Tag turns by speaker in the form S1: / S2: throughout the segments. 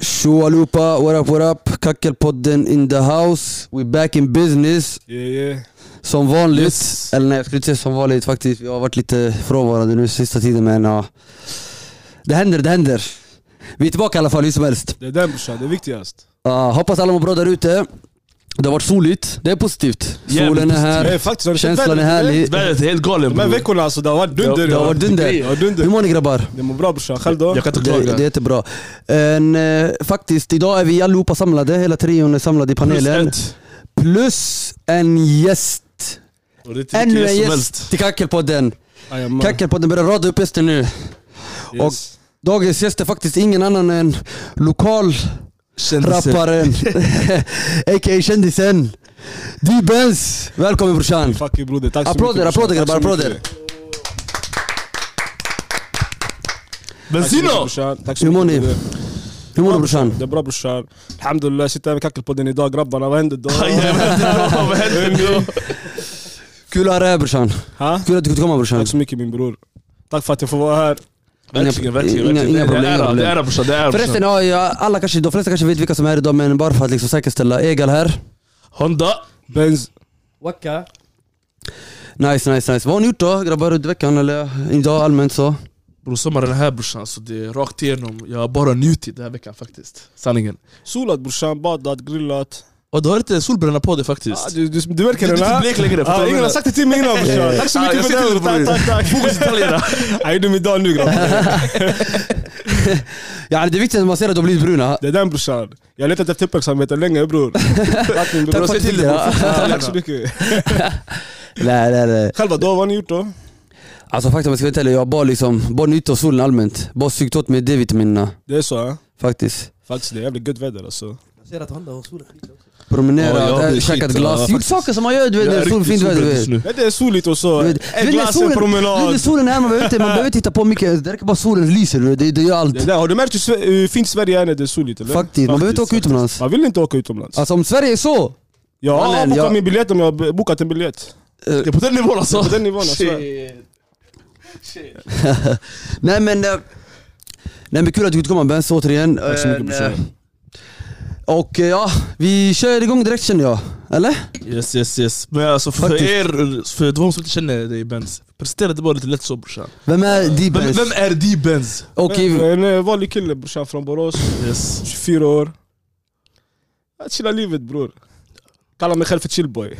S1: Tjo allihopa, what up what up? Kackelpodden in the house. We back in business.
S2: Yeah, yeah.
S1: Som vanligt.
S2: Yes.
S1: Eller nej, jag skulle inte säga som vanligt faktiskt. Jag har varit lite frånvarande nu sista tiden men ja. Det händer, det händer. Vi är tillbaka i alla fall hur som helst.
S2: Det är den brorsan, det är viktigast.
S1: Ja, hoppas alla mår bra där ute. Det har varit soligt. Det är positivt.
S3: Jävligt
S1: Solen är här.
S2: Nej, faktiskt, har du sett
S1: Känslan är
S2: vädret, eller?
S1: härlig.
S3: Vädret är helt galen
S2: De här
S3: bror.
S2: veckorna alltså, det har varit dunder.
S3: Det-
S1: Det har varit
S2: Det har
S1: dunder.
S2: varit dunder.
S1: Hur mår ni grabbar?
S2: Det mår bra brorsan, själv då?
S3: Jag kan inte
S1: Det,
S3: klaga.
S1: det är jättebra. En, eh, faktiskt, idag är vi allihopa samlade. Hela trion är samlade i
S3: Plus
S1: panelen.
S3: ett.
S1: Plus en gäst.
S3: Och det är inte vilken
S1: Ännu en
S3: gäst som
S1: gäst
S3: helst.
S1: till Kackelpodden.
S2: Jajamän.
S1: Kackelpodden börjar rada upp gäster nu.
S2: uh, Yes.
S1: Dagens gäst är faktiskt ingen annan än lokalrapparen, a.k.a. kändisen. D-Benz. Välkommen brorsan.
S2: Fucking broder, tack så
S1: Applåder,
S2: mycket brorsan.
S1: applåder
S2: Tack så
S1: grabbar, applåder.
S2: mycket. Tack så mycket,
S3: Benzino!
S2: brorsan. Tack så
S1: Hur mår
S2: mycket,
S1: ni?
S2: broder.
S1: Hur mår
S2: Bra,
S1: du brorsan?
S2: Det är bra brorsan. Alhamdulillah, sitter här med kackelpodden idag grabbarna, vad händer då?
S3: Vad händer då?
S1: Kul att ha dig här brorsan.
S2: Ha?
S1: Kul att du kunde komma brorsan.
S2: Tack så mycket min bror. Tack för att jag får vara här.
S3: Verkligen, verkligen.
S1: Inga-
S3: verkligen.
S1: inga problem,
S3: det
S1: inga
S3: är ära,
S1: problem.
S3: det är ära brorsan. Det är ära
S1: Förresten,
S3: brorsan.
S1: ja, ja, alla kanske, de flesta kanske vet vilka som är här idag men bara för att liksom säkerställa. Egal här.
S3: Honda.
S2: Benz.
S4: Wacka.
S1: Nice, nice, nice. Vad har ni gjort då grabbar under veckan eller idag allmänt så?
S3: Bror sommaren är här brorsan, alltså det är rakt igenom. Jag har bara njutit den här veckan faktiskt. Sanningen.
S2: Solat brorsan, badat, grillat.
S3: Och du har inte solbränna på dig faktiskt.
S2: Ah, du, du, du verkar
S3: Du är inte
S2: den här.
S3: blek längre, förstår
S2: Ah,
S3: du?
S2: ingen har sagt det till mig innan brorsan. Tack så
S3: Ah, jag
S2: mycket
S3: ser det,
S2: för
S3: bror.
S2: det. Tack, tack, tack.
S3: Fokus detaljerna.
S2: Jag gjorde min dag nu grabbar.
S1: Ja, det är viktigt att man ser att de har blivit bruna.
S2: Det är den brorsan. Jag har letat efter uppmärksamheten länge bror. Tack min bror.
S1: Tack för att du
S2: Ja, Tack så mycket.
S1: Nej, nej, nej.
S2: Själva då, vad har ni gjort då?
S1: Alltså faktum jag ska vara ärlig, jag har bara liksom, bara njutit av solen allmänt. Bara sugit åt mig D-vitaminerna
S2: Det är så eh?
S1: faktiskt.
S2: Faktiskt det är jävligt gött väder alltså.
S4: Jag ser att Honda har solen.
S3: Ja, jag
S1: Promenerat,
S3: blir
S1: äh, käkat
S3: skit, ja,
S1: glass, gjort
S3: faktiskt.
S1: saker som man gör du vet
S3: Jag
S1: när
S3: är
S1: det är sol,
S3: riktigt
S1: fint väder.
S3: solbränd
S1: du vet.
S3: just nu.
S2: Nej, Det är soligt och så.
S1: Du vet, du vet
S2: En
S1: när
S2: glass, en
S1: solen- Du vet när
S2: promenad.
S1: solen är här, man behöver inte, man behöver inte hitta på mycket. Det räcker bara solen lyser, du vet. det, det gör allt.
S2: Det där, Har du märkt hur Sve- hur fint Sverige är när det är soligt eller?
S1: Faktiskt, man behöver inte åka
S2: Faktiskt.
S1: utomlands.
S2: Man vill inte åka utomlands.
S1: Alltså om Sverige är så,
S2: Jag har
S1: mannen,
S2: bokat
S1: jag-
S2: min biljett om jag har b- bokat en biljett.
S3: Det är på den nivån alltså.
S2: På den nivån alltså.
S3: Shit.
S1: Nej men... eh, Nej men kul att du kunde komma Benz återigen.
S2: Tack så mycket,
S1: Eh,
S2: brorsan.
S1: Och eh, ja, vi kör igång direkt känner jag. Eller?
S3: Yes yes yes. Men alltså för
S1: Faktiskt.
S3: er, för de som inte känner dig Benz, presentera dig bara lite lätt så brorsan.
S1: Vem är
S3: Vem,
S1: D-Benz?
S3: vem är de Benz?
S1: Och
S2: Men,
S1: i-
S2: En eh, vanlig kille brorsan från Borås,
S3: Yes.
S2: 24 år. Jag chillar livet bror. Kallar mig själv för chillboy.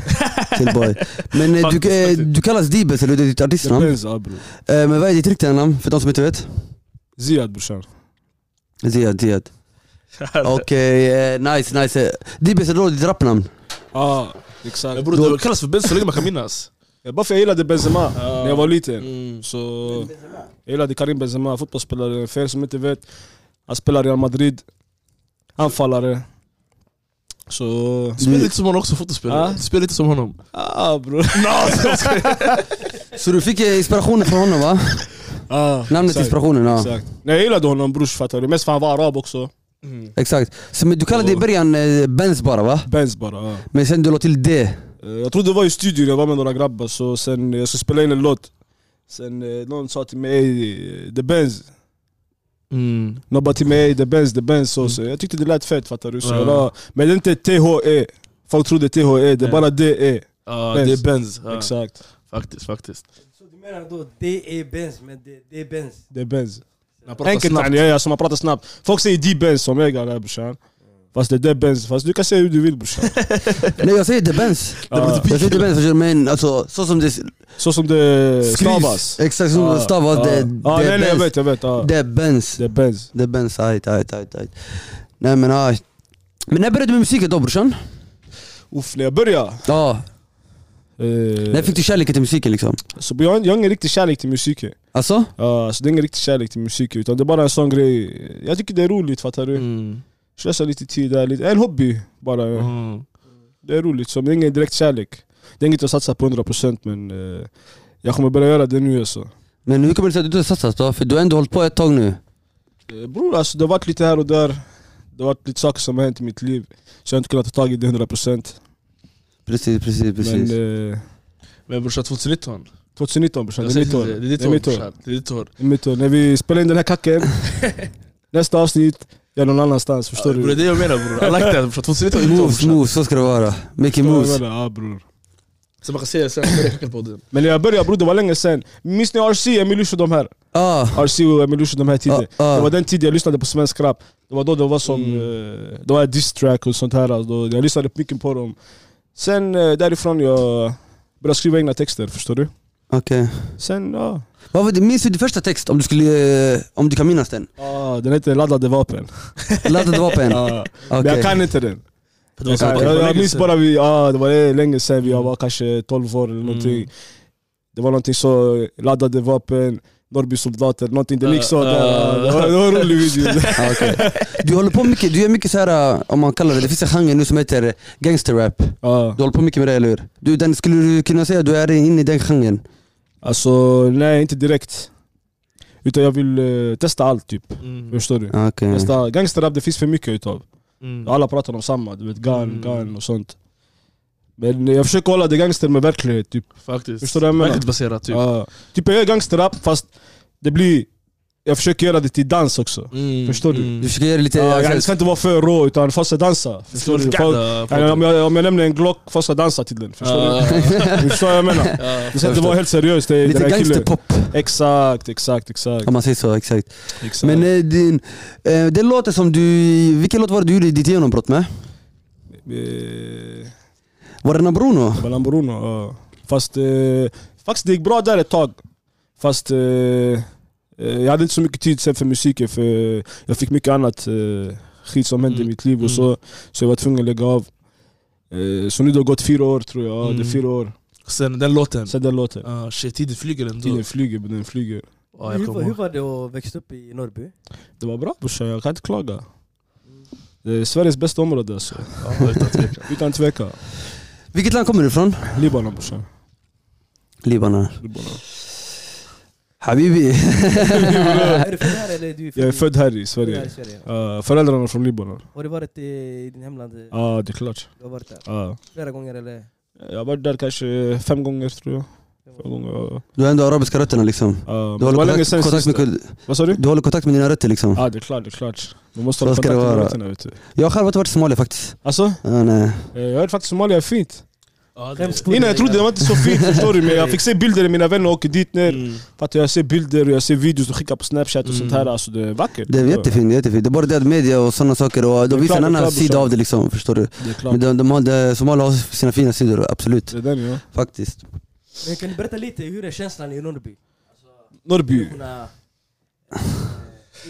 S1: Killboy. Men eh,
S3: Faktiskt,
S1: du, eh,
S3: faktiskt.
S1: du kallas D-Benz, eller hur? det är ditt
S2: Det
S1: artistnamn.
S2: är ja, bror.
S1: Eh, Men vad är ditt riktiga namn för de som inte vet?
S2: Ziad brorsan.
S1: Ziad, Ziad. Okej, eh, nice nice. Eh, D-Benz är då ditt rapnamn?
S2: Ja, exakt.
S3: Men bror, det kallas för Benz så länge man kan minnas.
S2: Det är bara för jag gillade Benzema när jag var liten.
S3: Mm.
S2: Så jag gillade Karim Benzema, fotbollsspelare. För er som inte vet, han spelar i Real Madrid. Anfallare. Så...
S3: Spelar lite som honom också, fotospelare.
S2: Ah.
S3: Spelar lite som honom.
S2: Ah bror.
S1: Så du fick eh, inspirationen från honom va?
S2: Ah,
S1: Namnet
S2: exakt,
S1: inspirationen ja.
S2: Exakt. Nej, jag gillade honom brors fattar du. Mest för han var arab också.
S1: Exakt. Så, men du kallade dig i början eh, Benz bara va?
S2: Benz bara. ja.
S1: Men sen du la till D.
S2: Eh, Jag trodde det var i studion, jag var med några grabbar. Så sen eh, jag skulle spela in en låt. Sen eh, någon sa till mig, "Ey, The Benz.
S3: Mm.
S2: Någon bara till mig, the Benz, the Benz så, så Jag tyckte det lät fett fattar du så
S3: Ja.
S2: jag la, Men det är inte THE, folk tror det är THE, det är
S3: Ja.
S2: bara DE
S3: Ja,
S2: Benz.
S3: det är Benz. Ja,
S2: Exakt,
S3: Faktiskt, faktiskt.
S4: Så du menar då det är Benz, men det, det är Benz.
S2: det är Benz
S3: Man pratar
S2: Enkelt
S3: snabbt.
S2: yani, ja, ja, som man pratar snabbt Folk säger D-Benz som jag gör brorsan Fast det är det Benz, fast du kan säga hur du vill brorsan
S1: Nej jag säger The Benz.
S2: Ja.
S1: Jag säger The Benz förstår du, men alltså så som det
S2: Så som det stavas
S1: skrivs. Exakt så som det stavas.
S2: ja.
S1: Det
S2: Ja,
S1: det
S2: nej,
S1: är
S2: nej, jag
S1: Benz.
S2: vet, jag vet ja.
S1: Det är Benz.
S2: Det är Benz
S1: Det är Benz, ajt, ajt, ajt, ajt. Nej men aj. Men när började du med musiken då brorsan?
S2: Uff, när jag började
S1: Ja, när
S2: eh,
S1: fick du kärleken till musiken liksom?
S2: så jag, har- jag har ingen riktig kärlek till musiken
S1: Alltså?
S2: ja, Så det är ingen riktig kärlek till musiken utan det är bara en sån grej Jag tycker det är roligt fattar du
S3: Mm.
S2: Slösa lite tid där, lite, en hobby bara
S3: Mm.
S2: Det är roligt, så, men det är ingen direkt kärlek Det är inget jag satsar på 100% men eh, jag kommer börja göra det nu alltså
S1: Men hur kommer det sig att du inte har satsat då? För du har ändå hållit på ett tag nu.
S2: Eh, Bror alltså det har varit lite här och där Det har varit lite saker som har hänt i mitt liv Så jag har inte kunnat ta tag i det 100%
S1: Precis, precis, precis.
S2: Men eh,
S3: Men brorsan 2019.
S2: 2019 brorsan,
S3: Jag
S2: det är
S3: säger
S2: mitt
S3: till
S2: år
S3: dig, Det är ditt
S2: Det är
S3: år
S2: mitt år.
S3: brorsan. Det är ditt år.
S2: Det är mitt år. När vi spelar in den här kacken Nästa avsnitt Jag är någon annanstans, förstår
S3: Bror, Det är
S2: du?
S3: det jag menar bror. I like that brorsan. 2019 var
S1: Moves,
S3: brorsan.
S1: moves, så ska det vara. Mycket
S2: Förstår du vad
S1: moves.
S2: jag menar? Ja, bror.
S3: Så man kan säga sen, jag räcker på det.
S2: Men när jag började bror, det var länge sen. Minns ni RC, Emilusho de här?
S1: Ah,
S2: RC och Emilusho de här tiden.
S1: ah, ah.
S2: typ Det var den tiden jag lyssnade på svensk rap. Det var då det var som,
S3: Mm.
S2: eh, det var diss-track och sånt här. alltså. Då- Jag lyssnade mycket på dem. Sen eh, därifrån jag började skriva egna texter, förstår du?
S1: okej.
S2: Sen, ja.
S1: Vad var det- Minns du din första text? Om du, skulle, eh, om du kan minnas den?
S2: Ah, den heter Laddade vapen.
S1: Laddat vapen?
S2: Ah, Men
S1: Okej.
S2: jag kan inte den.
S3: Det
S2: Jag, kan, jag, jag minns bara, vi, ah, det var det länge sedan, vi var kanske 12 år eller någonting.
S3: Mm.
S2: Det var någonting så, laddade vapen, Norrby soldater, någonting. Det
S3: Ah,
S2: gick så. där.
S3: ah.
S2: Det var- det var en rolig video.
S1: Ah, okej. Du håller på mycket, du gör mycket så här, eh, om man kallar det, det finns en genre nu som heter eh, gangsterrap.
S2: Ah.
S1: Du håller på mycket med det eller hur? Du, den, skulle du kunna säga att du är inne i den genren?
S2: Alltså, nej inte direkt. Utan jag vill eh, testa allt typ.
S3: Mm.
S2: Förstår du?
S1: Ah, Okej.
S2: Testa, gangsterrap det finns för mycket utav.
S3: Mm.
S2: Alla pratar om samma, du vet gun,
S3: Mm.
S2: gun och sånt. Men jag försöker hålla det gangster med verklighet typ.
S3: Faktiskt.
S2: Förstår du vad jag menar?
S3: Verklighetsbaserat typ.
S2: Ja. typ jag gör gangsterrap fast det blir... Jag försöker göra det till dans också.
S3: Mm,
S2: Förstår du?
S1: Du försöker göra lite... alltså,
S2: Ja, jag
S1: accent.
S2: ska inte vara för rå utan folk ska dansa. Förstår du? Folk, Ja, om, jag, om jag nämner en Glock, folk ska dansa till den. Förstår du? Du förstår vad jag menar? Det ska inte vara helt seriöst, det är
S1: lite
S2: den här killen.
S1: gangsterpop
S2: Exakt, exakt, exakt.
S1: om man säger så, exakt.
S2: exakt.
S1: Men eh, din, eh, det låter som du... Vilken låt var det du gjorde ditt genombrott med?
S2: Eh,
S1: Var det Na Bruno?
S2: Balan Bruno, ja. Fast eh, faktiskt det gick bra där ett tag. Fast eh, eh, jag hade inte så mycket tid sen för musiken för jag fick mycket annat eh, skit som hände
S3: Mm.
S2: i mitt liv och så. Så jag var tvungen att lägga av. Eh, så nu det har gått fyra år tror jag, ja det
S3: Mm.
S2: är fyra år
S3: Sen den låten.
S2: sen den låten.
S3: Ah, shit, tiden flyger ändå.
S2: Tiden flyger, den flyger.
S3: Ja, jag
S4: hur,
S3: kommer
S4: var- hur
S3: ihåg.
S4: var det att växa upp i Norrby?
S2: Det var bra brorsan, jag kan inte klaga. Det är Sveriges bästa område alltså.
S3: Ja, utan tvekan.
S2: Utan tvekan.
S1: Vilket land kommer du ifrån?
S2: Libanon brorsan.
S1: Libanon.
S2: Libanon.
S1: Habibi.
S4: är du född här eller är du
S2: Jag är född här i
S4: född här i
S2: Sverige.
S4: Sverige?
S2: Uh, föräldrarna är från Libanon.
S4: Har du varit i, i din hemland?
S2: Ja, det är klart.
S4: Du har varit där
S2: Ja.
S4: flera gånger eller?
S2: Jag har varit där kanske fem gånger tror jag. Fem gånger, ja.
S1: Du har ändå arabiska rötterna liksom.
S2: Ja, men
S1: Du
S2: det var
S1: håller,
S2: länge
S1: kontakt,
S2: sen
S1: kontakt
S2: sist.
S1: med, kud-
S2: Vad sa du?
S1: du håller kontakt med dina rötter liksom.
S2: Ja ah, det är klart, det är klart. Man måste
S1: Så
S2: hålla
S1: ska det
S2: kontakt med
S1: vara.
S2: rötterna vet du.
S1: Jag har själv inte varit i Somalia faktiskt.
S2: Alltså,
S1: Ja, nej.
S2: eh, jag hörde faktiskt Somalia är fint.
S3: Ja, det-
S4: Skämskudde
S2: Innan jag trodde det var inte så fint förstår du, men jag fick se bilder när mina vänner åker dit ner.
S3: Mm.
S2: Fattar du? jag ser bilder och jag ser videos och skickar på snapchat och sånt här.
S3: Mm.
S2: Alltså det är vackert.
S1: Det är jättefint, det är jättefint. Det är bara det att media och sådana saker, och de
S2: är
S1: visar
S2: klart,
S1: en
S2: det är
S1: annan
S2: klart,
S1: sida
S2: brorsan.
S1: av det liksom. Förstår du?
S2: Det är klart.
S1: Men de, de har, de, Somalia har sina fina sidor, absolut.
S2: Det är den ja.
S1: Faktiskt.
S4: Men kan du berätta lite, hur är känslan i Norrby?
S2: Norrby.
S4: Kunna, eh,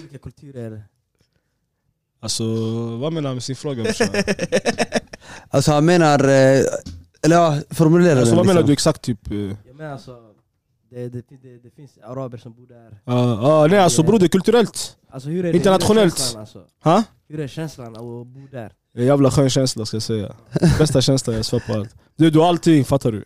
S4: olika kulturer.
S2: Alltså, vad menar han med sin fråga brorsan?
S1: Alltså han menar... eh, Eller ja, formulera
S2: Alltså
S1: den
S2: vad menar
S1: liksom.
S2: du exakt typ? eh?
S4: Jag menar alltså, det, det, fin- det, det finns araber som bor där.
S2: Ah, ah, nej alltså bror det är kulturellt.
S4: Alltså, hur är det,
S2: Internationellt.
S4: Hur är känslan, alltså?
S2: Ha?
S4: hur är känslan av att bo där?
S2: Det är en jävla skön känsla ska jag säga. Bästa känslan jag svär på allt. Du, du har allting, fattar du?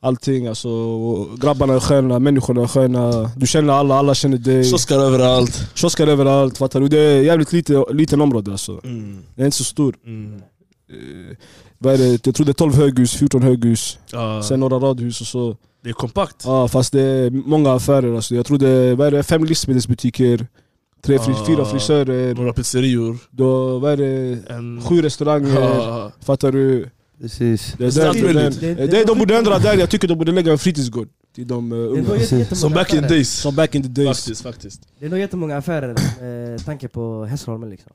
S2: Allting alltså, och grabbarna är sköna, människorna är sköna. Du känner alla, alla känner dig.
S3: Kiosker överallt.
S2: Kiosker överallt, fattar du? Det är jävligt lite, liten område alltså.
S3: Mm.
S2: Det är inte så stor.
S3: Mm.
S2: Eh, vad är det? Jag tror det är 12 höghus, 14 höghus,
S3: Ja,
S2: sen några radhus och så.
S3: det är kompakt.
S2: Ja, fast det är många affärer alltså. Jag tror det är, vad är det, fem livsmedelsbutiker, tre, fri,
S3: Ah.
S2: fyra frisörer,
S3: Några pizzerior.
S2: då, vad är det,
S3: En...
S2: sju restauranger.
S3: Ja.
S2: Fattar du?
S1: Precis.
S2: Det är
S3: Snabbt
S2: den, den,
S3: möjligt.
S2: det, är de borde ändra där, jag tycker de borde lägga en fritidsgård till de eh,
S4: Det är
S2: unga.
S4: nog jätte-
S1: Som
S4: jättemånga
S3: Um. Som back in the
S4: affärer.
S3: days.
S2: Som back in the days.
S3: Faktiskt, faktiskt.
S4: Det är nog jättemånga affärer med tanke på Hässleholmen liksom.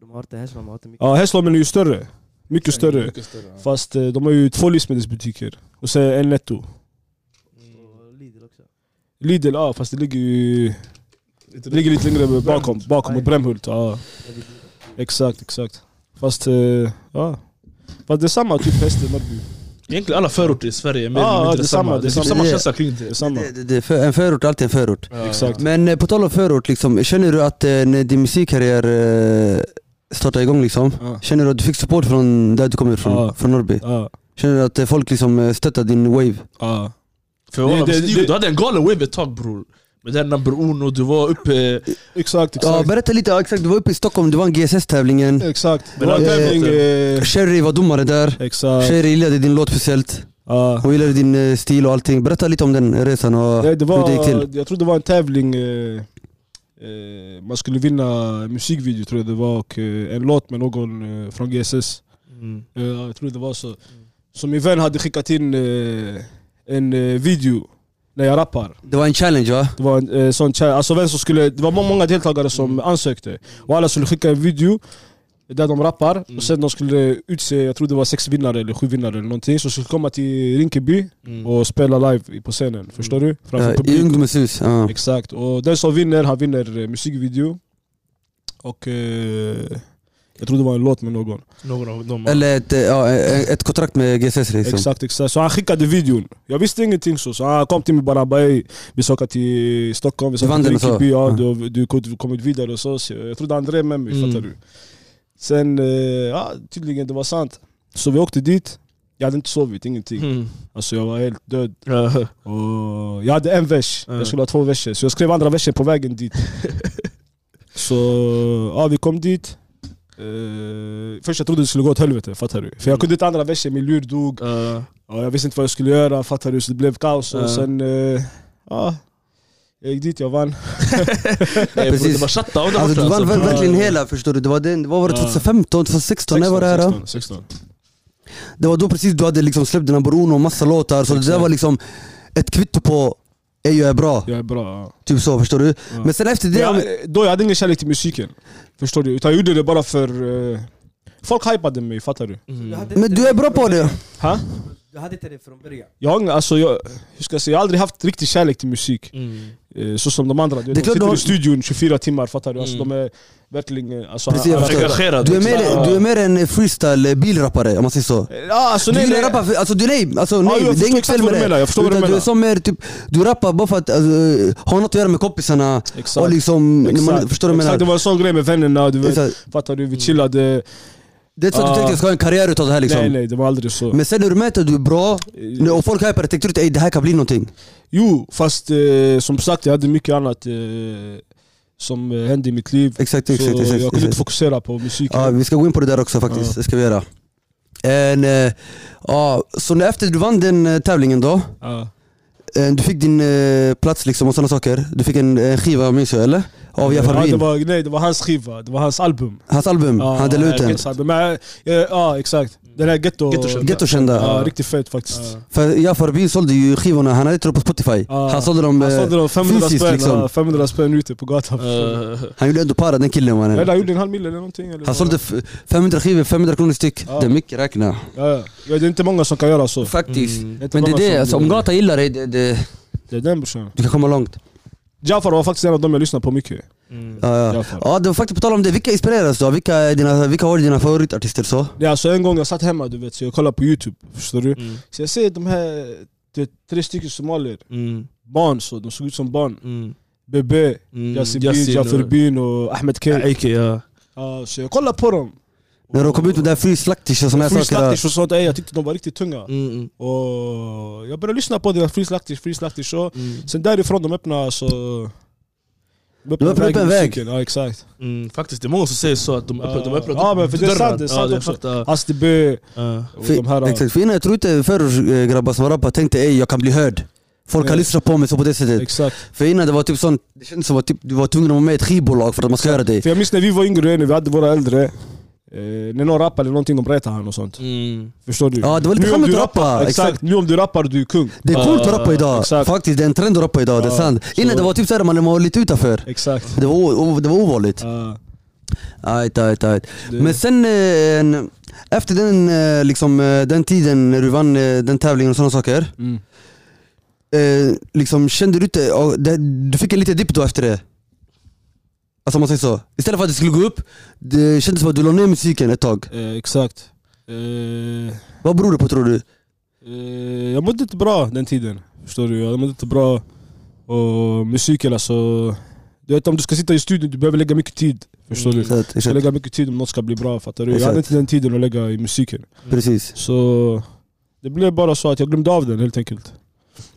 S4: De har inte Hässleholm, de har inte mycket.
S2: Ja, Hässleholmen är ju större. Mycket större.
S3: Mycket större. ja.
S2: Fast eh, de har ju två livsmedelsbutiker. Och sen en netto.
S4: Och Lidl också.
S2: Lidl, ja fast det ligger ju... Det ligger lite längre bakom, bakom och Brämhult. Ja,
S4: Jag vet inte.
S2: exakt, exakt. Fast, eh, ja. Fast det är samma typ häst i Norrby.
S3: Egentligen alla förorter i Sverige är mer
S2: Ja,
S3: eller mindre
S2: det är
S3: samma.
S2: samma,
S3: Det är
S2: det är
S3: typ
S1: samma.
S3: samma känsla kring
S2: Det
S3: det.
S2: är samma.
S1: Det, det, det, är för, en förort är alltid en förort.
S2: Exakt.
S1: Men eh, på tal om förort, liksom, känner du att eh, när din musikkarriär eh, startade igång, liksom,
S2: Ja.
S1: känner du att du fick support från där du kommer ifrån?
S2: Ja.
S1: Från Norrby?
S2: Ja,
S1: Känner du att eh, folk liksom eh, stöttar din wave?
S2: ja.
S3: För jag
S2: Det-
S3: var
S2: det-
S3: det,
S2: det-
S3: du hade en galen wave ett tag bror. Med den number uno, du var uppe...
S2: Exakt,
S1: Ja,
S2: exakt.
S1: berätta lite, ja, exakt, du var uppe i Stockholm, du vann GSS-tävlingen.
S2: Exakt. Det
S3: Men
S2: var en
S1: det-
S2: tävling, eh,
S1: Sherry var domare där.
S2: Exakt.
S1: Sherry gillade din låt speciellt.
S2: Ja.
S1: Hon gillade din eh, stil och allting. Berätta lite om den resan och
S2: Nej, det
S1: hur det gick till.
S2: var, jag tror det var en tävling eh, eh, man skulle vinna en musikvideo tror jag det var och eh, en låt med någon eh, från GSS.
S3: Mm.
S2: Eh, jag tror det var så.
S1: Mm.
S2: Så min vän hade skickat in eh, en eh, video när jag rappar.
S1: Det var en challenge va?
S2: Det var en eh, sån challenge, alltså vem som skulle, det var må- många deltagare som
S1: Mm.
S2: ansökte Och alla skulle skicka en video där de rappar
S1: Mm.
S2: och sen de skulle utse, jag tror det var sex vinnare eller sju vinnare eller någonting Som skulle komma till Rinkeby
S3: Mm.
S2: och spela live i- på scenen, förstår du? Framför
S1: Mm. Ja, I
S2: publik
S1: ungdomens hus. Ja.
S2: Exakt, och den som vinner, han vinner eh, musikvideo Och eh, jag tror det var en låt med någon
S3: Någon av dem.
S1: Eller ett, eh, ja, eh, ett kontrakt med GSS liksom.
S2: Exakt, exakt. Så han skickade videon. Jag visste ingenting så. Så han kom till mig bara bara "Ey, vi ska åka till Stockholm, vi
S1: Du
S2: ska
S1: vann
S2: åka till
S1: den och så?
S2: Rinkeby, ja,
S1: Ja.
S2: du, har- du har kommit vidare och så. så jag trodde han drev med mig,
S3: Mm.
S2: fattar du? Sen, eh, ja tydligen det var sant. Så vi åkte dit. Jag hade inte sovit, ingenting.
S3: Mm.
S2: Alltså jag var helt död.
S3: Ja.
S2: Och jag hade en vers,
S3: Ja.
S2: jag skulle ha två verser. Så jag skrev andra versen på vägen dit. så ja, vi kom dit. Eh, först jag trodde det skulle gå åt helvete, fattar du? För jag kunde inte andra versen, min lur dog.
S3: Eh,
S2: Ja, jag visste inte vad jag skulle göra, fattar du? Så det blev kaos och
S3: Ja.
S2: sen... eh, ja, jag gick dit, jag vann.
S3: nej,
S1: Precis.
S3: Det var shutdown där
S1: Alltså du
S3: borta,
S1: vann
S3: alltså.
S1: väl
S2: bra.
S1: verkligen hela förstår du. Det var, den, vad var det
S2: Ja.
S1: 2015, 2016? När var det här? då?
S2: 16, 16.
S1: Det var då precis du hade liksom släppt dina Bruno och massa låtar. Så det där
S2: Exakt.
S1: var liksom ett kvitto på Ey jag är bra.
S2: Jag är bra. Ja.
S1: Typ så förstår du.
S2: Ja.
S1: Men sen efter det...
S2: Jag, då jag hade ingen kärlek till musiken, förstår du? Utan jag gjorde det bara för... eh, folk hypade mig, fattar du?
S4: Du
S3: Mm.
S4: hade
S1: Men
S4: inte
S1: du är bra på det.
S2: Ha?
S4: Du hade inte det från början.
S2: Jag, har ingen- alltså, jag, hur ska jag, säga, jag har aldrig haft riktig kärlek till musik,
S3: Mm.
S2: eh, så som de andra. Du,
S1: Det är
S2: vet, de
S1: klart
S2: sitter
S1: du har-
S2: i studion 24 timmar, fattar du? Alltså,
S3: Mm.
S2: De är verkligen... eh, Alltså,
S1: Precis, jag förstår.
S3: Engagerad.
S1: Du är
S2: Ja.
S1: mer, du är mer en freestyle eh, bilrappare om man säger så.
S2: Ja, alltså,
S1: Du
S2: nej,
S1: gillar
S2: nej.
S1: rappa, för, alltså du nej, alltså, nej
S2: jag
S1: det
S2: förstår
S1: är inget
S2: exakt
S1: fel
S2: vad
S1: med
S2: du
S1: det.
S2: menar, jag förstår vad du
S1: Utan du är
S2: menar.
S1: som mer typ, du rappar bara för att alltså, ha något att göra med kompisarna och
S2: Exakt.
S1: liksom, när man,
S2: Exakt.
S1: förstår du vad jag
S2: Exakt, det
S1: menar?
S2: var en sån grej med vännerna, du vet,
S1: Exakt. Mm.
S2: fattar du? Vi chillade,
S1: Det är inte så att du
S2: Ah.
S1: tänkte att jag ska ha en karriär utav det här liksom.
S2: nej nej det var aldrig så
S1: Men sen när du mäter du är bra,
S2: Eh,
S1: och folk hypar det, tänkte du inte "Ey, det här kan bli någonting?
S2: Jo, fast eh, som sagt jag hade mycket annat eh, som eh, hände i mitt liv
S1: Exakt,
S2: Så
S1: exakt,
S2: jag
S1: exakt.
S2: kunde
S1: exakt.
S2: inte fokusera på musiken
S1: Ja, Ah, vi ska gå in på det där också faktiskt,
S2: Ja.
S1: det ska vi göra. En, eh, ja, så när efter du vann den eh, tävlingen då,
S2: Ja.
S1: eh, du fick din eh, plats liksom och sådana saker. Du fick en, en skiva minns jag eller? Av Jafar
S2: ja, det
S1: Wien.
S2: var, Nej det var hans skiva, det var hans album
S1: Hans album,
S2: Ja,
S1: Mm. han delade ut den.
S2: Gettos album. Men, eh, Ja exakt, den här ghetto...
S3: Ghetto-kända.
S1: Ghettokända.
S2: Ja, riktigt fet faktiskt
S3: Ja.
S1: För Jafar Wien sålde ju skivorna, han hade inte dem på Spotify.
S2: Ja.
S1: Han sålde dem,
S2: Han sålde
S1: eh,
S2: dem 500
S1: fysiskt
S2: spänn,
S1: liksom.
S2: ja, 500 spänn ute på gatan
S3: Eh,
S1: han gjorde ändå para den killen
S2: Eller
S1: mannen.
S2: han gjorde en halv mil eller någonting eller
S1: Han
S2: vad?
S1: sålde f- 500 skivor, 500 kronor styck.
S2: Ja.
S1: Det är mycket räkna.
S2: ja, ja. ja, Det är inte många som kan göra så
S1: Faktiskt.
S3: Mm.
S2: inte
S1: Men det är
S2: många
S1: det,
S2: som-
S1: alltså, om Gata gillar dig, det, det,
S2: Det är den brorsan
S1: du kan komma långt.
S2: Jafar var faktiskt en av dem jag lyssnade på mycket
S3: Mm.
S1: Ja, ja.
S2: Jafar.
S1: ja det var faktiskt på tal om det, vilka inspireras du av? Vilka, är dina, vilka har dina favoritartister så?
S2: Ja, så alltså en gång jag satt hemma du vet, så jag kollade på youtube, förstår du?
S3: Mm.
S2: Så jag ser de här du vet, tre stycken somalier,
S3: Mm.
S2: barn så, de såg ut som barn
S3: Mm.
S2: Bebe,
S3: Mm.
S2: Yasin Bin, Jafar Bin och Ahmed K
S3: Ike, ja.
S2: ja, Så jag kollade på dem
S1: När de kom ut med det här Free Slaktish och såna här
S2: Free
S1: saker. där.
S2: Slaktish och sånt, ey, jag tyckte de var riktigt tunga
S3: Mm. Mm.
S2: Och jag började lyssna på det, Free Slaktish, Free Slaktish och
S3: Mm.
S2: Sen därifrån de öppnade så... De
S1: öppnade upp
S2: i
S1: en väg.
S2: musiken, Ja exakt
S3: Mm. Faktiskt, det är många som säger så att de öppnar de öppnar
S2: Ja, men för det är sant, det är
S3: Ja,
S2: sant
S3: det är
S2: också.
S3: klart, ja.
S2: Asti B
S3: Ja.
S2: och
S1: För,
S2: Oh, de här
S1: exakt, för innan jag tror inte förr eh, grabbar som rappar tänkte ej jag kan bli hörd. Folk kan
S2: Ja.
S1: lyssna på mig så på det sättet.
S2: Exakt
S1: För innan det var typ sånt, det kändes som att typ, du var tvungen att vara med i ett skivbolag för att man ska höra dig.
S2: För jag minns när vi var yngre, när vi hade våra äldre eh, När någon rappade eller någonting, de retade han och sånt
S3: Mm.
S2: Förstår du?
S1: Ja, det var lite
S2: Nu om
S1: skämmigt att
S2: du
S1: rappa,
S2: rappar-
S1: exakt.
S2: Exakt. nu om du rappar du är kung Ah,
S1: Det är coolt att rappa idag,
S2: exakt.
S1: faktiskt. Det är en trend att rappa idag, det är
S2: Ja,
S1: sant. Innan
S2: så-
S1: det var typ såhär man var lite utanför.
S2: Exakt
S1: Det var, o- o- det var ovanligt.
S2: Ja,
S1: Ajt, ajt, ajt.
S2: det-
S1: Men sen, eh, en- efter den, eh, liksom, eh, den tiden när du vann eh, den tävlingen och sådana saker.
S2: mm.
S1: eh, Liksom kände du inte, ja, det, du fick en liten dipp då efter det? Alltså om man säger så. Istället för att det skulle gå upp, det kändes som att du la ner musiken ett tag.
S2: eh, Exakt eh,
S1: Vad beror det på tror du?
S2: eh, Jag mådde inte bra den tiden Förstår du? Jag mådde inte bra Och musiken alltså Du vet om du ska sitta i studion, du behöver lägga mycket tid Förstår du?
S3: Mm.
S2: Du
S1: Exakt,
S2: ska
S1: exakt.
S2: lägga mycket tid om något ska bli bra, fattar du? Jag
S1: Exakt.
S2: hade inte den tiden att lägga i musiken
S1: Precis.
S2: Så det blev bara så att jag glömde av den helt enkelt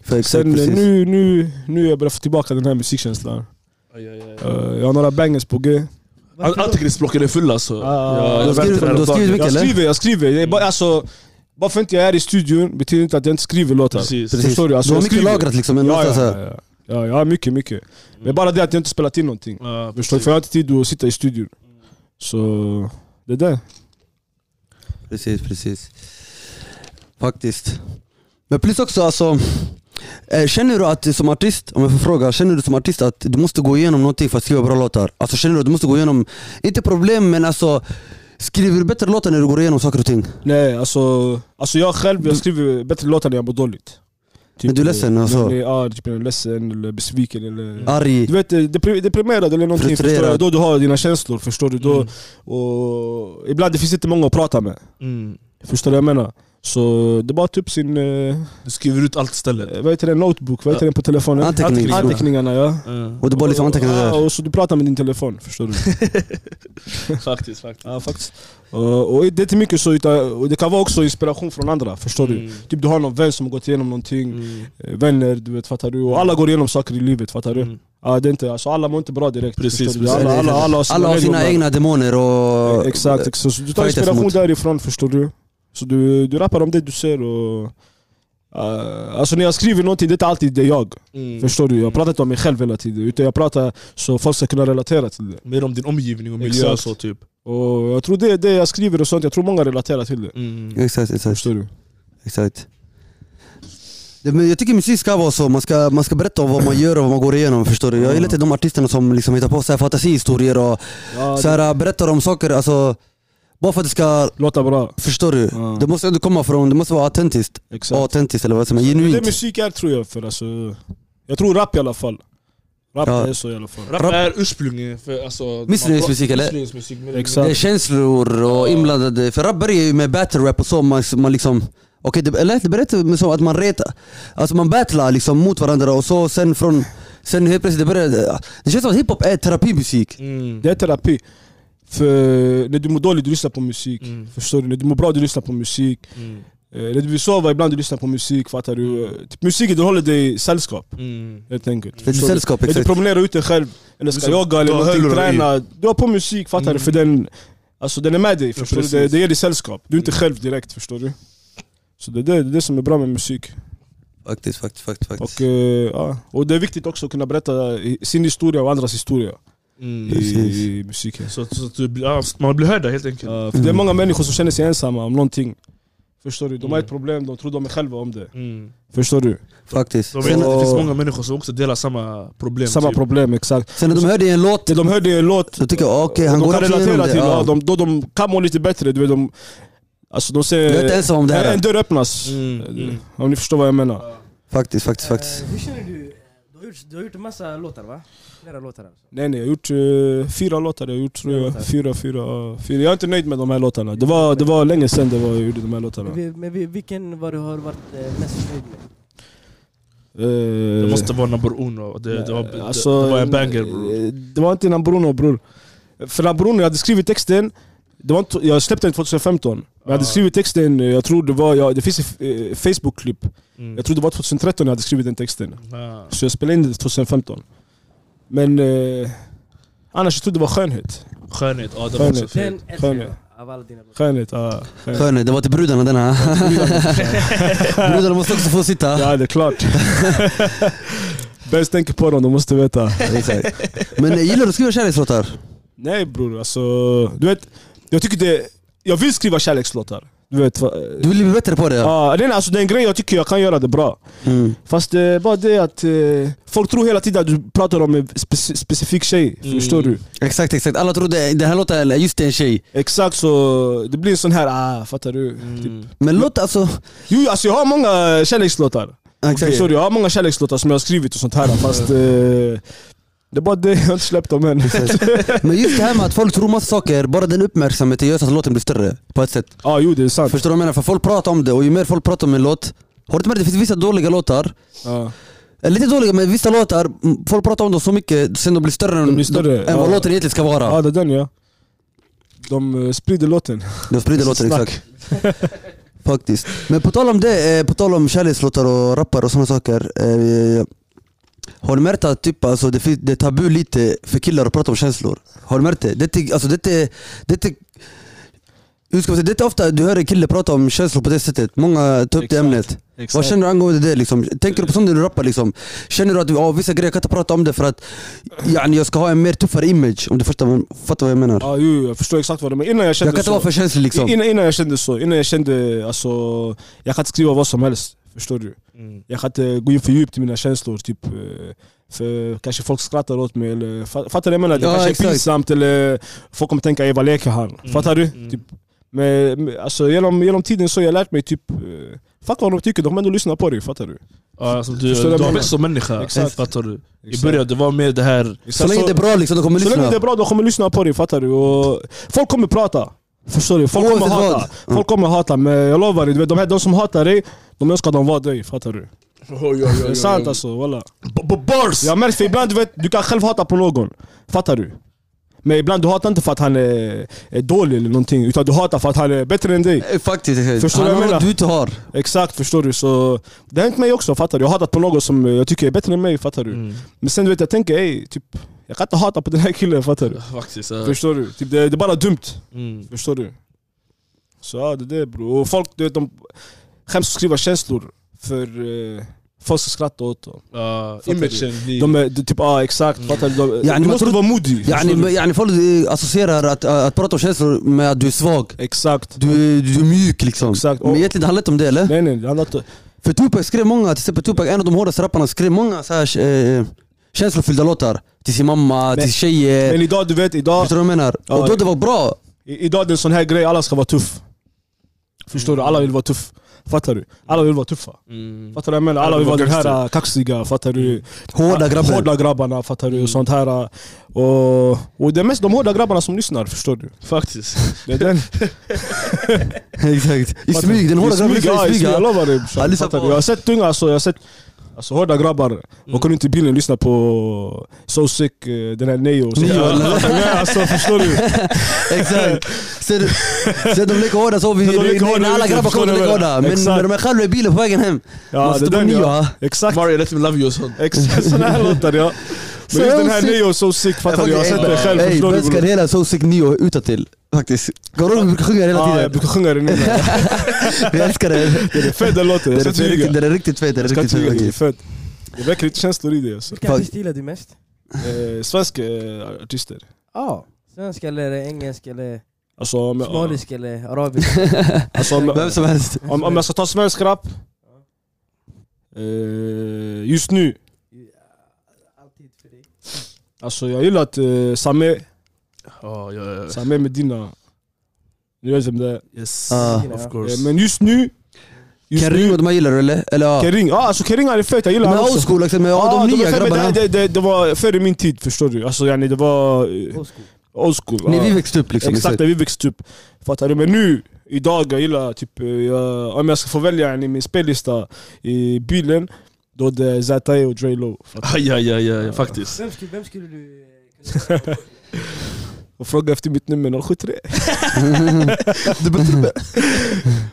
S1: För exakt,
S2: Sen eh,
S1: precis.
S2: nu, nu, nu jag börjar få tillbaka den här musikkänslan.
S3: Aj, aj, aj.
S2: Eh, jag har några bangers på G.
S3: Al- Antikrigsblocket är full alltså.
S2: Ah,
S3: Ja,
S2: du
S3: jag
S1: skriver-
S3: väntar
S1: du skriver
S3: hela dagen.
S1: mycket?
S2: Jag
S1: eller?
S2: skriver, jag skriver. Det är bara, alltså, bara för att jag är i studion betyder inte att jag inte skriver låtar.
S3: Precis.
S1: Precis.
S2: Förstår du? Alltså,
S1: du har
S2: jag
S1: mycket
S2: skriver.
S1: lagrat liksom. en
S2: Ja,
S1: massa
S2: ja,
S1: så här.
S2: ja, ja. Ja, ja mycket, mycket. Men bara det att jag inte spelat in någonting.
S3: Mm.
S1: Mm.
S3: Ja,
S2: Förstår du?
S3: precis.
S2: För jag har inte tid att sitta i studion. Så det där.
S1: Precis, precis. Faktiskt. Men plus också alltså, eh, känner du att som artist, om jag får fråga, känner du som artist att du måste gå igenom någonting för att skriva bra låtar? Alltså känner du att du måste gå igenom, inte problem men alltså, skriver du bättre låtar när du går igenom saker och ting?
S2: Nej, alltså, alltså jag själv jag skriver bättre låtar när jag mår dåligt. Typ,
S1: Men du är ledsen,
S2: eh,
S1: alltså?
S2: när- Ja, typ när jag är ledsen eller besviken eller...
S1: Arg?
S2: Du vet, eh, depri- deprimerad eller någonting, förstår du?
S1: Frustrerad.
S2: då du har dina känslor. Förstår du? Då,
S3: Mm.
S2: och, ibland det finns inte många att prata med.
S3: Mm.
S2: Förstår du vad jag menar? Så det är bara typ sin, eh,
S3: Du skriver ut allt istället.
S2: vad heter det, notebook, vad heter det på telefonen?
S1: Antecknings-
S2: Anteckningarna ja.
S1: Och du bara liksom antecknar det
S2: Ja,
S1: där?
S2: och så du pratar med din telefon, förstår du?
S3: faktiskt, faktiskt.
S2: ja, faktiskt. Och, och det är inte mycket så, utan, och det kan vara också inspiration från andra, förstår du?
S3: Mm.
S2: Typ du har någon vän som har gått igenom någonting,
S3: Mm.
S2: eh, vänner, du vet, fattar du? Och alla går igenom saker i livet, fattar du?
S3: Mm.
S2: Ja, det är inte, alltså, alla mår inte bra direkt.
S3: Precis,
S2: förstår du?
S3: precis.
S2: Alla, alla, alla har sina,
S1: Alla har sina
S2: medlemmar.
S1: egna demoner och...
S2: Exakt, exakt. Så du tar
S1: eh, fightas
S2: inspiration
S1: mot.
S2: därifrån förstår du. Så du, du rappar om det du ser och... eh, alltså när jag skriver någonting, det är inte alltid det jag.
S3: Mm.
S2: Förstår du? Jag pratar inte om mig själv hela tiden. Utan jag pratar så folk ska kunna relatera till det.
S3: Mer om din omgivning och miljö och
S2: Exakt.
S3: så typ.
S2: Och jag tror det är det jag skriver och sånt. Jag tror många relaterar till det.
S3: Mm.
S1: Exakt, exakt.
S2: Förstår du?
S1: exakt. Det, men jag tycker musik ska vara så, man ska, man ska berätta om vad man gör och vad man går igenom förstår du. Jag gillar inte de artisterna som liksom hittar på så här fantasihistorier och
S2: Ja,
S1: Så
S2: det
S1: här, berättar om saker, alltså, bara för att det ska,
S2: låter bra.
S1: förstår du?
S2: Ja.
S1: Det måste ändå komma från, det måste vara autentiskt.
S2: Exakt.
S1: Autentiskt eller vad som är
S2: det är
S1: genuint.
S2: musik är tror jag. För, alltså, jag tror rap i alla fall. Rap
S1: Ja.
S2: är så i alla fall.
S3: Rap är ursprungligen för alltså...
S1: Missnöjesmusik, eller?
S3: Missnöjesmusik. men-
S2: Exakt.
S1: Det är känslor och inblandade, för rap börjar ju med battle rap och så, man, man liksom Okej, det, eller det berättar men så att man retar, alltså man battlar liksom mot varandra och så sen från Sen helt plötsligt, det börjar, det känns som att hiphop är terapimusik
S3: Mm.
S2: Det är terapi. För när du mår dåligt, du lyssnar på musik.
S3: Mm.
S2: Förstår du? När du mår bra, du lyssnar på musik.
S3: Mm.
S2: Eh, när du vill sova, ibland du lyssnar på musik. Fattar du? Eh, Typ, musiken den håller dig sällskap.
S3: Mm.
S2: Helt enkelt.
S1: Det är
S2: Förstår du?
S1: sällskap,
S2: När du
S1: exakt
S2: promenerar ute själv, eller ska
S3: Liksom,
S2: jogga eller
S3: ta
S2: någonting,
S3: hörlurar i.
S2: träna. Du har på musik, fattar
S3: Mm.
S2: du? För den, alltså, den är med dig. Förstår du? Det,
S3: precis.
S2: det ger dig sällskap. Du är inte
S3: Mm.
S2: själv direkt. Förstår du? Så det är det, det, är det som är bra med musik.
S1: Faktiskt, faktiskt, faktiskt, faktiskt.
S2: Och, eh, ja. och det är viktigt också att kunna berätta i- sin historia och andras historia i,
S3: Mm.
S1: Precis.
S2: i musiken.
S3: Så, så att du, blir- ja, man blir hörda helt enkelt.
S2: Ja, för det är många människor som känner sig ensamma om någonting. Förstår du? De har
S3: Mm.
S2: ett problem, de tror de är själva om det.
S3: Mm.
S2: Förstår du?
S1: faktiskt.
S3: De
S1: Sen,
S3: vet, att det finns många människor som också delar samma problem.
S2: Samma
S3: typ.
S2: problem, exakt.
S1: sen när de hörde en låt,
S2: Det de hörde i en låt,
S1: då tycker jag okej, han
S2: de
S1: går
S2: kan
S1: också igenom
S2: relatera
S1: det.
S2: till,
S1: Ja.
S2: ja. de, då de kan må lite bättre. Du vet, de, alltså de
S1: Jag är inte
S2: ser...
S1: ensam om det
S2: En,
S1: här.
S2: en dörr öppnas.
S3: Mm. Mm.
S2: Om ni förstår vad jag menar.
S1: Faktiskt, faktiskt, faktiskt.
S4: Eh, hur känner du? Du har, gjort, du har gjort en massa låtar va? Flera låtar alltså.
S2: Nej nej, jag har gjort eh, fyra låtar. Jag har gjort tror jag,
S4: låtar.
S2: fyra, fyra, ja, fyra. Jag är inte nöjd med de här låtarna. Det var, det var länge sedan det var, jag gjorde de här låtarna.
S4: Men, vi- men vi- vilken var du har varit eh, mest nöjd med?
S2: Eh,
S3: Det måste vara number uno. Det, det, var,
S2: Eh,
S3: det,
S2: alltså,
S3: det var en banger bror.
S2: eh, Det var inte Nambruno bror. För Nambruno, jag hade skrivit texten, det var inte, jag släppte den 2015. Men jag hade
S3: Ah.
S2: skrivit texten, eh, jag tror det var, jag, det finns ett eh, Facebook-klipp.
S3: Mm.
S2: Jag tror det var 2013 jag hade skrivit den texten.
S3: Ja.
S2: Så jag spelade in det 2015. Men eh, annars jag tror det var skönhet.
S3: Skönhet, ja det var
S2: Skönhet.
S3: också
S4: Den
S3: fint.
S4: älskar
S2: Skönhet.
S4: jag av alla dina låtar.
S2: Skönhet, ja. Skönhet.
S1: Skön, det var till brudarna den här. brudarna måste också få sitta.
S2: Ja det är klart. Bäst tänker på dem, de måste veta.
S1: Exakt. Men eh, gillar du att skriva kärlekslåtar?
S2: Nej bror, alltså. Du vet, jag tycker det... Jag vill skriva kärlekslåtar. Du vet, va- eh,
S1: Du vill bli bättre på det? ja.
S2: Ja, den, alltså, det är en grej jag tycker jag kan göra det bra.
S1: Mm.
S2: Fast det är bara det att eh, folk tror hela tiden att du pratar om en speci- specifik tjej.
S3: Mm.
S2: Förstår du?
S1: Exakt, exakt. Alla trodde den här låten är just en tjej.
S2: Exakt så, det blir en sån här, ah, fattar du? Typ.
S3: Mm.
S1: Men låt alltså...
S2: Jo, alltså jag har många kärlekslåtar.
S1: Exakt. Mm.
S2: Förstår du? Jag har många kärlekslåtar som jag har skrivit och sånt här. Fast eh, det är bara det, jag har inte släppt dem än.
S1: Men just det här med att folk tror massa saker, bara den uppmärksamheten gör så att låten blir större. På ett sätt.
S2: Ja, jo det är sant.
S1: Förstår du vad jag menar? För folk pratar om det och ju mer folk pratar om en låt har du inte märkt att det finns vissa dåliga låtar?
S2: Ja.
S1: Eller inte dåliga men vissa låtar, mm, folk pratar om dem så mycket sen de blir större,
S2: De blir större,
S1: än vad
S2: ja.
S1: låten egentligen ska vara.
S2: ja, det är den ja. De eh, sprider låten.
S1: De sprider låten
S2: Snack.
S1: exakt. Faktiskt. Men på tal om det, eh, på tal om kärlekslåtar och rappar och sådana saker. Eh, har du märkt att typ, alltså, det, finns, det är tabu lite för killar att prata om känslor? Har du märkt det? Det är, inte- alltså, det är, inte- det är, inte- Hur ska man säga? Det är ofta du hör en kille prata om känslor på det sättet. Många tar upp det
S2: Exakt.
S1: ämnet. Vad känner du angående det? Liksom? Tänker du på sånt när du rappar? Liksom? Känner du att ja, vissa grejer jag kan inte prata om det för att yani, jag ska ha en mer tuffare image? Om du förstår, fattar vad jag menar?
S2: Ja, jo, jag förstår exakt vad du menar. Innan jag
S1: jag
S2: kände
S1: kan inte
S2: så.
S1: vara för känslig liksom.
S2: innan, innan jag kände så. Innan jag kände alltså, jag kan inte skriva vad som helst. Förstår du?
S3: Mm.
S2: Jag kan inte gå in för djupt i mina känslor. Typ, eh, för kanske folk skrattar åt mig. Eller, fa- fattar du vad jag menar? Det
S1: Ja,
S2: kanske
S1: exakt.
S2: är pinsamt eller folk kommer tänka "Ey, vad leker han? Fattar du?
S5: mm.
S2: Typ, men, men, alltså, genom, genom tiden så har jag lärt mig typ eh, Fuck vad de tycker, de kommer ändå lyssna på dig. Fattar du?
S3: Ja, alltså, du,
S2: Förstår du
S3: du
S2: vad jag
S3: har
S2: menar?
S3: växt som människa,
S2: Exakt.
S3: fattar du? I början det var mer det här...
S1: Så länge det är bra liksom, då kommer
S2: Så länge det är
S1: lyssna.
S2: bra, de kommer lyssna på dig, fattar du? Och folk kommer prata. Förstår du? Folk kommer
S1: Oavsett vad.
S2: hata. Folk kommer hata, men jag lovar dig, du vet, de, här, de som hatar dig, de önskar de var dig, fattar du? Det är sant alltså, walla.
S3: B- b- Bars!
S2: Jag märker, för ibland du vet, du kan själv hata på någon. Fattar du? Men ibland du hatar inte för att han är, är dålig eller någonting, utan du hatar för att han är bättre än dig.
S1: Eh, Faktiskt. exakt.
S2: Förstår du
S1: Han
S2: vad
S1: har
S2: jag
S1: något
S2: menar?
S1: du inte har.
S2: Exakt, förstår du? Så det har hänt mig också, fattar du? Jag har hatat på någon som eh, jag tycker är bättre än mig, fattar du?
S5: Mm.
S2: Men sen du vet, jag tänker, ey, typ, jag kan inte hata på den här killen, fattar du?
S3: Faktiskt. ja.
S2: Förstår du? Typ, det, det är bara dumt.
S5: Mm.
S2: Förstår du? Så ja, det är det bro. Och folk, du vet, de skäms att skriva känslor för eh, folk ska skratta åt dem.
S3: Ja,
S2: Fattar
S3: Imagen blir...
S2: De är de, typ, ja ah, exakt, fattar du? De,
S1: Ja, ni
S2: du
S1: måste-
S2: måste vara modig.
S1: Yani,
S2: förstår du?
S1: men- yani, folk eh, associerar att, att prata om känslor med att du är svag.
S2: Exakt.
S1: Du, du är mjuk liksom.
S2: Exakt.
S1: Men egentligen det handlar inte om det eller?
S2: Nej nej, det handlar inte...
S1: För Tupac skrev många, till exempel Tupac, en av de hårdaste rapparna, skrev många så här, eh, känslofyllda låtar. Till sin mamma, till tjejer.
S2: Men idag, du vet, idag,
S1: Förstår du vad jag menar?
S2: Ja.
S1: Och då det var bra.
S2: i- idag det är en sån här grej, alla ska vara tuff. Förstår du? Alla vill vara tuff. Fattar du? Alla vill vara tuffa.
S5: Mm.
S2: Fattar du vad jag menar? Alla vill vara den här eh, kaxiga, fattar du? Ah,
S1: Hårda grabbar. Mm.
S2: Hårda grabbarna, fattar du? Och sånt här. eh, Och, och det är mest de hårda grabbarna som lyssnar, förstår du?
S3: Faktiskt.
S2: Det är den.
S1: Exakt. I smyg, den hårda grabben
S2: ja,
S1: lyssnar i smyg.
S2: Jag
S1: ja.
S2: lovar dig
S1: Ja,
S2: brorsan.
S1: lyssna
S2: Fattar
S1: på- Mm.
S2: du? Jag har sett tunga, alltså, jag har sett alltså, hårda grabbar. De kunde inte i bilen lyssna på So Sick, eh, den här Neo. och sånt
S1: Neo,
S2: där.
S1: eller?
S2: Nej, alltså, förstår du?
S1: Exakt. Sen, sen de leker hårda så, vi,
S2: De leker hårda,
S1: när alla
S2: vi
S1: grabbar
S2: förstår
S1: kommer
S2: det
S1: leka
S2: väl.
S1: hårda. Men
S2: Exakt.
S1: när de är själva i bilen på vägen hem, man
S2: Ja, det är
S1: sätter på
S2: den
S1: nio.
S2: ja.
S1: Ja.
S2: Exakt,
S3: Mario, let me love you och sånt.
S2: exakt. Såna här låtar ja. Men just den här
S1: Sick.
S2: Neo, So Sick, fattar du? Jag har sett det själv,
S1: Ey,
S2: förstår du?
S1: bönskar
S2: bror?
S1: hela So Sick Neo utantill. Faktiskt. Garon brukar sjunga hela
S2: Ja, jag
S1: tiden.
S2: brukar sjunga den innan.
S1: Vi älskar det.
S2: Det är fett den låten,
S1: Den
S2: jag
S1: är
S2: ska inte ljuga.
S1: riktigt- den är riktigt fet. Den är
S2: Jag ska
S1: riktigt
S2: inte
S1: fet.
S2: ljuga, det är
S1: faktiskt.
S2: fett. Det väcker lite känslor i dig alltså.
S1: Fuck.
S4: Vilka artister gillar du mest?
S2: Eh, Svenska eh, artister.
S4: Ja, svensk eller engelsk eller
S2: Alltså, om jag,
S4: somalisk eller arabisk.
S2: alltså, om,
S1: Vem som helst.
S2: Om, om jag ska ta svensk rap? Eh, just nu,
S4: Alltid för dig.
S2: alltså jag gillar att eh, Sameh,
S3: Ja, ja, ja.
S2: Sameh med dina... Ni vet vem det är.
S3: Yes,
S1: Ah.
S3: of
S2: Eh,
S3: course.
S2: men just nu... Just
S1: Kan ringa
S2: nu
S1: och de här gillar du eller? Eller ja.
S2: Kering, ja alltså Kering är fet, jag
S1: De
S2: gillar
S1: här
S2: honom
S1: old
S2: också.
S1: school liksom, ja,
S2: Ja,
S1: de
S2: de är
S1: nya
S2: fett, men
S1: grabbarna.
S2: det, det, det, det var före min tid förstår du, alltså yani, det var eh, old school.
S1: När
S2: ja.
S1: vi växte upp liksom.
S2: Exakt,
S1: exakt.
S2: när vi växte upp. Fattar du? Men nu, idag, jag gillar typ, eh, jag, om jag ska få välja yani, min spellista i bilen, då det är Zatae och Dre Low.
S3: Aj, aj, aj, aj, faktiskt.
S4: Vem skulle, vem skulle du eh, kunna
S2: och frågade efter mitt nummer 073. typ-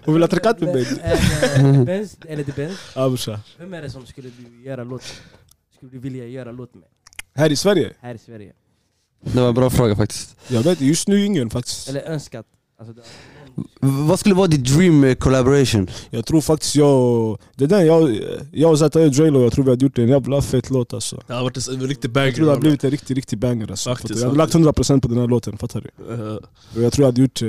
S2: Hon vill ha trekant med mig.
S4: Eh, Benz, eller The Benz.
S2: Ja, brorsan.
S4: Vem är det som skulle du göra låt med? Skulle du vilja göra låt med
S2: Här i Sverige?
S4: här i Sverige?
S1: Det var en bra fråga faktiskt.
S2: Jag vet just nu ingen faktiskt.
S4: Eller önskat? Alltså, det-
S1: V- Vad skulle vara ditt dream eh, collaboration?
S2: Jag tror faktiskt jag och... Det där jag, jag och Zatae Drelo, jag tror vi har gjort en jävla fet låt alltså.
S3: Det har varit en riktig
S2: Jag tror det har
S3: banger.
S2: blivit en riktig, riktig banger alltså.
S3: Faktiskt,
S2: Fattar du? jag hade lagt 100% på den här låten, fattar du?
S3: Eh,
S2: Och jag tror jag hade gjort... eh,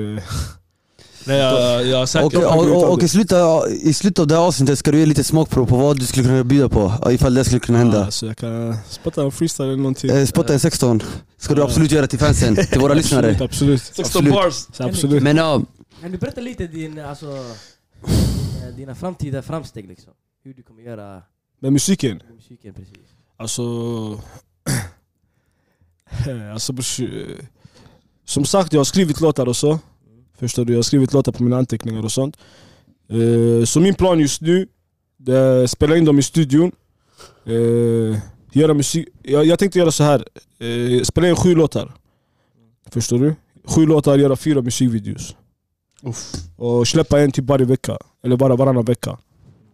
S3: Nej, jag, jag är
S1: Och, eh,
S3: säker.
S2: kan
S1: och,
S2: gå ut av
S1: och, och
S2: det.
S1: i, slutet, av- i slutet av det här avsnittet ska du ge lite smakprov på vad du skulle kunna bjuda på ja, ifall det skulle kunna hända.
S2: Alltså jag kan spotta en freestyle eller någonting.
S1: Eh, Spotta en 16 ska du
S2: Ja.
S1: absolut göra till fansen, till våra lyssnare.
S2: Absolut, absolut.
S3: 16
S1: absolut.
S3: bars.
S2: Så absolut.
S1: Men ja,
S4: Kan du berätta lite din, alltså, eh, dina framtida framsteg liksom? Hur du kommer göra
S2: Men musiken?
S4: med musiken precis.
S2: Alltså... eh, alltså brors, eh, som sagt, jag har skrivit låtar och så. Förstår du? Jag har skrivit låtar på mina anteckningar och sånt. Eh, så min plan just nu, det är att spela in dem i studion. Eh, göra musik. Jag, jag tänkte göra så här. Eh, spela in sju låtar. Förstår du? Sju låtar, göra fyra musikvideos. Och släppa en typ varje vecka. Eller bara varannan vecka.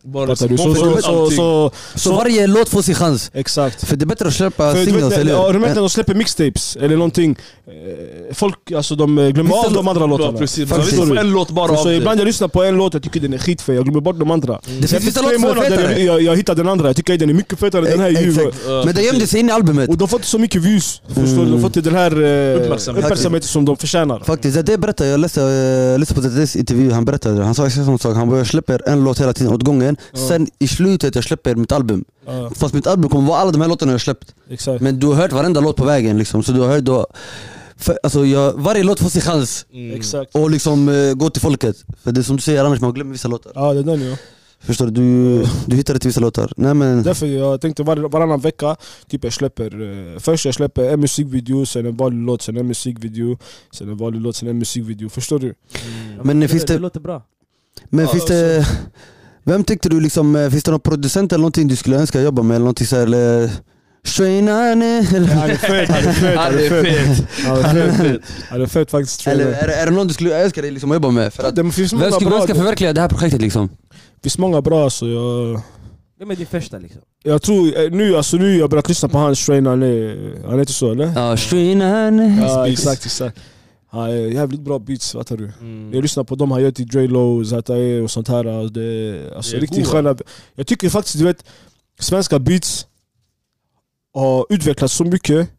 S3: Bara
S2: Fattar du? Så, så,
S3: bomba
S2: så,
S3: ut
S2: så,
S3: allting.
S2: så,
S1: Så varje låt får sin chans.
S2: exakt.
S1: För det är bättre att släppa
S2: För du
S1: singles,
S2: vet,
S1: eller
S2: ja,
S1: hur? Eh,
S2: de,
S1: Men-
S2: de släpper mixtapes eller någonting. Eh, Folk, alltså de eh, glömmer
S1: Vissa
S2: av de andra
S3: Ja,
S2: låtarna.
S3: precis. Man
S1: Faktiskt.
S3: får en låt bara
S2: Så,
S3: av
S2: så
S3: det.
S2: ibland jag lyssnar på en låt, jag tycker den är skitfet, jag glömmer bort de andra.
S1: Det finns vissa
S2: Efter
S1: låtar
S2: tre
S1: som är
S2: månader,
S1: fetare.
S2: jag, jag, jag hittar den andra, jag tycker "Ey, den är mycket fetare, den här är ju...
S1: Exakt.
S3: Ja,
S1: Men det gömde
S3: Eh, precis.
S1: sig in i albumet.
S2: Och de får inte så mycket views, förstår du? De får inte den här eh,
S3: Uppmärksamhet.
S2: uppmärksamheten som de förtjänar.
S1: Faktiskt, det- det berättade jag. läste, eh, lyssnade på ZDs intervju, han berättade det. Han sa exakt samma sak. Han bara, jag släpper en låt hela tiden åt gången. Sen i slutet jag släpper mitt album.
S2: Ja,
S1: Fast mitt album kommer vara alla de här låtarna jag släppt.
S2: exakt.
S1: Men du har hört varenda låt på vägen liksom. Så du har hört då... För, alltså, jag, varje låt får sin chans.
S3: Mm.
S2: Exakt.
S1: Och liksom eh, gå till folket. För det är som du säger annars, man glömmer vissa låtar.
S2: Ja, det är den ja.
S1: Förstår du? Du, du hittar inte vissa låtar. Nej men...
S2: Därför jag tänkte var, varannan vecka, typ jag släpper, eh, först jag släpper en musikvideo, sen en vanlig låt, sen en musikvideo, sen en vanlig låt, sen en musikvideo. Förstår du?
S4: Ja,
S1: Men
S4: det,
S1: finns det-
S4: det låter bra.
S1: Men
S3: Ja,
S1: finns
S2: alltså-
S1: det... Vem tyckte du liksom, eh, finns det någon producent eller någonting du skulle önska jobba med? Eller någonting såhär... Eller... Shreynane, eller-
S2: Han är fet, han är fet,
S3: Ja,
S2: han
S3: det
S2: är
S3: är
S2: fet.
S3: fet.
S2: Han är fet. Han är fet faktiskt. tror
S1: Eller
S2: jag.
S1: är, det- är det någon du skulle önska dig liksom att jobba med? För att,
S2: Det finns
S1: vem
S2: många
S1: skulle du
S2: bra,
S1: önska förverkliga det här projektet liksom?
S2: det finns många bra så jag...
S4: Vem är din första liksom?
S2: Jag tror, eh, nu alltså nu har jag börjat lyssna på hans Strain, han är, han heter så eller?
S1: Ja, Shreynane.
S2: Ja
S3: beats.
S2: exakt, exakt. Han är jävligt bra beats, fattar du?
S3: Mm.
S2: Jag lyssnar på dem han gör till Dre Lo, Zatae och sånt här. och Det, alltså,
S3: Det är
S2: riktigt
S3: goa.
S2: sköna. Jag tycker faktiskt, du vet, svenska beats har utvecklats så mycket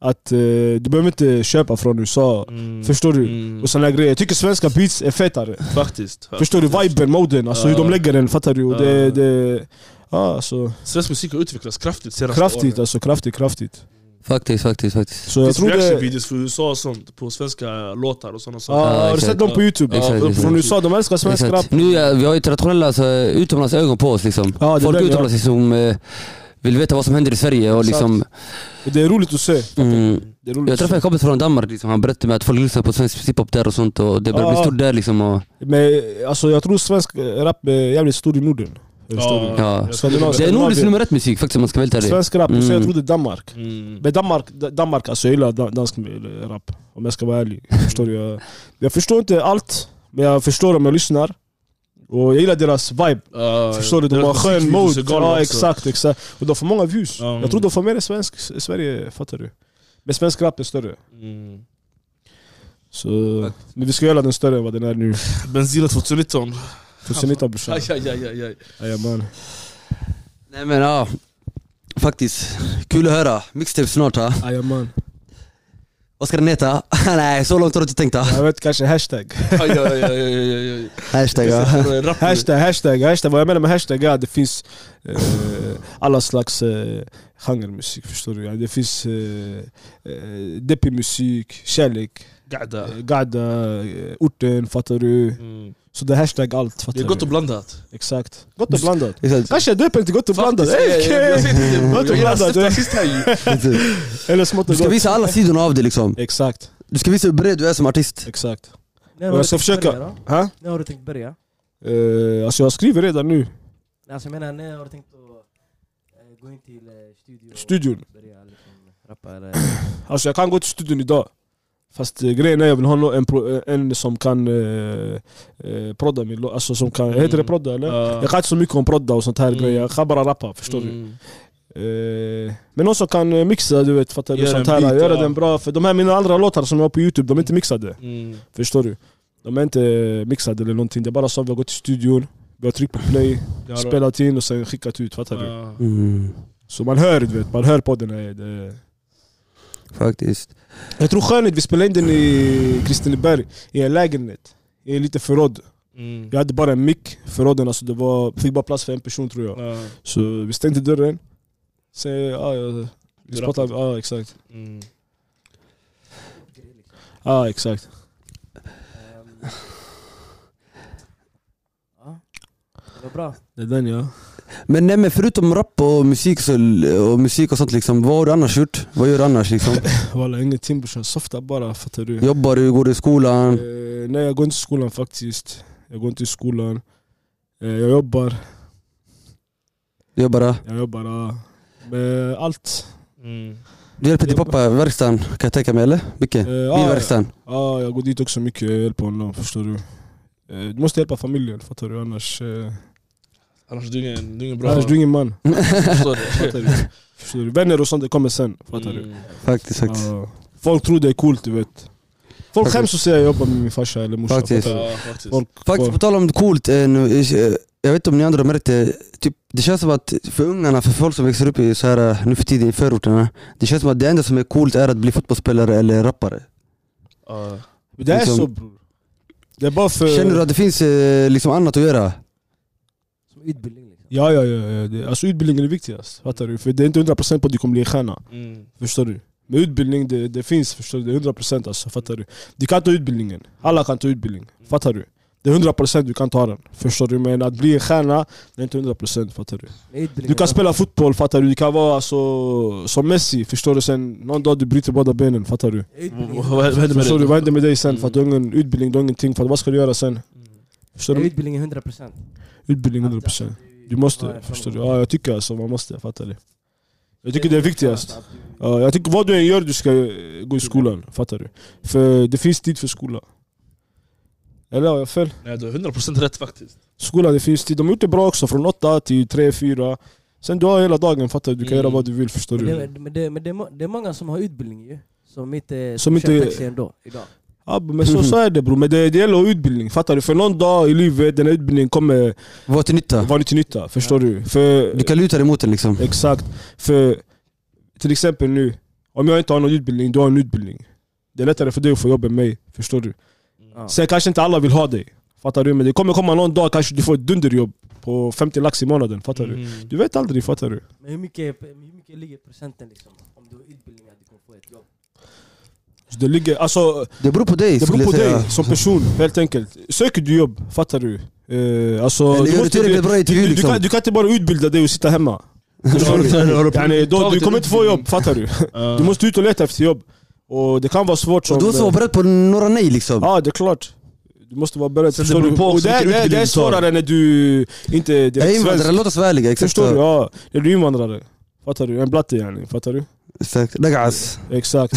S2: att eh, du behöver inte köpa från USA.
S3: Mm.
S2: Förstår du?
S3: Mm.
S2: Och såna här grejer. Jag tycker svenska beats är fetare.
S3: Faktiskt.
S2: Förstår du? Viben, moden, alltså hur de
S3: Ja.
S2: lägger den, fattar du? Och
S3: Ja.
S2: det, det, ja, alltså,
S3: Svensk musik har utvecklats kraftigt senaste
S2: kraftigt,
S3: åren.
S2: alltså kraftigt, kraftigt.
S1: Faktiskt, faktiskt, faktiskt.
S2: Så jag
S3: Det
S2: tror
S3: finns
S2: det...
S3: reaction-videos för USA och sånt på svenska låtar och sådana saker.
S2: Ja, har du
S1: exakt.
S2: sett dem på youtube?
S1: Exakt,
S2: Ja,
S1: exakt.
S2: Från USA, de älskar svensk rap.
S1: Exakt. Nu är, vi har ju internationella alltså, utomlands ögon på oss liksom.
S2: Ja, det är
S1: Folk
S2: det, ja.
S1: utomlands liksom, eh, vill veta vad som händer i Sverige och
S2: Exakt.
S1: liksom...
S2: Och Det är roligt att se.
S1: Mm,
S2: Det är roligt
S1: jag
S2: att se.
S1: träffade en kompis från Danmark, liksom, han berättade mig att folk lyssnar på svensk hiphop där och sånt och det börjar bli
S2: Ja.
S1: stort där liksom. Och,
S2: Men alltså jag tror svensk rap är jävligt stor i Norden. Förstår du?
S1: ja.
S3: jag tror
S1: Det är nordisk
S2: Skandinavien.
S1: nummer ett musik faktiskt om man ska vara helt ärlig.
S2: Svensk rap, så
S1: Mm.
S2: jag tror det är Danmark.
S3: Mm.
S2: Men Danmark, D- Danmark alltså jag gillar da- dansk rap. Om jag ska vara ärlig.
S3: Mm.
S2: Förstår du? Jag, jag förstår inte allt, men jag förstår om jag lyssnar. Och jag gillar deras vibe.
S3: Ja,
S2: förstår du? De
S3: deras
S2: har skön
S3: musikvideos
S2: mode.
S3: är galna
S2: Ja
S3: också.
S2: exakt, exakt. Och de får många views.
S3: Ja. mm.
S2: Jag tror de får mer i svensk, i Sverige, fattar du? Men svensk rap är större.
S3: Mm.
S2: Så, men vi ska göra den större än vad den är nu.
S3: Benzina 2019.
S2: 2019 brorsan.
S3: Aj, aj, aj, aj, aj.
S2: Jajamän.
S1: Nej men ja, faktiskt. Kul att höra. Mixtape snart ha.
S2: Jajamän.
S1: Vad ska den heta? Nej, så långt har du inte tänkt ha.
S2: Jag vet kanske hashtag.
S3: aj, aj, aj, aj, aj, aj.
S1: Hashtag
S3: Jag
S1: ja.
S3: sätter en rap nu.
S2: Hashtag, hashtag, hashtag. Vad jag menar med hashtag är att det finns eh, alla slags eh, genremusik, förstår du? Ja, det finns eh, eh, deppig musik, kärlek,
S3: Gada.
S2: eh, gadda, eh, orten, fattar du?
S3: Mm.
S2: Så det är hashtag allt, fattar
S3: Det är gott
S2: du?
S3: och blandat.
S2: Exakt. Gott och blandat.
S1: Exakt.
S2: Kanske jag döper inte gott och blandat.
S3: Faktiskt,
S2: Ey,
S3: jag- jag- jag
S2: okej.
S3: säger inte det.
S2: Gott och
S3: Jag gillar
S2: blandat,
S3: stifta
S2: eh.
S3: rasist här ju.
S2: Eller smått
S1: Du
S2: och
S1: ska
S2: gott.
S1: visa alla sidorna av dig liksom.
S2: Exakt,
S1: Du ska visa hur bred du är som artist.
S2: exakt.
S4: När
S2: Jag
S4: har du
S2: ska
S4: tänkt
S2: försöka.
S4: Börja, då?
S2: Ha?
S4: när har du tänkt börja?
S2: Eh, alltså jag skriver redan nu.
S4: Alltså jag menar, när har du tänkt att eh, gå in till eh, studio
S2: Studion.
S4: och börja liksom, rappa eller?
S2: Alltså jag kan gå till studion idag. Fast eh, grejen är jag vill ha nå- en, pro- en som kan eh, eh, prodda min låt. Alltså som kan, heter det prodda eller?
S3: Mm. Ja.
S2: Jag kan inte så mycket om prodda och sånt här
S3: Mm.
S2: grejer. Jag kan bara rappa, förstår du?
S3: Mm.
S2: Eh, men någon som kan eh, mixa, du vet, fattar du?
S3: Göra
S2: Sånt
S3: en
S2: här,
S3: beat,
S2: göra
S3: ja.
S2: den bra. För de här mina andra låtar som jag har på youtube, de är inte mixade.
S3: Mm.
S2: Förstår du? De är inte eh, mixade eller någonting. Det är bara så att vi har gått till studion, vi har tryckt på play,
S3: Ja, då.
S2: spelat in och sen skickat ut, fattar du?
S3: Ja.
S1: Mm,
S2: Så man hör, du vet, man hör på den här. Det,
S1: faktiskt.
S2: Jag tror skönhet, vi spelade in den i Kristineberg, i en lägenhet. I en liten förråd.
S3: Mm.
S2: Jag hade bara en mick, förråden alltså, det var, fick bara plats för en person tror jag.
S3: Ja.
S2: Så vi stängde dörren. Sen, ja, jag, vi spottade, ja exakt.
S3: Mm.
S2: Ja exakt.
S4: Ehm. Ja, det var bra.
S2: Det är den ja.
S1: Men nej men förutom rap och musik, så, och musik och sånt liksom, vad har du annars gjort? Vad gör du annars liksom?
S2: Walla ingenting brorsan, softa bara fattar du.
S1: Jobbar du? Går du i skolan?
S2: Eh, nej jag går inte till skolan faktiskt. Jag går inte till skolan. Eh, jag jobbar,
S1: Du jobbar? ja.
S2: jag jobbar. ja. Med allt.
S3: Mm.
S1: Du hjälper till pappa i verkstaden kan jag tänka mig eller? Mycket?
S2: Eh, ja,
S1: Bilverkstaden?
S2: Ja, jag går dit också mycket. Jag hjälper honom, förstår du. Eh, Du måste hjälpa familjen, fattar du? Annars... eh,
S3: Annars du är ingen, du är ingen bra.
S2: Annars du är ingen man.
S3: Förstår du?
S2: Fattar du? Förstår du? Vänner och sånt det kommer sen. Fattar du?
S3: Mm.
S1: Faktiskt, faktiskt.
S2: Ja. Folk tror det är coolt du vet. Folk
S1: Faktiskt.
S2: skäms att säga jag jobbar med min farsa eller morsa.
S1: Faktiskt.
S2: fattar du?
S3: Ja, faktiskt.
S2: Folk,
S1: Faktiskt, på
S2: folk,
S1: tal om coolt, eh, nu, eh, jag vet inte om ni andra har märkt det, typ, det känns som att för ungarna, för folk som växer upp i så här, eh, nu för tiden i förorterna, det känns som att det enda som är coolt är att bli fotbollsspelare eller rappare.
S3: Ja.
S2: det är
S1: liksom-
S2: så bror. Det är bara för...
S1: Känner du att det finns eh, liksom annat att göra?
S4: Som utbildning liksom.
S2: Ja, ja, ja. ja. Det, alltså utbildningen är viktigast. Fattar du? För det är inte 100% på att du kommer bli en stjärna.
S3: Mm.
S2: Förstår du? Men utbildning, det, det finns. Förstår du? Det är 100% alltså. Fattar du? Du kan ta utbildningen. Alla kan ta utbildning. Fattar du? Det är 100% du kan ta den. Förstår du? Men att bli en stjärna, det är inte 100% fattar du?
S4: Men utbildning
S2: Du kan spela fotboll, fattar du? Du kan vara alltså, som Messi, förstår du? Sen någon dag du bryter båda benen, fattar du?
S3: Vad
S4: Utbildning,
S3: vad händer med
S2: Förstår du?
S3: dig?
S2: Vad händer med dig sen? För att du har ingen utbildning, du har ingenting. För att vad ska du göra sen? Förstår du?
S4: utbildning är 100 procent.
S2: Utbildning 100%. Du måste, förstår du? Ja, jag tycker alltså man måste, fattar du? Jag tycker det är viktigast. Ja, jag tycker vad du än gör, du ska eh, gå i skolan, fattar du? För det finns tid för skola. Eller har jag fel?
S3: Nej, du har 100% rätt faktiskt.
S2: Skolan, det finns tid. De har gjort det bra också, från 8 till 3, 4. Sen du har hela dagen, fattar du? Du kan
S3: Mm.
S2: göra vad du vill, förstår
S4: Men,
S2: du?
S4: det, men, det, men det, är må- det är många som har utbildning ju. Som inte
S2: Som
S4: kör
S2: inte-
S4: taxi ändå, idag.
S2: Ja, men så, så är det bror, men det, det gäller att ha utbildning, fattar du? För någon dag i livet, den här utbildningen kommer
S1: Vad till nytta?
S2: vara till nytta, förstår du? För
S1: Du kan luta dig mot det liksom.
S2: Exakt. För till exempel nu, om jag inte har någon utbildning, du har en utbildning. Det är lättare för dig att få jobb än mig, förstår du?
S4: Ja.
S2: Sen kanske inte alla vill ha dig, fattar du? Men det kommer komma någon dag kanske du får ett dunderjobb på 50 lax i månaden, fattar du?
S3: Mm.
S2: Du vet aldrig, fattar du?
S4: Men hur mycket, hur mycket ligger procenten liksom? Om du har utbildning att du kommer få ett jobb.
S2: Så det, ligger, alltså,
S1: Det beror på dig
S2: det beror
S1: skulle
S2: på
S1: jag säga.
S2: dig som person, helt enkelt. Söker du jobb, fattar du? Eh, alltså,
S1: Eller gör du tillräckligt bra
S2: du,
S1: intervju
S2: du, kan,
S1: liksom.
S2: du kan inte bara utbilda dig och sitta hemma.
S3: Förstår du? Mm.
S2: Yani, då, du
S3: Taget är
S2: kommer inte få jobb,
S3: utbildning.
S2: fattar du?
S3: Ja.
S2: Du måste ut och leta efter jobb. Och det kan vara svårt som... eh,
S1: Och du måste vara beredd på några nej liksom.
S2: Ja, det är klart. Du måste vara beredd.
S3: Sen det
S2: förstår
S3: beror
S2: du?
S3: på
S2: Och
S3: också
S2: det, är,
S3: vilken
S2: det, är, det är
S3: utbildning du tar.
S2: svårare när du inte är
S1: Jag är
S2: direkt
S1: invandrare, liksom.
S2: svensk.
S1: låt oss vara ärliga. Exakt.
S2: Förstår du? Ja, när du är invandrare. Fattar du? En blatte yani, fattar du?
S1: Exakt. Dagas.
S2: Exakt.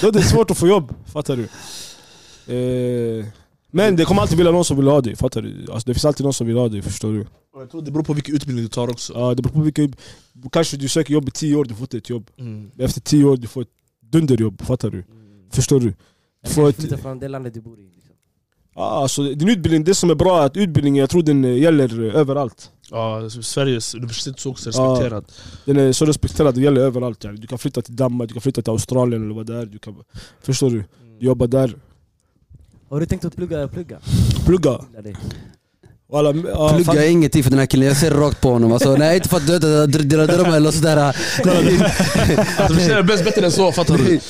S2: Då är det svårt att få jobb, fattar du? Eh, men det kommer alltid vilja någon som vill ha dig, fattar du? Alltså, det finns alltid någon som vill ha dig, förstår du?
S3: Och Jag tror det beror på vilken utbildning du tar också.
S2: Ja, det beror på vilka... Kanske du söker jobb i tio år, du får inte ett jobb.
S3: Mm.
S2: Efter tio år, du får ett dunderjobb, fattar du? Förstår du? Du
S4: Eller
S2: får
S4: kanske
S2: ett,
S4: flytta från det landet du bor i. Liksom.
S2: Ja, alltså, din utbildning, det som är bra är att utbildningen, jag tror den eh, gäller eh, överallt.
S3: Ja, så Sveriges universitet är så också
S2: Ja.
S3: respekterat.
S2: Den är så respekterad, den gäller överallt. yani. Du kan flytta till Danmark, du kan flytta till Australien eller vad det är. Du kan, förstår du? Du jobbar där.
S4: Har du tänkt att plugga? plugga?
S2: Plugga!
S4: Utbilda dig.
S2: Walla, m- ja, fan.
S1: Plugga är ingenting för den här killen, jag ser rakt på honom. Alltså, nej, inte för att döda dr- dina drömmar eller sådär.
S3: Att Du förtjänar Mm. bäst bättre än så, fattar du?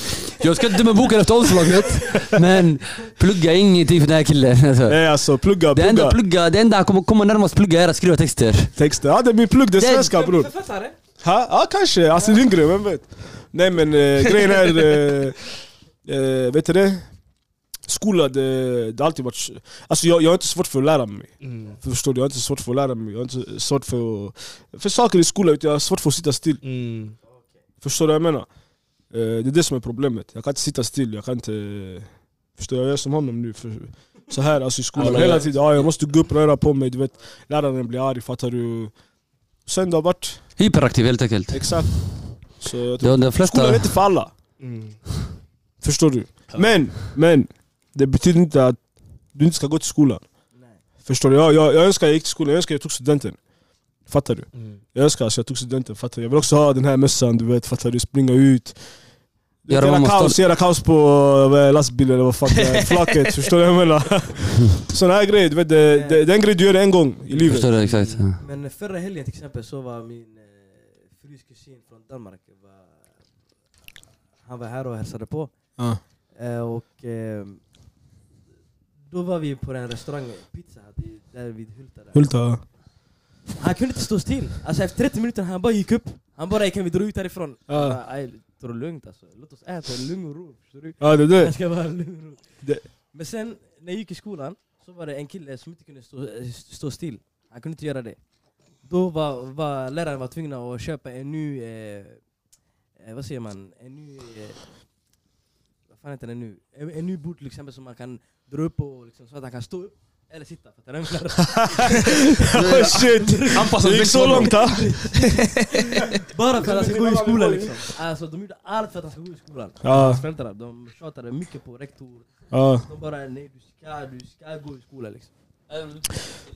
S1: Jag ska inte döma boken efter omslaget, men plugga är ingenting för den här killen. Alltså.
S2: Nej alltså, plugga,
S1: Det
S2: plugga.
S1: enda, plugga, det enda han kommer komma närmast plugga är att skriva texter.
S2: Texter. Ja, det är min plugg, det är
S1: Det-
S2: svenska bror.
S4: Författare?
S2: Ha? Ja, kanske. Alltså, Astrid Lindgren, vem vet? Nej men eh, grejen är... Eh, eh, vet du det? Skola, det, det har alltid varit... Alltså jag, jag har inte svårt för att lära mig.
S3: Mm.
S2: Förstår du? Jag har inte svårt för att lära mig. Jag har inte svårt för, att- för saker i skolan. utan Jag har svårt för att sitta still.
S3: Mm.
S2: Förstår du vad jag menar? Eh, Det är det som är problemet. Jag kan inte sitta still. Jag kan inte... eh, Förstår du? Jag gör som honom nu. För, så här alltså i skolan.
S3: Alla
S2: Hela
S3: gör.
S2: tiden. Ja, jag måste gå upp och röra på mig. Du vet, läraren blir arg. Fattar du? Sen det har varit...
S1: Hyperaktiv helt enkelt.
S2: Exakt. Så jag tror,
S1: Ja, de
S2: skolan är
S1: flesta...
S2: inte för alla.
S3: Mm.
S2: Förstår du?
S3: Ja.
S2: Men, men. Det betyder inte att du inte ska gå till skolan.
S4: Nej.
S2: Förstår du? Jag, jag, jag önskar jag gick till skolan. Jag önskar jag tog studenten. Fattar du?
S3: Mm.
S2: Jag önskar alltså jag tog studenten, fattar du? Jag vill också ha den här mössan, du vet, fattar du? Springa ut.
S1: Göra
S2: Göra
S1: mamma
S2: kaos, göra kaos på eh, lastbilen eller vad fuck det är, flaket, förstår du vad jag menar? Sådana här grejer, du vet, det, det, det är en grej du gör en gång i livet.
S1: Förstår du? Exakt. ja.
S4: Men förra helgen till exempel så var min eh, frus kusin från Danmark. Var, han var här och hälsade på.
S2: Ja.
S4: Eh, och eh, då var vi på en restaurang, Pizza Hut, i- där vid Hulta. Där.
S2: Hulta.
S4: Han kunde inte stå still. Alltså efter 30 minuter han bara gick upp. Han bara "Ey, 'Kan vi dra ut härifrån?' Jag bara, "Ey, Ta det lugnt alltså. Låt oss äta i lugn och ro. förstår du?
S2: Ja, det är
S4: Jag
S2: det.
S4: ska vara lugn och ro.
S2: Det-
S4: Men sen när jag gick i skolan så var det en kille som inte kunde stå, eh, stå still. Han kunde inte göra det. Då var, var läraren var tvungen att köpa en ny, eh, eh, vad säger man, en ny, eh, vad fan heter den nu? En, en ny bord till exempel som man kan dra upp och liksom, så att han kan stå upp. Eller sitta, fattar du? vad jag menar?
S2: Oh, shit!
S3: Anpassad
S2: Det gick så
S3: växellåda.
S2: långt ha?
S4: Bara för att han ska gå i skolan liksom. Alltså de gjorde allt för att han ska gå i skolan.
S2: Ja,
S4: Hans föräldrar, de tjatade mycket på rektor.
S2: ja.
S4: De bara nej du ska, du ska gå i skolan liksom.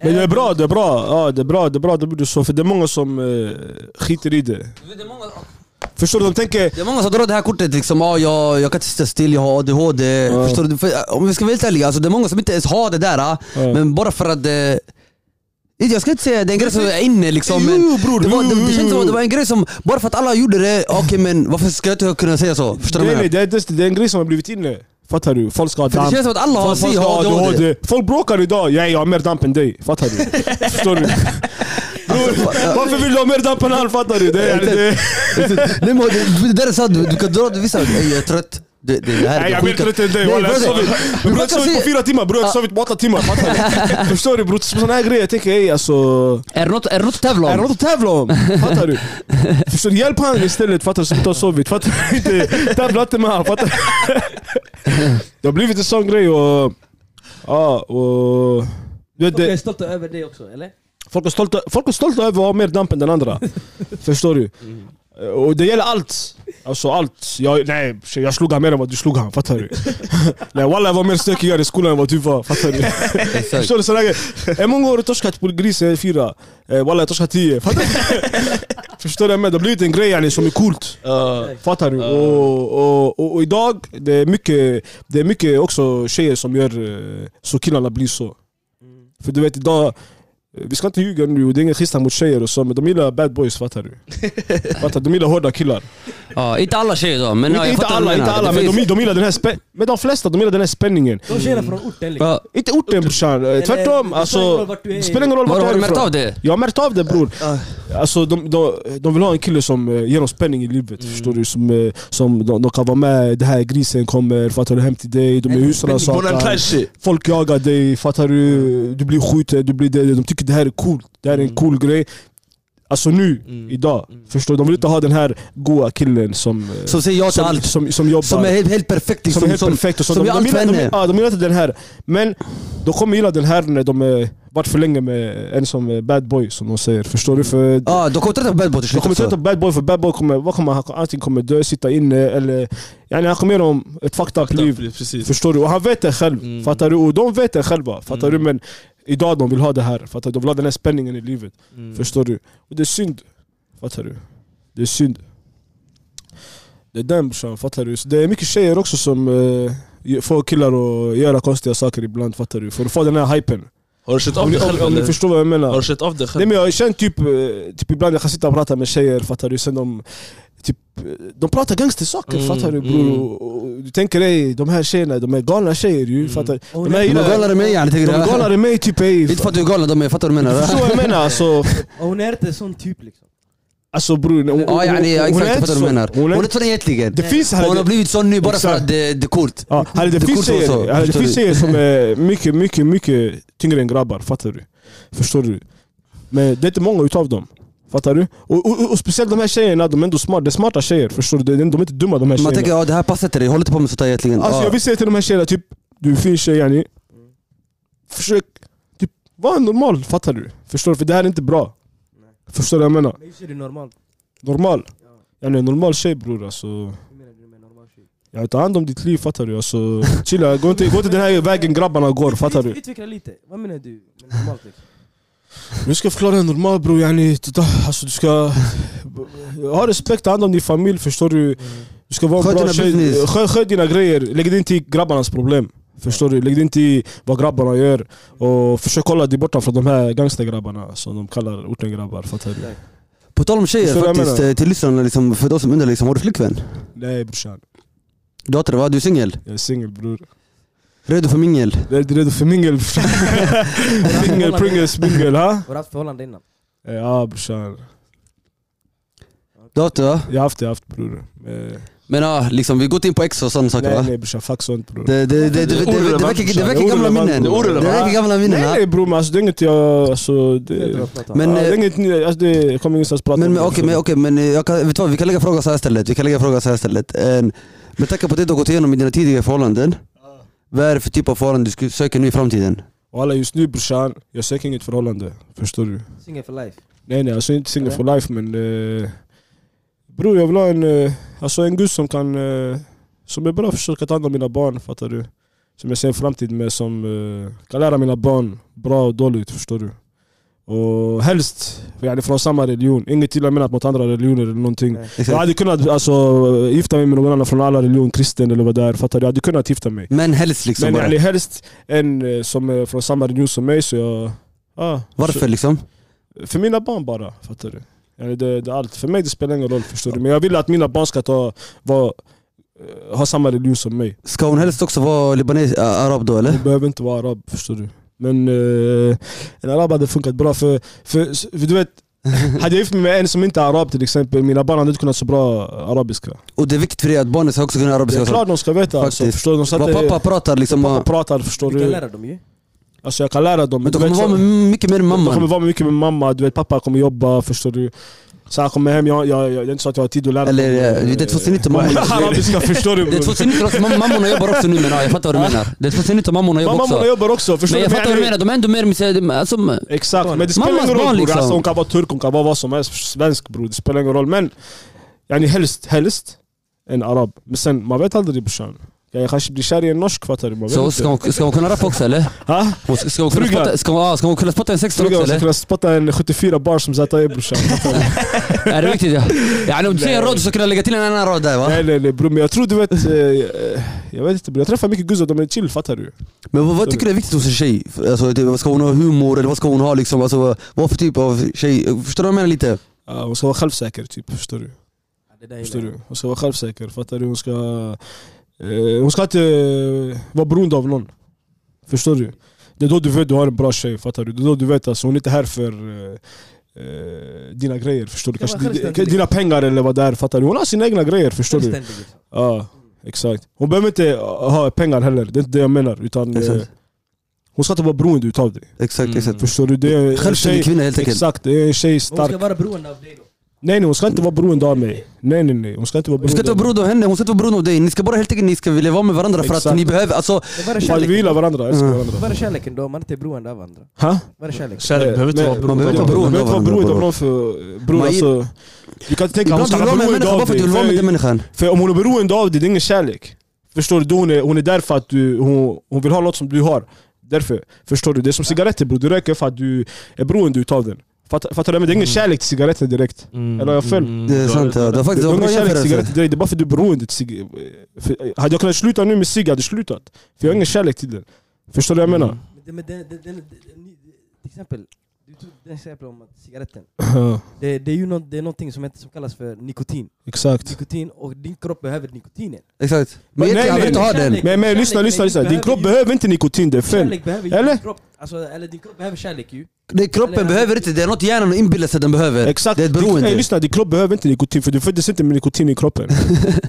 S2: Men det är bra, det är bra. Ja, det är bra, det är bra de gjorde så. För det är många som eh, skiter i det.
S1: Det är många-
S2: Förstår du? De tänker...
S1: Det är många som drar det här kortet liksom, ah, jag, jag kan inte sitta still, jag har ADHD.
S2: Ja.
S1: Förstår du? För, eh, om vi ska vara helt ärliga, alltså, det är många som inte ens har det där. ah.
S2: Ja.
S1: Men bara för att det... Jag ska inte säga det är en grej som är inne liksom. Men
S2: Jo, bror,
S1: det, var, det,
S2: jo,
S1: det
S2: jo,
S1: känns som att det
S2: jo.
S1: var en grej som, bara för att alla gjorde det, ah, okej men varför ska jag inte kunna säga så? Förstår du? vad jag
S2: Nej, nej,
S1: menar?
S2: det, är, det, det är en grej som har blivit inne. Fattar du? Folk ska ha
S1: För det
S2: damp.
S1: känns som att alla har
S2: Folk,
S1: sig
S2: folk, ska ha
S1: har ADHD.
S2: ADHD. folk bråkar idag. Ja, jag har mer damp än dig. Fattar du? Förstår du? Bror, varför vill du ha mer damp än han? Fattar du? Det är, det är,
S1: Nej men det, det där är sant, du, du kan dra det vissa, "Ey, jag är trött. Det, det, det här
S2: nej,
S1: är
S2: jag är mer
S1: sjuka.
S2: trött än dig.
S1: Nej,
S2: walla, Jag har
S1: bror,
S2: sovit. Bror, jag har
S1: brukar
S2: sovit på
S1: se-
S2: fyra timmar. Bror, jag har sovit på åtta timmar. Fattar du? Förstår du? Bror, sådana här grejer. Jag tänker, ey alltså.
S1: Är det något- är det något att tävla
S2: Är
S1: om?
S2: det något att tävla om? Fattar du? Förstår du? Hjälp han istället fattar du som inte har sovit. Fattar du inte? Tävla inte med han. Fattar du? Det har blivit en sån grej och... Ja, och... Du vet,
S4: Folk är
S2: det,
S4: stolta över det också, eller?
S2: folk, är stolta, folk är stolta över att ha mer damp än den andra. Förstår du? Och det gäller allt. Alltså allt. Jag, nej, tjej, jag slog han mer än vad du slog han. Fattar du? nej walla jag var mer stökigare i skolan än vad du var.
S1: Alltså,
S2: Fattar du?
S1: Exakt.
S2: Förstår du? Sådana grejer. Hur många år har du torskat på gris? Eh, Fyra. Eh, Walla, jag torskar tio. Fattar du? Förstår du? Men det har blivit en grej yani, som är coolt.
S3: Ja.
S2: Fattar du? Och, och, och, och idag, det är, mycket, det är mycket också tjejer som gör eh, så killarna blir så.
S4: Mm.
S2: För du vet idag, eh, vi ska inte ljuga nu, det är ingen schyssta mot tjejer och så, men de gillar bad boys fattar du? fattar, du? de gillar hårda killar.
S1: Ja, inte alla tjejer då, men ja,
S2: inte
S1: jag
S2: inte
S1: fattar
S2: alla,
S1: vad du
S2: inte
S1: menar.
S2: alla
S1: Det
S2: men de,
S1: finns-
S2: de gillar den här spä- Men de flesta, de gillar den här spänningen.
S4: De tjejerna från orten liksom.
S1: Ja.
S2: Inte orten brorsan, Eh,
S4: Eller, det spelar
S2: tvärtom.
S4: ingen
S2: Alltså,
S4: roll vart du är.
S2: det spelar ingen roll
S1: Har
S2: vart
S1: du-
S2: du
S1: har
S2: är
S1: du märkt
S2: ifrån.
S1: av det?
S2: Jag har märkt av det bror. Alltså, de, de, de vill ha en kille som eh, ger dem spänning i livet,
S3: Mm.
S2: förstår du? Som, eh, som de, de kan vara med, det här grisen kommer, fattar du? Hem till dig, de är
S4: Eller
S3: Bonan
S2: husrannsakare.
S3: Clash.
S2: Folk jagar dig, fattar du? Du blir skjuten, du blir det, de tycker det här är coolt. Det här är en cool grej. Alltså nu,
S3: Mm.
S2: idag. Förstår du? De vill inte ha den här goa killen som, eh,
S1: Som säger ja till
S2: som,
S1: allt.
S2: som, som jobbar
S1: Som är helt, helt perfekt
S2: som,
S1: liksom.
S2: är helt perfekt. Och så.
S1: som
S2: de,
S1: gör
S2: de,
S1: allt för
S2: gillar, de,
S1: henne.
S2: ja, de gillar inte den här. Men de kommer gilla den här när de eh, varit för länge med en som är bad boy som de säger. Förstår du? För
S1: Ja, Ah, de kommer trötta på bad boy till
S2: de
S1: slut
S2: kommer
S1: också.
S2: trötta på bad boy för bad boy kommer, vad kommer han, antingen kommer dö, sitta inne eller... Yani han kommer ge dem ett fucked up liv.
S3: Precis.
S2: Förstår du? Och han vet det själv.
S3: Mm.
S2: Fattar du? Och de vet det själva. Fattar
S3: Mm.
S2: du? Men idag de vill ha det här. Fattar du? De vill ha den här spänningen i livet.
S3: Mm.
S2: Förstår du? Och det är synd. Fattar du? Det är synd. Det är den brorsan, fattar du? Så det är mycket tjejer också som eh, får killar att göra konstiga saker ibland, fattar du? För att få den här hypen.
S3: Har du sett av
S2: Om ni,
S3: dig
S2: om,
S3: själv
S2: om ni
S3: eller?
S2: förstår vad jag menar.
S3: Har du sett av dig
S2: Nej
S3: själv?
S2: men jag har känt typ, eh, typ ibland jag kan sitta och prata med tjejer, fattar du? Sen de, typ, eh, de pratar gangstersaker,
S3: Mm,
S2: fattar du bror?
S3: mm.
S2: Och- och Du tänker ej, de här tjejerna, de är galna tjejer ju,
S3: Mm.
S2: fattar
S4: Och
S2: de här
S1: alltså. De är galnare än mig yani.
S2: de
S1: tycker
S2: är
S1: jag.
S2: galnare än mig typ ey.
S1: Inte för
S2: fa-
S1: att du är galen de är, fattar du vad jag
S2: Du
S1: menar?
S2: förstår vad jag menar alltså.
S4: Och hon är inte en sån typ liksom.
S2: Alltså bror, hon,
S1: Ja, yani, ja,
S2: hon är
S1: exakt. Jag
S2: inte
S1: fattar vad
S2: sån.
S1: du menar.
S2: Hon
S1: Hon
S2: är
S1: är
S2: inte-
S1: inte sån egentligen.
S2: Det finns
S1: Hon har
S2: hade-
S1: blivit sån nu bara för
S2: Exakt.
S1: att det det är coolt.
S2: Ja, hade det
S1: Det
S2: finns
S1: kortet var så,
S2: tjejer, hade det
S1: förstår
S2: finns
S1: du?
S2: tjejer som är mycket, mycket, mycket tyngre än grabbar, fattar du? Förstår du? Men det är inte många utav dem. Fattar du? Och, och, och speciellt de här tjejerna, de är ändå smarta, det är smarta tjejer. Förstår du? De, de är inte dumma de här
S1: Man
S2: tjejerna.
S1: tänker ja det här passar till dig, håll inte på med sånt här egentligen.
S2: Alltså
S1: Ja.
S2: jag vill säga till de här tjejerna, typ, du är en fin tjej yani. Försök, typ, var normal, fattar du? Förstår du? För det här är inte bra. Förstår du vad jag menar?
S4: Men just det är normalt.
S2: Normal.
S4: Ja.
S2: Yani en normal tjej bror alltså.
S4: Hur menar du med normal tjej?
S2: Jag tar hand om ditt liv fattar du. Alltså, chilla, gå inte, gå inte den här vägen grabbarna går fattar du.
S4: Utveckla lite. Vad menar du med normalt liksom?
S2: Du ska förklara en normal bror, yani, titta, alltså, du ska ha respekt, ta hand om din familj förstår du. Du ska vara en
S1: Sköt
S2: bra
S1: dina
S2: tjej,
S1: business.
S2: sköt, sköt dina grejer, lägg dig inte i grabbarnas problem. Förstår du? Lägg dig inte i vad grabbarna gör. Och försök hålla dig borta från de här gangstergrabbarna som de kallar ortengrabbar, fattar du?
S1: På tal om tjejer
S2: Förstår du vad jag
S1: faktiskt,
S2: menar?
S1: eh, till lyssnarna liksom, för de som undrar liksom, har du flickvän?
S2: Nej brorsan,
S1: Du hatar det va? Du är singel?
S2: jag är singel bror.
S1: Redo för mingel?
S2: Jag är inte redo för mingel brorsan. Mingel, pringles, mingel ha?
S4: Har du haft förhållande innan?
S2: Eh, Ja brorsan,
S1: Du har haft det va?
S2: jag har haft, jag har haft bror. Eh,
S1: Men ja, liksom, vi går inte in på ex och sådana saker
S2: Nej
S1: va?
S2: nej brorsan, fuck sånt bror.
S1: Det, det, det, det, det, det, det,
S3: orelevant,
S1: väcker- det
S2: brorsan.
S1: väcker gamla
S2: Orelevant.
S1: minnen.
S3: Det är orelevant.
S1: Det väcker gamla minnen.
S2: Nej
S1: ja.
S2: nej bror men alltså, det är inget jag... Alltså, det,
S4: Det tror
S2: det,
S4: jag pratar om.
S1: Men,
S2: är
S1: eh,
S2: inget, ni- alltså, det kommer ingenstans att prata
S1: Men, men
S2: det,
S1: okej, men,
S2: så.
S1: okej, men eh, jag kan, vet du vad, vi kan lägga frågan så här istället. Vi kan lägga frågan så här istället. Eh, En, med tanke på det du har gått igenom i dina tidigare förhållanden. Vad är det för typ av förhållanden du skulle söka nu i framtiden?
S2: Och alla just nu brorsan, jag söker inget förhållande. Förstår du?
S4: Singel for life.
S2: Nej nej, alltså inte single
S4: Eller?
S2: for life men... Eh, bror jag vill ha en, eh, alltså en gud som kan... Eh, som är bra, försöka ta hand om mina barn, fattar du? Som jag ser en framtid med, som eh, kan lära mina barn bra och dåligt, förstår du? Och helst yani, från samma religion, inget illa menat mot andra religioner eller någonting.
S4: Nej.
S2: Jag
S1: Exakt.
S2: hade kunnat alltså, gifta mig med någon annan från alla religioner, kristen eller vad det är, fattar du? Jag hade kunnat gifta mig.
S1: Men helst liksom
S2: Men
S1: bara.
S2: yani, helst en eh, som är från samma religion som mig, så jag... Ah,
S1: Varför liksom?
S2: för mina barn bara, fattar du? Eller det, det är allt. För mig det spelar ingen roll, förstår du? Men jag vill att mina barn ska ta, vara, eh, ha samma religion som mig.
S1: Ska hon helst också vara libanes, ä, arab då eller?
S2: De behöver inte vara arab, förstår du? Men eh, en arab hade funkat bra för, för, för du vet, hade jag gift mig med en som inte är arab till exempel, mina barn hade inte kunnat så bra arabiska.
S1: Och det är viktigt för dig att barnen ska också kunna
S2: Det
S1: arabiska.
S2: är klart de ska veta, alltså,
S1: Faktiskt.
S2: förstår du? De ska
S1: Vad
S2: inte-
S1: pappa pratar liksom.
S2: pappa
S1: och-
S2: pratar, förstår
S4: Du kan
S2: du?
S4: lära dem ju.
S2: Alltså jag kan lära dem.
S1: Men du
S2: Du vet,
S1: kommer vara
S2: så-
S1: med mycket mer
S2: Jag kommer
S1: mamma.
S2: vara mycket med mamma, du vet pappa kommer jobba, förstår du? Så jag kommer hem, jag, jag, jag, det är inte så att jag har tid att lära
S1: Eller
S2: mig,
S1: eh, det är 2019
S2: eh,
S1: mammorna.
S2: Arabiska, förstår du?
S1: Det är 2019 alltså, mam- mammorna jobbar också nu men ja, jag fattar vad du menar. Det är 2019 mammorna jobbar
S2: Mamma
S1: också.
S2: jobbar också, förstår
S1: Men jag
S2: du?
S1: fattar vad du menar, de är ändå mer med alltså,
S2: Exakt, men det spelar
S1: Mammas
S2: ingen roll
S1: barn,
S2: bror.
S1: liksom.
S2: Alltså, hon kan vara turk, hon kan vara vad som helst, svensk bror. Det spelar ingen roll. Men yani, helst, helst en arab. Men sen, man vet aldrig brorsan. Jag kanske blir kär i en norsk fattar du? Man vet
S1: Så
S2: inte.
S1: ska hon, ska hon kunna rappa också eller?
S2: Ha?
S1: Hon Ska ska hon kunna
S2: Frugan.
S1: spotta, ska hon, ah, ska hon kunna spotta en 16
S2: Tror du
S1: också
S2: jag ska
S1: eller?
S2: kunna spotta en 74 bar som Zata är brorsan?
S1: Är det viktigt ja? Yani om du säger en rad så ska du kunna lägga till en annan rad där va?
S2: nej nej nej bror, men jag tror du vet... eh, eh, Jag vet inte bror, jag träffar mycket guzzar, de är chill fattar du?
S1: Men vad, vad tycker du är viktigt hos en tjej? Alltså, det- vad ska hon ha humor eller vad ska hon ha liksom? Alltså, vad för typ av tjej? Förstår du vad jag menar lite?
S2: Ja, Ah, Hon ska vara självsäker typ, förstår du?
S4: Ja, det där gillar
S2: Förstår
S4: jag.
S2: du? Hon ska vara självsäker, fattar du? Hon ska, eh, hon ska inte eh, vara beroende av någon. Förstår du? Det är då du vet du har en bra tjej, fattar du? Det är då du vet att alltså, hon är inte här för eh, eh, dina grejer, förstår du?
S4: Hon
S2: Kanske
S4: ska vara
S2: di- di-
S4: självständig.
S2: dina pengar eller vad det är, fattar du? Hon har sina egna grejer, förstår du?
S4: Självständig, liksom.
S2: Ja, exakt. Hon behöver inte eh, ha pengar heller, det är inte det jag menar. Utan, eh,
S1: Exakt.
S2: hon ska inte vara beroende utav dig.
S1: Exakt,
S3: Mm.
S1: exakt.
S2: Förstår du? Det är en
S1: Självständig
S2: tjej,
S1: kvinna helt enkelt.
S2: exakt, det är en tjej
S4: Men Hon
S2: stark.
S4: ska vara beroende av dig då.
S2: Nej nej, hon ska inte vara beroende av mig. Nej nej nej, hon ska inte vara
S1: Hon ska inte
S2: beroende av
S1: vara beroende av henne, hon ska inte vara beroende av dig. Ni ska bara helt enkelt ni ska vilja vara med varandra för att
S2: Exakt.
S1: ni behöver, alltså
S4: Men Var är
S2: Fan, vi
S4: kärleken?
S2: gillar varandra, älskar
S1: Mm.
S2: varandra.
S4: Var är kärleken då? om Man inte är beroende av varandra.
S2: Ha?
S4: Var är kärleken?
S3: Kärlek
S2: Eh,
S3: behöver inte
S2: men-
S3: vara
S1: man behöver
S3: beroende
S1: inte vara
S3: av varandra.
S2: Man
S1: beroende av
S2: behöver inte vara
S1: varandra.
S2: beroende av någon för... Bror
S1: Man-
S2: alltså... Du kan tänka, hon
S1: Ibland
S2: ska
S1: du vill
S2: vara
S1: vara med en
S2: beroende
S1: människa bara
S2: av
S1: för att
S2: dig.
S1: du vill vara med den
S2: För,
S1: människan.
S2: för om hon är beroende av dig, det är ingen kärlek. Förstår du? Då hon, är, hon är där för att du, hon, hon vill ha något som du har. Därför. Förstår du? Det är som cigaretter bror, du röker för att du är beroende utav den. Fattar, fattar du? Men det är ingen
S3: Mm.
S2: kärlek till cigaretter direkt.
S3: Mm,
S2: Eller har jag fel?
S3: mm,
S1: Det är
S3: du har
S1: sant
S3: rätt.
S1: ja, det var
S2: Det
S1: faktiskt det
S2: är
S1: var en bra
S2: ingen kärlek till
S1: jämförelse.
S2: cigaretter direkt, det är bara för att du är beroende till cigaretter. Hade jag kunnat sluta nu med cigg, jag hade slutat. För jag har ingen kärlek till den. Förstår du vad jag menar?
S4: Men det- Men den, den, den, den, ni- till exempel, du tog den exempel om att cigaretten.
S2: Ja,
S4: Det, det är ju nå- det är någonting som, heter, som kallas för nikotin.
S2: Exakt.
S4: Nikotin och din kropp behöver nikotinen.
S1: Exakt. Men
S2: nej,
S1: egentligen, han vill
S2: nej,
S1: inte ha den.
S2: Men, men lyssna,
S4: Kärlek,
S2: lyssna,
S4: men
S2: lyssna.
S4: du
S2: Din kropp behöver inte nikotin, det är fel.
S4: Kärlek behöver ju
S2: Eller?
S4: din kropp. Alltså, eller din kropp behöver kärlek ju.
S1: Det kroppen
S4: Eller-
S1: behöver inte, det är något hjärnan inbillar sig den behöver.
S2: Exakt.
S1: Det är ett
S2: Din-
S1: beroende.
S2: Nej, lyssna, din kropp behöver inte nikotin för du föddes inte med nikotin i kroppen.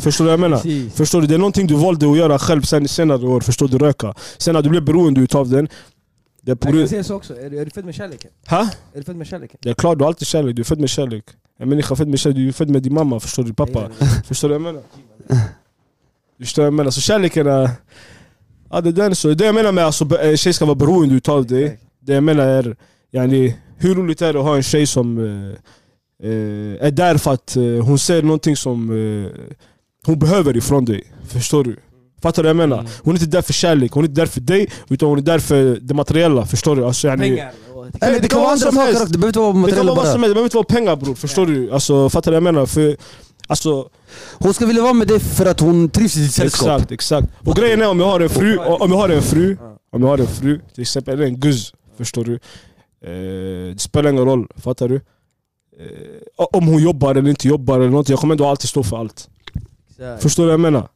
S2: förstår du vad jag menar?
S4: Precis.
S2: Förstår du? Det är någonting du valde att göra själv sen, senare år, förstår du? Röka. Sen när du blev beroende utav den. Det är på
S4: Jag kan
S2: grund...
S4: säga så också, är du, är du född med kärleken?
S2: Ha?
S4: Är du född med kärleken?
S2: Det är klart, du har alltid kärlek. Du är född med kärlek. En människa är född med kärlek. Du är född med din mamma, förstår du?
S4: E,
S2: Pappa. Förstår du vad jag menar? Du förstår vad jag menar? Så kärleken är... Ja, det är den. Så det jag menar med att alltså, be- en tjej ska vara beroende utav dig. Det jag menar är, e yani, hur roligt är det att ha en tjej som eh, eh, är där för att eh, hon ser någonting som eh, hon behöver ifrån dig. Förstår du? Fattar du vad jag menar?
S3: Mm.
S2: Hon är inte där för kärlek, hon är inte där för dig, utan hon är där för det materiella. Förstår du? Alltså, yani,
S4: Pengar och...
S1: Eller det, kan vara
S2: vad
S1: andra
S2: som
S1: saker
S2: helst.
S1: också, det behöver inte vara
S2: Det kan
S1: materiella
S2: vara vad som
S1: bara.
S2: helst, det behöver inte vara pengar bror. Förstår du? Alltså, fattar du vad jag menar? För, alltså,
S1: Hon ska vilja vara med dig för att hon trivs i ditt sällskap.
S2: Exakt, exakt. Och grejen är om jag har en fru, om jag har en fru,
S4: Ja.
S2: om jag har en fru, till exempel, eller en guzz, förstår du? Eh, det spelar ingen roll, fattar du? Eh, om hon jobbar eller inte jobbar eller någonting, jag kommer ändå alltid stå för allt.
S4: Exakt.
S2: Förstår du vad jag menar?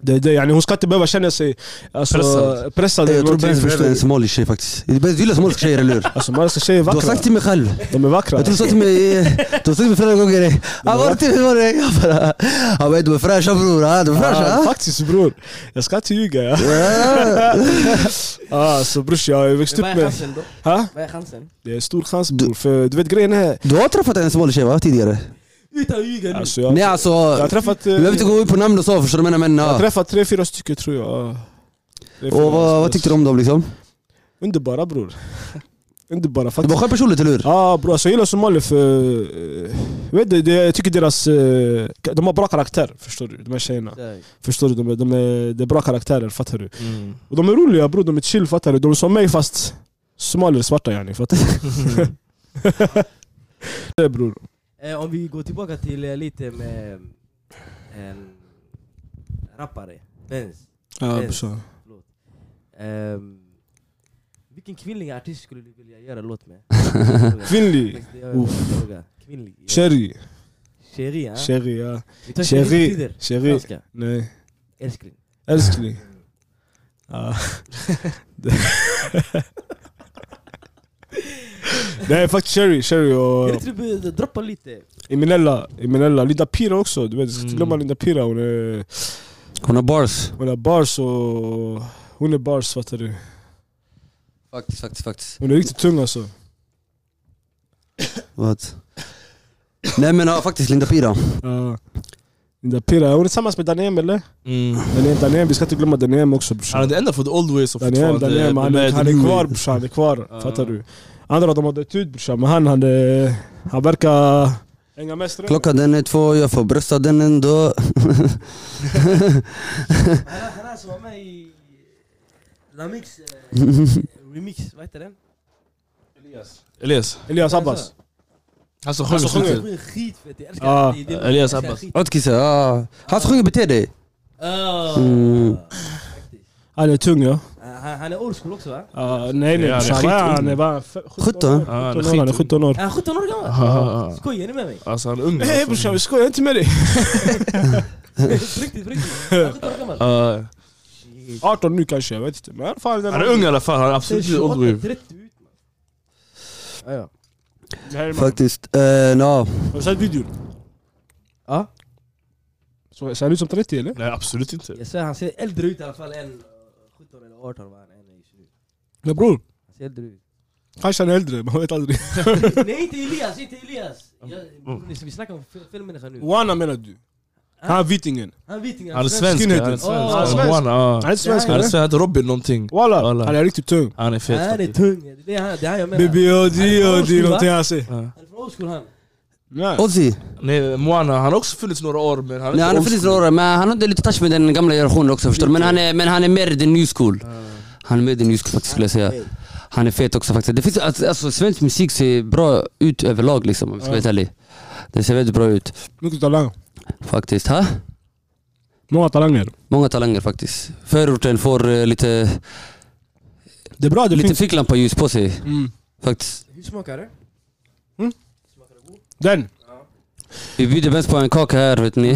S2: Det, är det, yani, hon ska inte behöva känna sig alltså,
S3: Pressad.
S2: pressad. eller
S1: Eh, Jag tror
S2: någonting,
S1: Benz
S2: förstår
S1: behöver en
S2: du?
S1: somalisk tjej faktiskt. Du gillar somaliska tjejer eller hur?
S2: Alltså maliska tjejer är
S1: Du har
S2: vackra.
S1: sagt till mig själv.
S2: De är vackra.
S1: Jag tror du sa till mig, eh, du har sagt till mig flera gånger. Han var till hur var det? Jag bara, han bara, du är fräscha bror. ah, Du är
S2: Ah,
S1: fräscha.
S2: faktiskt bror, jag ska inte ljuga. Ja.
S1: ah."
S2: Ah, så brors, jag har ju växt
S4: Men
S2: upp
S4: vad är
S2: med...
S4: chansen då?
S2: Ha?
S4: Vad är chansen?
S2: Det är en stor chans bror, för du vet grejen är...
S1: Du har träffat en somalisk tjej va, tidigare?
S4: Utan att ljuga nu!
S2: Alltså, jag,
S1: Nej alltså,
S2: jag har träffat... eh,
S1: vi behöver inte gå in på namn och så förstår du vad jag menar men
S2: Jag har
S1: ja.
S2: träffat tre, fyra stycken tror jag. Tre, fyra
S1: Och vad, vad
S2: stycken.
S1: tyckte du om dem liksom?
S2: Underbara bror. Underbara
S1: Det var
S2: faktiskt.
S1: skönt personligt, eller hur?
S2: Ja ah, bror, alltså jag gillar somalier för... eh, Jag, vet, inte, det, jag tycker deras... eh, De har bra karaktär, förstår du? De här tjejerna. Förstår du? De, är- de är, det är bra karaktärer, fattar du?
S3: Mm,
S2: Och de är roliga bror, de är chill, fattar du? De är som mig fast somalier, svarta yani, fattar du? det bror.
S4: Eh, om vi går tillbaka till eh, lite med eh, en rappare, Benz.
S2: Ja,
S4: Yes.
S2: brorsan.
S4: Ehm, vilken kvinnlig artist skulle du vilja göra låt med?
S2: Kvinnlig?
S4: Det är en fråga. Kvinnlig? ja.
S2: Chéri.
S4: Chérie, ja.
S2: Chéri, ja.
S4: Vi tar
S2: Chérie.
S4: chérie betyder
S2: Chéri.
S4: franska.
S2: Nej.
S4: Älskling.
S2: Älskling. Ja. Nej faktiskt Cherry, Cherry
S4: Kan
S2: och
S4: inte du be- droppa lite?
S2: Eminella, Eminella, Linda Pira också, du vet, mm.
S3: Mm.
S2: glömma Linda Pira, hon är,
S1: Hon har bars.
S2: hon är bars och... Hon är bars fattar du.
S1: Faktiskt, faktiskt, faktiskt.
S2: Hon är riktigt tung alltså.
S1: Vad? Nej men ja, faktiskt, Linda Pira.
S2: Ja. Linda Pira, hon är tillsammans med Danem eller?
S3: Mm.
S2: Danem, Danem, vi ska inte glömma Danem också
S3: Han
S2: brorsan.
S3: är den enda från the old ways som
S2: Danem,
S3: fortfarande
S2: Danem, han, är-
S3: med
S2: han är
S3: new
S2: kvar
S3: wave.
S2: brorsan, han är kvar.
S3: Ja.
S2: Fattar du? Andra de har dött ut brorsan, men han, han, är- han verkar hänga med strömmen.
S1: Klockan den är två, jag får brösta den ändå.
S4: Han här som var med i Lamix eh, remix, vad heter den?
S3: Elias,
S2: Elias Abbas.
S3: han som
S2: Han som
S3: sjunger
S2: sjunger.
S3: snittet.
S4: Det är skitfett, jag älskar
S2: Ja,
S4: det. Det är-
S3: Elias
S4: jag älskar
S3: Abbas.
S4: skit.
S1: Otkisse, ja. Han som sjunger Bete dig.
S4: Ah,
S1: Mm.
S4: faktiskt.
S2: Han är tung ja.
S4: Ah, Han han är old school också va?
S2: Ah, nej nej,
S3: Ja, han är
S2: brorsan,
S3: skitung.
S2: han är bara f-
S1: 17.
S2: år,
S3: Ja, han är
S2: 17 år, han är
S3: skitung.
S2: 17 år.
S4: Är han 17 år gammal?
S3: Ah.
S4: Skojar ni med mig?
S3: Alltså han är ung.
S2: Nej brorsan vi skojar inte med dig.
S4: På riktigt, på riktigt. Är han 17 år gammal?
S3: Ja.
S2: 18 nu kanske, jag vet inte. Men fan, den
S3: Han är ung i alla fall, han är
S4: Ser
S3: absolut inte old wave.
S4: 28-30 ut man. Ah, ja.
S2: Nej, man.
S1: Faktiskt. Eh, ja.
S2: Har du sett videon?
S4: Ja,
S2: Så, ser han ut som 30 eller?
S3: Nej absolut inte.
S4: jag säger han ser äldre ut i alla fall än eh, 17 eller 18 var han än i 20.
S2: Ja bror.
S4: Han ser äldre ut.
S2: Kanske han är äldre, man vet aldrig.
S4: Nej inte Elias, inte Elias! Jag, vi snackar om fel- fel människa nu.
S2: Wana menar du? Han är vitingen.
S4: Han är viking,
S3: Han är svensk. Han är
S2: Skinhead.
S3: svensk.
S4: Åh.
S3: Han är svensk. Han är
S2: Han är inte svensk
S4: Ja,
S3: svensk.
S2: eller?
S3: Han heter Robin någonting.
S2: Walla,
S3: Walla.
S2: han är riktigt tung.
S3: Han är fet.
S4: Han är
S3: faktiskt.
S4: tung, det är han, det är han jag menar.
S2: BBOD,
S4: Han är
S2: OD,
S4: från
S2: någonting han säger.
S3: Ja.
S4: Han är från old school han.
S2: Nej.
S1: Ozzy.
S3: Nej, Moana, han har också funnits några år men han är
S1: Nej, han är
S3: old
S1: funnits
S3: school.
S1: några år, men han hade lite touch med den gamla generationen också förstår du. Men han är, men han är mer the new school. Han är mer the new school faktiskt skulle jag säga. Han är fet också faktiskt. Det finns, alltså, alltså, svensk musik ser bra ut överlag liksom om jag ska vara helt ärlig. Det ser väldigt bra ut
S2: Mycket talang.
S1: faktiskt. Ha?
S2: Många talanger.
S1: Många talanger faktiskt. Förorten får eh, lite,
S2: Det är bra, det
S1: lite
S2: finns.
S1: ficklampa ljus på sig
S2: Mm.
S1: faktiskt.
S4: Hur smakar det?
S2: Den.
S1: Vi bjuder bäst på en kaka här vet ni.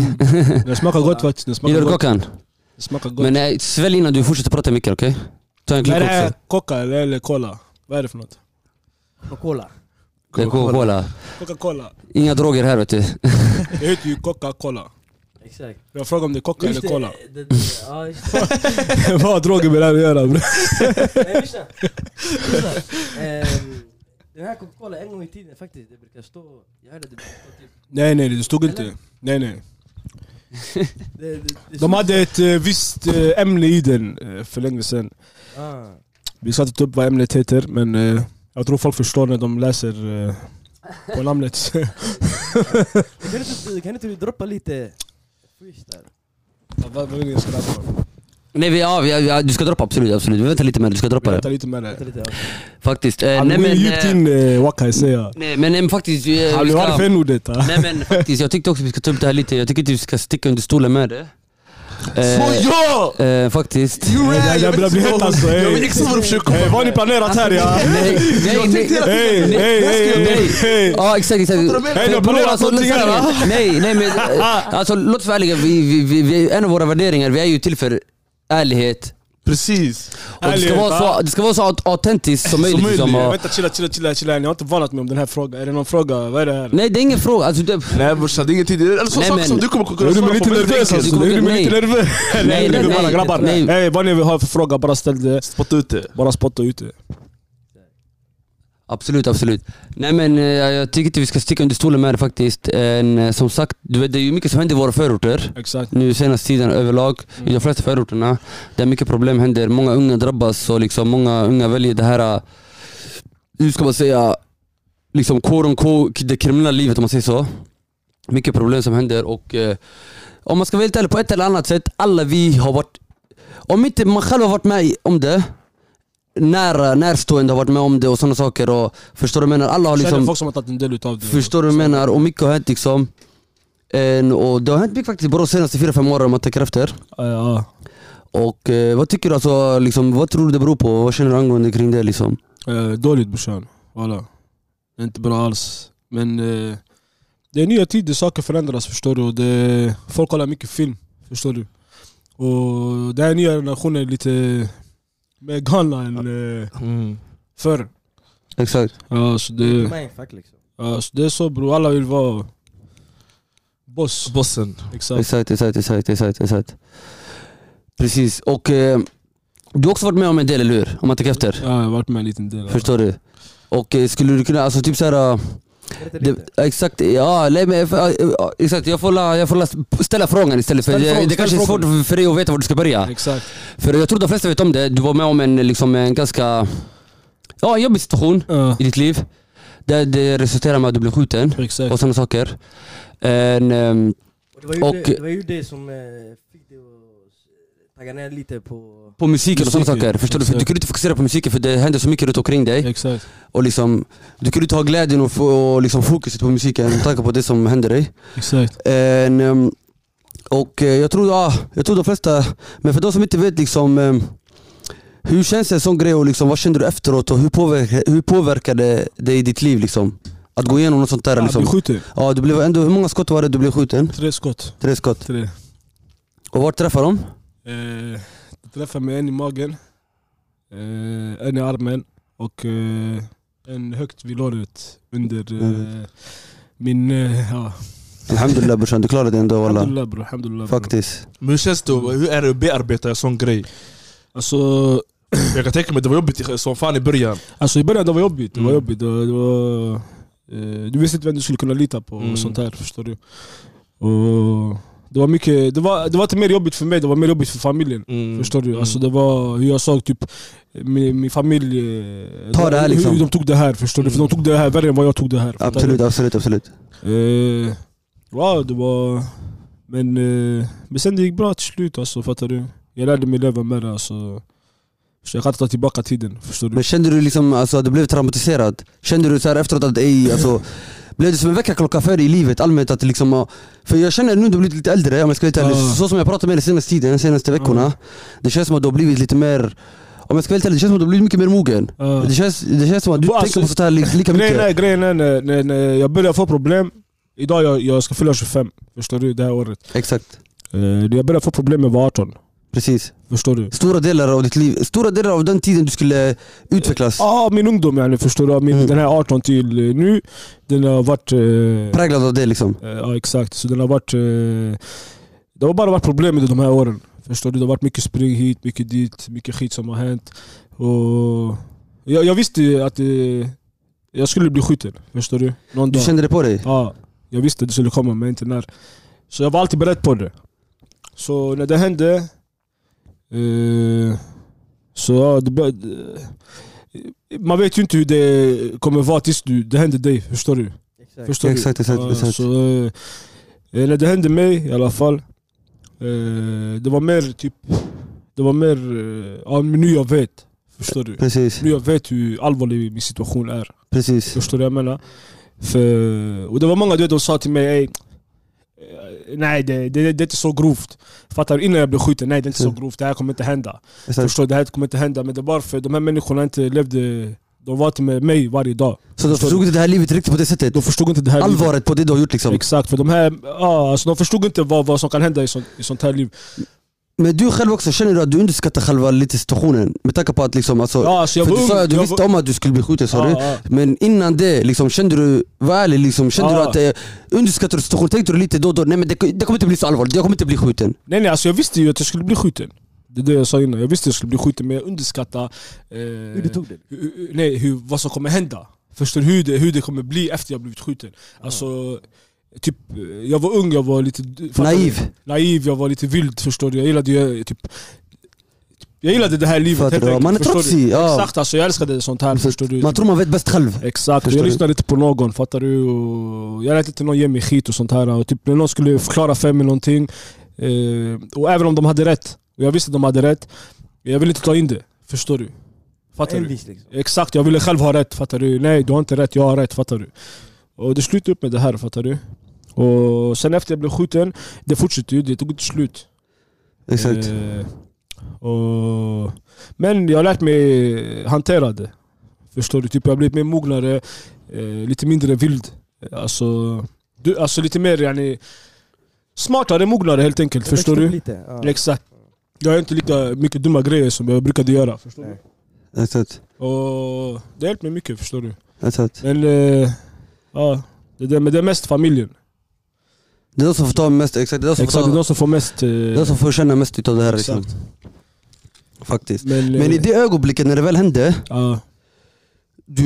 S2: Den smakar gott faktiskt. Den
S1: Gillar
S2: smakar
S1: du
S2: Mm. gott.
S1: kakan?
S2: Den smakar gott.
S1: Men eh, svälj innan du fortsätter prata mycket okej? Ta en
S2: Är
S1: klunk
S2: det
S1: också.
S2: Coca eller, eller Cola? Vad är det för något?
S4: Coca-Cola.
S1: Det är Coca-Cola.
S2: Coca-Cola.
S1: Inga droger här vet du.
S2: Det heter ju Coca-Cola.
S4: Exakt.
S2: Jag frågar om det är Coca eller
S4: Just det,
S2: Cola.
S4: det- det- Ja, just det.
S2: Vad har droger med det här att göra bre?
S4: Nej, lyssna. Lyssna. Ehm, Den här Coca-Cola en gång i tiden faktiskt, det brukar stå... Jag hörde det brukar stå typ...
S2: Nej nej, det stod
S4: Eller?
S2: inte. Nej nej.
S4: Det, det, det
S2: De hade ett eh, visst eh, ämne i den eh, för länge sedan.
S4: Ah.
S2: Vi ska inte ta upp vad ämnet heter men eh, jag tror folk förstår när de läser eh, på namnet.
S4: Kan inte, kan inte du droppa lite freestyle?
S2: Vad vill ni ska läsa?
S1: Nej vi, ja, vi, ja, du ska droppa absolut, absolut. Vi väntar lite med det, du ska
S2: Vi
S1: droppa det.
S2: väntar lite med
S4: Vänta
S2: det.
S4: lite. ja.
S1: Faktiskt. Eh,
S2: Han
S1: nej
S2: går
S1: men...
S2: ju djupt
S1: Eh,
S2: in eh, Waka säger jag.
S1: nej men eh, faktiskt... Vi, eh,
S2: Han
S1: vi
S2: blev arg
S1: ska,
S2: för n-ordet. ah.
S1: nej men faktiskt, jag tyckte också vi ska ta upp det här lite. Jag tycker inte vi ska sticka under stolen med det. Eh,
S3: ja!
S1: eh, faktiskt.
S3: You're
S2: Jag-
S3: right!
S2: Jag börjar bli het alltså.
S3: Jag vet
S2: ey.
S3: inte vad de försöker
S2: Ey,
S3: komma
S2: Vad har ni planerat här? ja?
S1: liksom Nej, nej, nej.
S2: Hej, hej, hej, hej, hej!
S1: Ja exakt, exakt.
S2: Hej, ni
S1: Bror,
S2: har planerat
S1: alltså,
S2: någonting här va? Ah.
S1: Nej, nej men eh, alltså låt oss vara ärliga. Vi, vi, vi, vi, en av våra värderingar, vi är ju till för ärlighet.
S3: Precis.
S1: Och det, ska
S2: Ärlighet,
S1: vara så,
S2: va?
S1: det ska vara så aut- autentiskt som möjligt.
S3: möjligt,
S1: Liksom,
S2: Ja,
S1: och,
S2: Vänta, chilla, chilla, chilla, chilla. Ni har inte varnat mig om den här frågan. Är det någon fråga? Vad är det här?
S1: nej det är ingen fråga. Alltså, det,
S3: Nej brorsan, det är ingenting. Eller så
S1: Nej,
S3: saker
S1: men-
S3: som du kommer kunna
S2: Jag gjorde
S3: svara
S2: mig
S3: på
S2: lite
S3: väldigt
S2: nervös
S3: enkelt.
S2: alltså, jag gjorde mig
S1: Nej.
S2: lite nervös.
S1: Nej,
S2: Nej,
S1: nej,
S2: nej,
S1: nej,
S2: bara grabbar.
S1: nej.
S2: Hey, vad ni vill ha för fråga, bara ställ det.
S3: Spotta ut det.
S2: Bara spotta ut det.
S1: Absolut, absolut. Nej men eh, jag tycker inte vi ska sticka under stolen med det faktiskt. En, eh, som sagt, du vet, det är ju mycket som händer i våra förorter.
S2: Exakt.
S1: Nu senaste tiden överlag, i de flesta förorterna. Där mycket problem händer. Många unga drabbas och liksom många unga väljer det här, eh, hur ska man säga, liksom quote on quote, det kriminella livet om man säger så. Mycket problem som händer och eh, om man ska vara helt ärlig, på ett eller annat sätt, alla vi har varit, om inte man själv har varit med i- om det, nära, närstående har varit med om det och sådana saker. Och, förstår du vad jag menar? Alla har
S2: Känner
S1: liksom
S2: folk som har tagit en del utav det.
S1: Förstår du vad jag menar? Och mycket har hänt liksom. En, och det har hänt mycket faktiskt i Borås senaste 4-5 åren om man tänker efter.
S2: Ja, ja.
S1: Och eh, vad tycker du alltså, liksom, vad tror du det beror på? Vad känner du angående kring det liksom?
S2: Eh, dåligt brorsan, voilà. Det är inte bra alls. Men eh, det är nya tider, saker förändras förstår du. Och Det, folk kollar mycket film, förstår du. Och den här nya generationen är lite mer galna än eh,
S3: Mm.
S2: förr.
S1: Exakt.
S2: Ja, så det,
S4: Mindfuck liksom.
S2: ja, så det är så bror, alla vill vara boss.
S3: Bossen.
S2: Exakt.
S1: Exakt, exakt, exakt, exakt, exakt. Precis, och eh, du har också varit med om en del, eller hur? Om man tänker efter.
S2: Ja, jag har varit med en liten del. ja.
S1: Förstår du? Och eh, skulle du kunna, alltså typ såhär... eh,
S4: Berätta
S1: det-
S4: lite.
S1: Exakt, ja, nej, men, eh, eh, exakt jag får, la, jag får la, ställa frågan istället för
S2: Ställ
S1: det,
S2: frågan,
S1: det
S2: ställ
S1: kanske är svårt
S2: frågan.
S1: för dig att veta var du ska börja.
S2: Exakt.
S1: För jag tror de flesta vet om det, du var med om en, liksom, en ganska ja, en jobbig situation
S2: Ja,
S1: i ditt liv. Där det resulterade med att du blev skjuten
S2: exakt.
S1: och sådana saker. En, ehm,
S4: Och det, var ju
S1: och-
S4: det, det var ju det som eh, fick dig att s- tagga ner lite på...
S1: på musiken och sådana
S2: Musiken,
S1: saker. Förstår du? För du
S2: exakt.
S1: kunde inte fokusera på musiken för det hände så mycket runt omkring dig.
S2: Exakt.
S1: Och liksom, du kunde inte ha glädjen och, få- och liksom fokuset på musiken med tanke på det som hände dig.
S2: Exakt.
S1: En, ehm, och eh, jag tror, ja, jag tror de flesta, men för de som inte vet liksom ehm, hur känns en sån grej och liksom, vad kände du efteråt och hur påverkade, hur påverkade det i ditt liv? Liksom? Att gå igenom något sånt där?
S2: Ja,
S1: liksom.
S2: du skjuter.
S1: ja, du blev ändå, hur många skott var det du blev skjuten?
S2: Tre skott.
S1: Tre skott.
S2: Tre.
S1: Och vart träffade de?
S2: Eh, jag träffade mig en i magen, eh, en i armen och eh, en högt vid låret under
S3: Mm.
S2: eh, min... Eh, ja.
S1: Alhamdulillah brorsan, du klarade det ändå walla.
S2: Alhamdulillah bror, alhamdulillah bror.
S1: Faktiskt.
S3: Men hur känns det? Hur är det att bearbeta en sån grej?
S2: Alltså,
S3: Jag kan tänka mig det var jobbigt i- som fan i början.
S2: alltså i början det var jobbigt, det var
S3: Mm.
S2: jobbigt. Det var, det var, eh, du visste inte vem du skulle kunna lita på
S3: Mm.
S2: och sånt här förstår du. Och det var mycket, det var, det var inte mer jobbigt för mig, det var mer jobbigt för familjen.
S3: Mm.
S2: Förstår du? Alltså det var hur jag sa, typ min, min familj... eh,
S1: Ta det här,
S2: hur-
S1: liksom.
S2: Hur de tog det här, förstår du? För de tog det här värre än vad jag tog det här. Fattar
S1: Absolut, absolut, absolut.
S2: du? Eh, ja, det var... Men, eh, men sen det gick bra till slut alltså, fattar du? Jag lärde mig leva med det alltså. Så jag kan inte ta tillbaka tiden, förstår du?
S1: Men kände du liksom, alltså, att du blev traumatiserad? Kände du så här efteråt att ej, alltså, blev det som en väckarklocka för dig i livet allmänt? Att liksom, ja, för jag känner nu att du blivit lite äldre, om jag ska vara helt ärlig.
S2: Ja.
S1: Så som jag pratat med dig senaste tiden, senaste veckorna. Det känns som att du har blivit lite mer, om jag ska vara helt ärlig, det känns som att du har blivit mycket mer mogen.
S2: Ja.
S1: Det känns, det känns som att du
S2: Bra,
S1: tänker
S2: alltså,
S1: på sånt här li- lika
S2: Grejen är,
S1: mycket.
S2: grejen är när, när, när jag började få problem, idag jag, jag ska fylla 25, förstår du? Det här året.
S1: Exakt,
S2: Eh, när jag började få problem med var 18,
S1: precis.
S2: förstår du?
S1: Stora delar av ditt liv, stora delar av den tiden du skulle utvecklas,
S2: Ja, min ungdom yani, förstår du. Min,
S1: Mm.
S2: Den här 18 till eh, nu, den har varit... eh,
S1: präglad av det liksom.
S2: eh, ja, exakt. Så den har varit... eh, det har bara varit problem under de här åren. Förstår du? Det har varit mycket spring hit, mycket dit, mycket skit som har hänt. Och jag, jag visste ju att eh, jag skulle bli skjuten, förstår du? Någon
S1: Du
S2: dag.
S1: kände det på dig?
S2: Ja, jag visste att det skulle komma men inte när. Så jag var alltid beredd på det. Så när det hände... Eh, så ja, det bör, eh, Man vet ju inte hur det kommer vara tills du, det händer dig, förstår du?
S4: Exakt.
S2: Förstår
S1: Exakt,
S2: du?
S1: exakt,
S2: Ja,
S1: exakt.
S2: Så, eh, när det hände mig i alla fall, eh, det var mer typ... Det var mer, eh, ja men nu jag vet. Förstår du?
S1: Precis,
S2: Nu jag vet hur allvarlig min situation är.
S1: precis.
S2: Förstår du vad jag menar? För, och det var många du vet, de sa till mig Ey, eh, Nej det, det, det är inte så grovt. Fattar du? Innan jag blev skjuten, nej det är inte så
S1: Mm.
S2: grovt. Det här kommer inte hända.
S1: Exakt.
S2: Förstår du? Det här kommer inte hända. Men det var för de här människorna inte levde... De var inte med mig varje dag.
S1: Så de förstod inte det här livet riktigt på det sättet?
S2: De förstod inte det här livet.
S1: Allvaret på det du har gjort liksom?
S2: Exakt, för de här, ja, alltså de förstod inte vad, vad som kan hända i sånt, i sånt här
S1: Mm.
S2: liv.
S1: Men du själv också, känner du att du underskattar själva lite situationen? Med tanke på att liksom, alltså,
S2: Ja, alltså jag
S1: för
S2: var
S1: du
S2: ung.
S1: sa ju att du
S2: jag
S1: visste
S2: var,
S1: om att du skulle bli skjuten sa du?
S2: ja, ja.
S1: Men innan det, liksom, kände du, var ärlig, liksom, kände
S2: Ja.
S1: du att eh, underskattade du situationen? Tänkte du lite då och då, nej men det, det kommer inte bli så allvarligt, jag kommer inte bli skjuten.
S2: Nej nej, alltså jag visste ju att jag skulle bli skjuten. Det är det jag sa innan. Jag visste att jag skulle bli skjuten men jag underskattade... Eh,
S4: Hur du tog det?
S2: hur, hur- nej, hur, vad som kommer hända. Förstår du hur det, hur det kommer bli efter jag blivit skjuten? Alltså, typ, eh, jag var ung, jag var lite... fattar du?
S1: Naiv.
S2: Naiv, jag var lite vild förstår du. Jag gillade ju typ... Jag gillade det här livet
S1: Fattar
S2: helt
S1: du?
S2: enkelt,
S1: Man är
S2: förstår du?
S1: trotsig, ja.
S2: Exakt alltså, jag älskade sånt här förstår du.
S1: Man tror man vet bäst själv.
S2: Exakt,
S1: Förstår
S2: jag
S1: du?
S2: lyssnade inte på någon fattar du. Och jag lät inte någon ge mig skit och sånt här. Och typ när någon skulle förklara för mig någonting. Eh, och även om de hade rätt, och jag visste att de hade rätt. Jag ville inte ta in det, förstår du. Fattar du?
S4: Envis liksom.
S2: Exakt, jag ville själv ha rätt, fattar du? Nej, du har inte rätt, jag har rätt, fattar du? Och det slutade upp med det här, fattar du? Och sen efter jag blev skjuten, det fortsatte ju, det tog inte slut. إيه.
S1: Exakt.
S2: Eh, och, men jag har lärt mig hantera det. Förstår du? Typ jag har blivit mer mognare, eh, lite mindre vild. Alltså, du, alltså lite mer yani, smartare, mognare helt enkelt.
S4: Det
S2: förstår
S4: växte
S2: du?
S4: upp Lite. Ja.
S2: Exakt. Jag har inte lika mycket dumma grejer som jag brukade göra. Förstår
S4: Nej.
S1: Exakt.
S2: du? Och det har hjälpt mig mycket, förstår du?
S1: Exakt.
S2: Men eh, ja, det, det, men det är mest familjen.
S1: Det är de som får ta mest, exakt. Det är de som,
S2: Exakt, det är
S1: får, ta,
S2: de som får mest. Eh,
S1: det är de som får känna mest utav det här liksom.
S2: Exakt.
S1: Faktiskt.
S2: men,
S1: Men i
S2: eh,
S1: det ögonblicket när det väl hände,
S2: ja,
S1: du,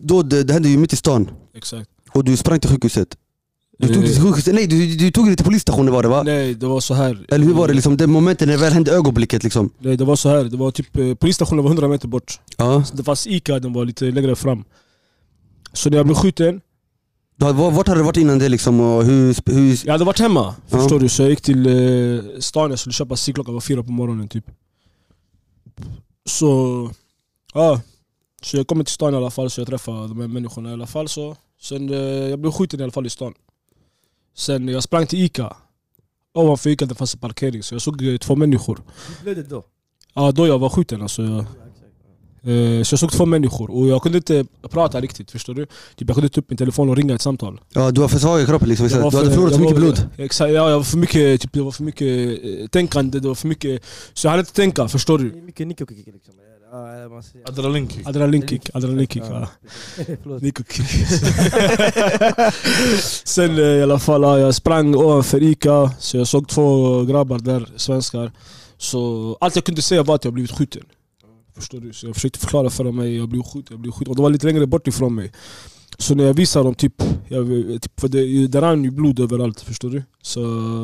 S1: då det, det hände ju mitt i stan.
S2: exakt.
S1: Och du sprang till sjukhuset. Du tog
S2: Eh,
S1: dig till sjukhuset, nej du, du tog dig till polisstationen var det va?
S2: Nej, det var så här.
S1: Eller hur var det liksom, det momentet när det väl hände, ögonblicket liksom?
S2: Nej, det var så här. Det var typ, eh, polisstationen var 100 meter bort.
S1: Ja.
S2: Så Det fanns Ica, den var lite längre fram. Så när jag blev skjuten,
S1: Du hade, vart hade du varit innan det liksom? Och hur, sp- hur,
S2: jag hade varit hemma.
S1: Ja.
S2: Förstår du? Så jag gick till eh, stan, jag skulle köpa cigg, klockan var fyra på morgonen typ. Så, ja. Så jag kommer till stan i alla fall, så jag träffade de här människorna i alla fall. Så. Sen eh, jag blev skjuten i alla fall i stan. Sen jag sprang till Ica. Ovanför Ica det fanns en parkering, så jag såg eh, två människor.
S4: Du blödde då.
S2: Ja, då jag var skjuten alltså. Jag,
S4: Ja, exakt.
S2: Eh, Så jag såg två människor och jag kunde inte prata riktigt, förstår du? Typ jag kunde ta upp min telefon och ringa ett samtal.
S1: ja, du var för svag i kroppen liksom,
S2: Jag var
S1: exakt. du
S2: för-
S1: hade förlorat så
S2: jag
S1: mycket
S2: var-
S1: blod.
S2: Exakt, ja, jag var för mycket, typ, det var för mycket eh, tänkande, det var för mycket... Så jag hade inte tänka, förstår
S4: Det
S2: du?
S4: är Mycket nick-och-kick liksom. Ja, eller man säger.
S3: Adrenalinkick.
S2: Adrenalinkick, adrenalinkick. Ja.
S4: Ja. Förlåt.
S2: Nicokick. Sen eh, i alla fall, ja, jag sprang ovanför Ica, så jag såg två grabbar där, svenskar. Så allt jag kunde säga var att jag blivit skjuten. Förstår du? Så jag försökte förklara för dem att jag blev skjuten, jag blev skjuten. Och de var lite längre bort ifrån mig. Så när jag visade dem, typ, jag, typ för det, det rann ju blod överallt, förstår du? Så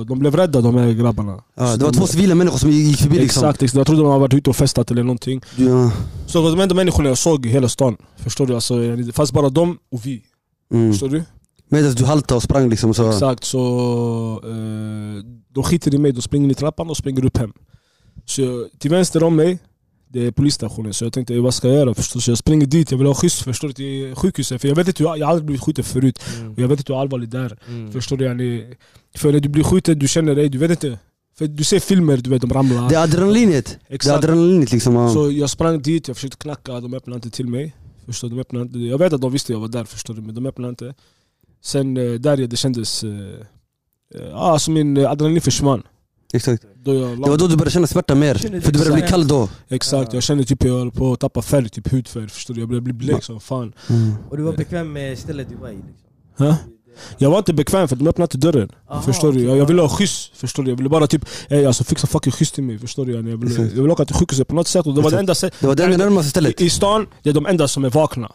S2: de blev rädda de här grabbarna.
S1: Ja,
S2: Så
S1: det var
S2: de-
S1: två civila människor som gick förbi liksom.
S2: Exakt, exakt, jag trodde de hade varit ute och festat eller någonting.
S1: Du, ja.
S2: Så det var de enda människorna jag såg i hela stan. Förstår du? Alltså, det fanns bara de och vi.
S1: mm.
S2: Förstår du?
S1: Medan du haltade och sprang liksom. Så.
S2: Exakt, så eh, de skiter i mig, de springer i trappan och springer upp hem. Så jag, till vänster om mig, det är polisstationen, så jag tänkte "Ey, vad ska jag göra? Förstår? du? Så jag springer dit, jag vill ha skjuts förstår du, till sjukhuset. För jag vet inte, hur- jag har aldrig blivit skjuten förut.
S3: Mm.
S2: Och jag vet inte hur allvarligt det är.
S3: Mm.
S2: Förstår du? yani? För när du blir skjuten, du känner dig, du vet inte. För du ser filmer, du vet de ramlar.
S1: Det är adrenalinet. Det är
S2: Exakt.
S1: adrenalinet liksom. Ja.
S2: Så jag sprang dit, jag försökte knacka, de öppnade inte till mig. Förstår du? De öppnade inte. Jag vet att de visste jag var där förstår du, men de öppnade inte. Sen eh, där ja, det kändes... Eh, eh, ah, alltså min eh, adrenalin försvann.
S1: Exakt.
S2: Då jag la-
S1: Det var då du började känna smärta mer.
S4: Känner du
S1: För du började bli
S4: exakt.
S1: kall då.
S2: Exakt, jag kände typ jag höll på att tappa färg, typ hudfärg. Förstår du? Jag började bli blek som fan.
S1: Mm.
S4: Och du var bekväm med stället du var i liksom.
S2: Huh? Jag var inte bekväm för de öppnade inte dörren.
S4: Aha,
S2: förstår du?
S4: okej.
S2: Jag, jag ville ha skjuts. Förstår du? Jag ville bara typ, ey alltså fixa fucking skjuts till mig. Förstår du? Jag ville, jag
S1: Exakt.
S2: ville åka till sjukhuset på något sätt. Och det var det enda sätt.
S1: Det var det enda närmaste stället.
S2: I, I stan, det är de enda som är vakna.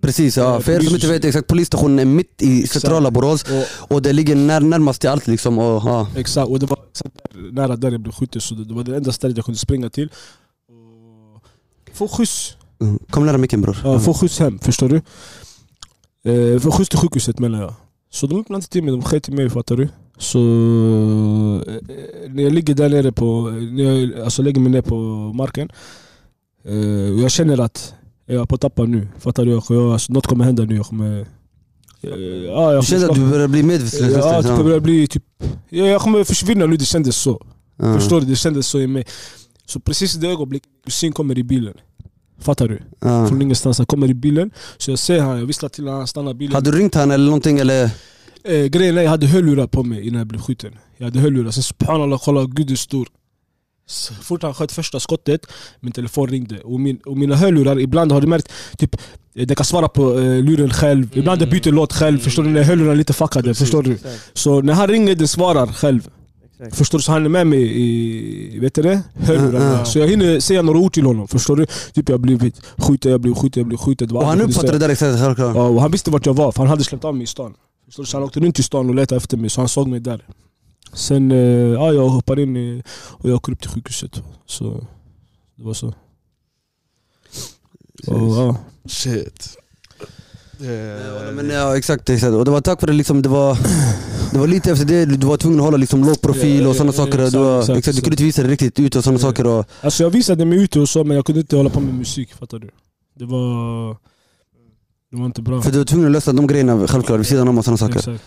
S1: Precis, ja.
S2: Ja,
S1: för er som inte
S2: polisen-
S1: vet exakt, polisstationen är mitt i
S2: Exakt.
S1: centrala Borås
S2: Och,
S1: och det ligger när, närmast till allt liksom. Och, ja.
S2: Exakt, och det var exakt där, nära där jag blev skjuten så det, det var det enda stället jag kunde springa till. Och få skjuts,
S1: Mm. Kom nära micken bror.
S2: ja, få skjuts hem, förstår du? Eh, få skjuts till sjukhuset menar jag. Så de öppnade inte till mig, de sket i mig fattar du. Så eh, när jag ligger där nere på, när jag alltså, lägger mig ner på marken. Eh, och jag känner att jag är på att tappa nu, fattar du? Jag, jag, alltså, något kommer hända nu, jag kommer... Eh, ja, jag
S1: Du kände att du började bli medvetslös
S2: Ja, typ,
S1: nästan,
S2: jag börjar bli typ... Jag, jag kommer försvinna nu, det kändes så.
S1: Ja.
S2: Förstår du? Det kändes så i mig. Så precis i det ögonblicket kusin kommer i bilen. Fattar du?
S1: Ja.
S2: Från ingenstans. Han kommer i bilen. Så jag ser han, jag visslar till honom, han stannar bilen.
S1: Hade du ringt han eller någonting eller?
S2: Eh, grejen är, jag hade hörlurar på mig innan jag blev skjuten. Jag hade hörlurar. Sen subhanallah, kolla gud är stor. Så fort han sköt första skottet, min telefon ringde. Och, min, och mina hörlurar, ibland har du märkt, typ, eh, det kan svara på eh, luren själv. Ibland det byter låt själv. Förstår du? När hörlurarna är lite fuckade. Förstår du?
S4: Exakt.
S2: Så när han ringer, den svarar själv.
S4: Exakt.
S2: Förstår du? Så han är med mig i, vet du det? Hörlurarna.
S1: Mm, mm.
S2: Så jag hinner säga några ord till honom. Förstår du? Typ jag har blivit skjuten, jag blev skjuten, jag blev skjuten. Det var
S1: Och han
S2: allt jag ville
S1: uppfattade det där exakt, självklart.
S2: säga. Ja, och han visste vart jag var, för han hade släppt av mig i stan. Förstår du? Så han åkte runt i stan och letade efter mig, så han såg mig där. Sen, eh, ja, jag hoppar in i, och jag åker upp till sjukhuset. Så det var så. Och, ja.
S3: Shit.
S2: Eh,
S1: Ja, Men ja, exakt, exakt. Och det var tack vare liksom, det var, det var lite efter det du var tvungen att hålla liksom låg profil
S2: Ja,
S1: och sådana
S2: ja, ja,
S1: saker. Du,
S2: exakt,
S1: var,
S2: exakt,
S1: exakt, du
S2: så.
S1: kunde inte visa dig riktigt ut och sådana
S2: Ja.
S1: saker. Och,
S2: Alltså jag visade mig ute och så, men jag kunde inte hålla på med musik. Fattar du? Det var... Det var inte bra.
S1: för du var tvungen att lösa de grejerna självklart, vid sidan om och sådana saker.
S2: Exakt.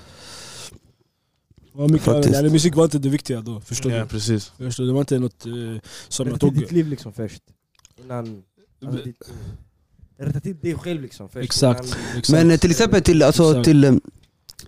S2: Ja, mycket,
S1: Faktiskt.
S2: eller, musik var inte det viktiga då, förstår
S3: Ja, precis.
S2: du? Förstår, du? det var inte något eh, som jag
S4: Rätta till
S2: tog...
S4: ditt liv liksom först. Innan... Alltså, ditt, rätta till dig själv liksom först.
S2: Exakt.
S4: Innan,
S2: exakt.
S1: Men eh, till exempel till, alltså,
S2: Exakt.
S1: till, eh,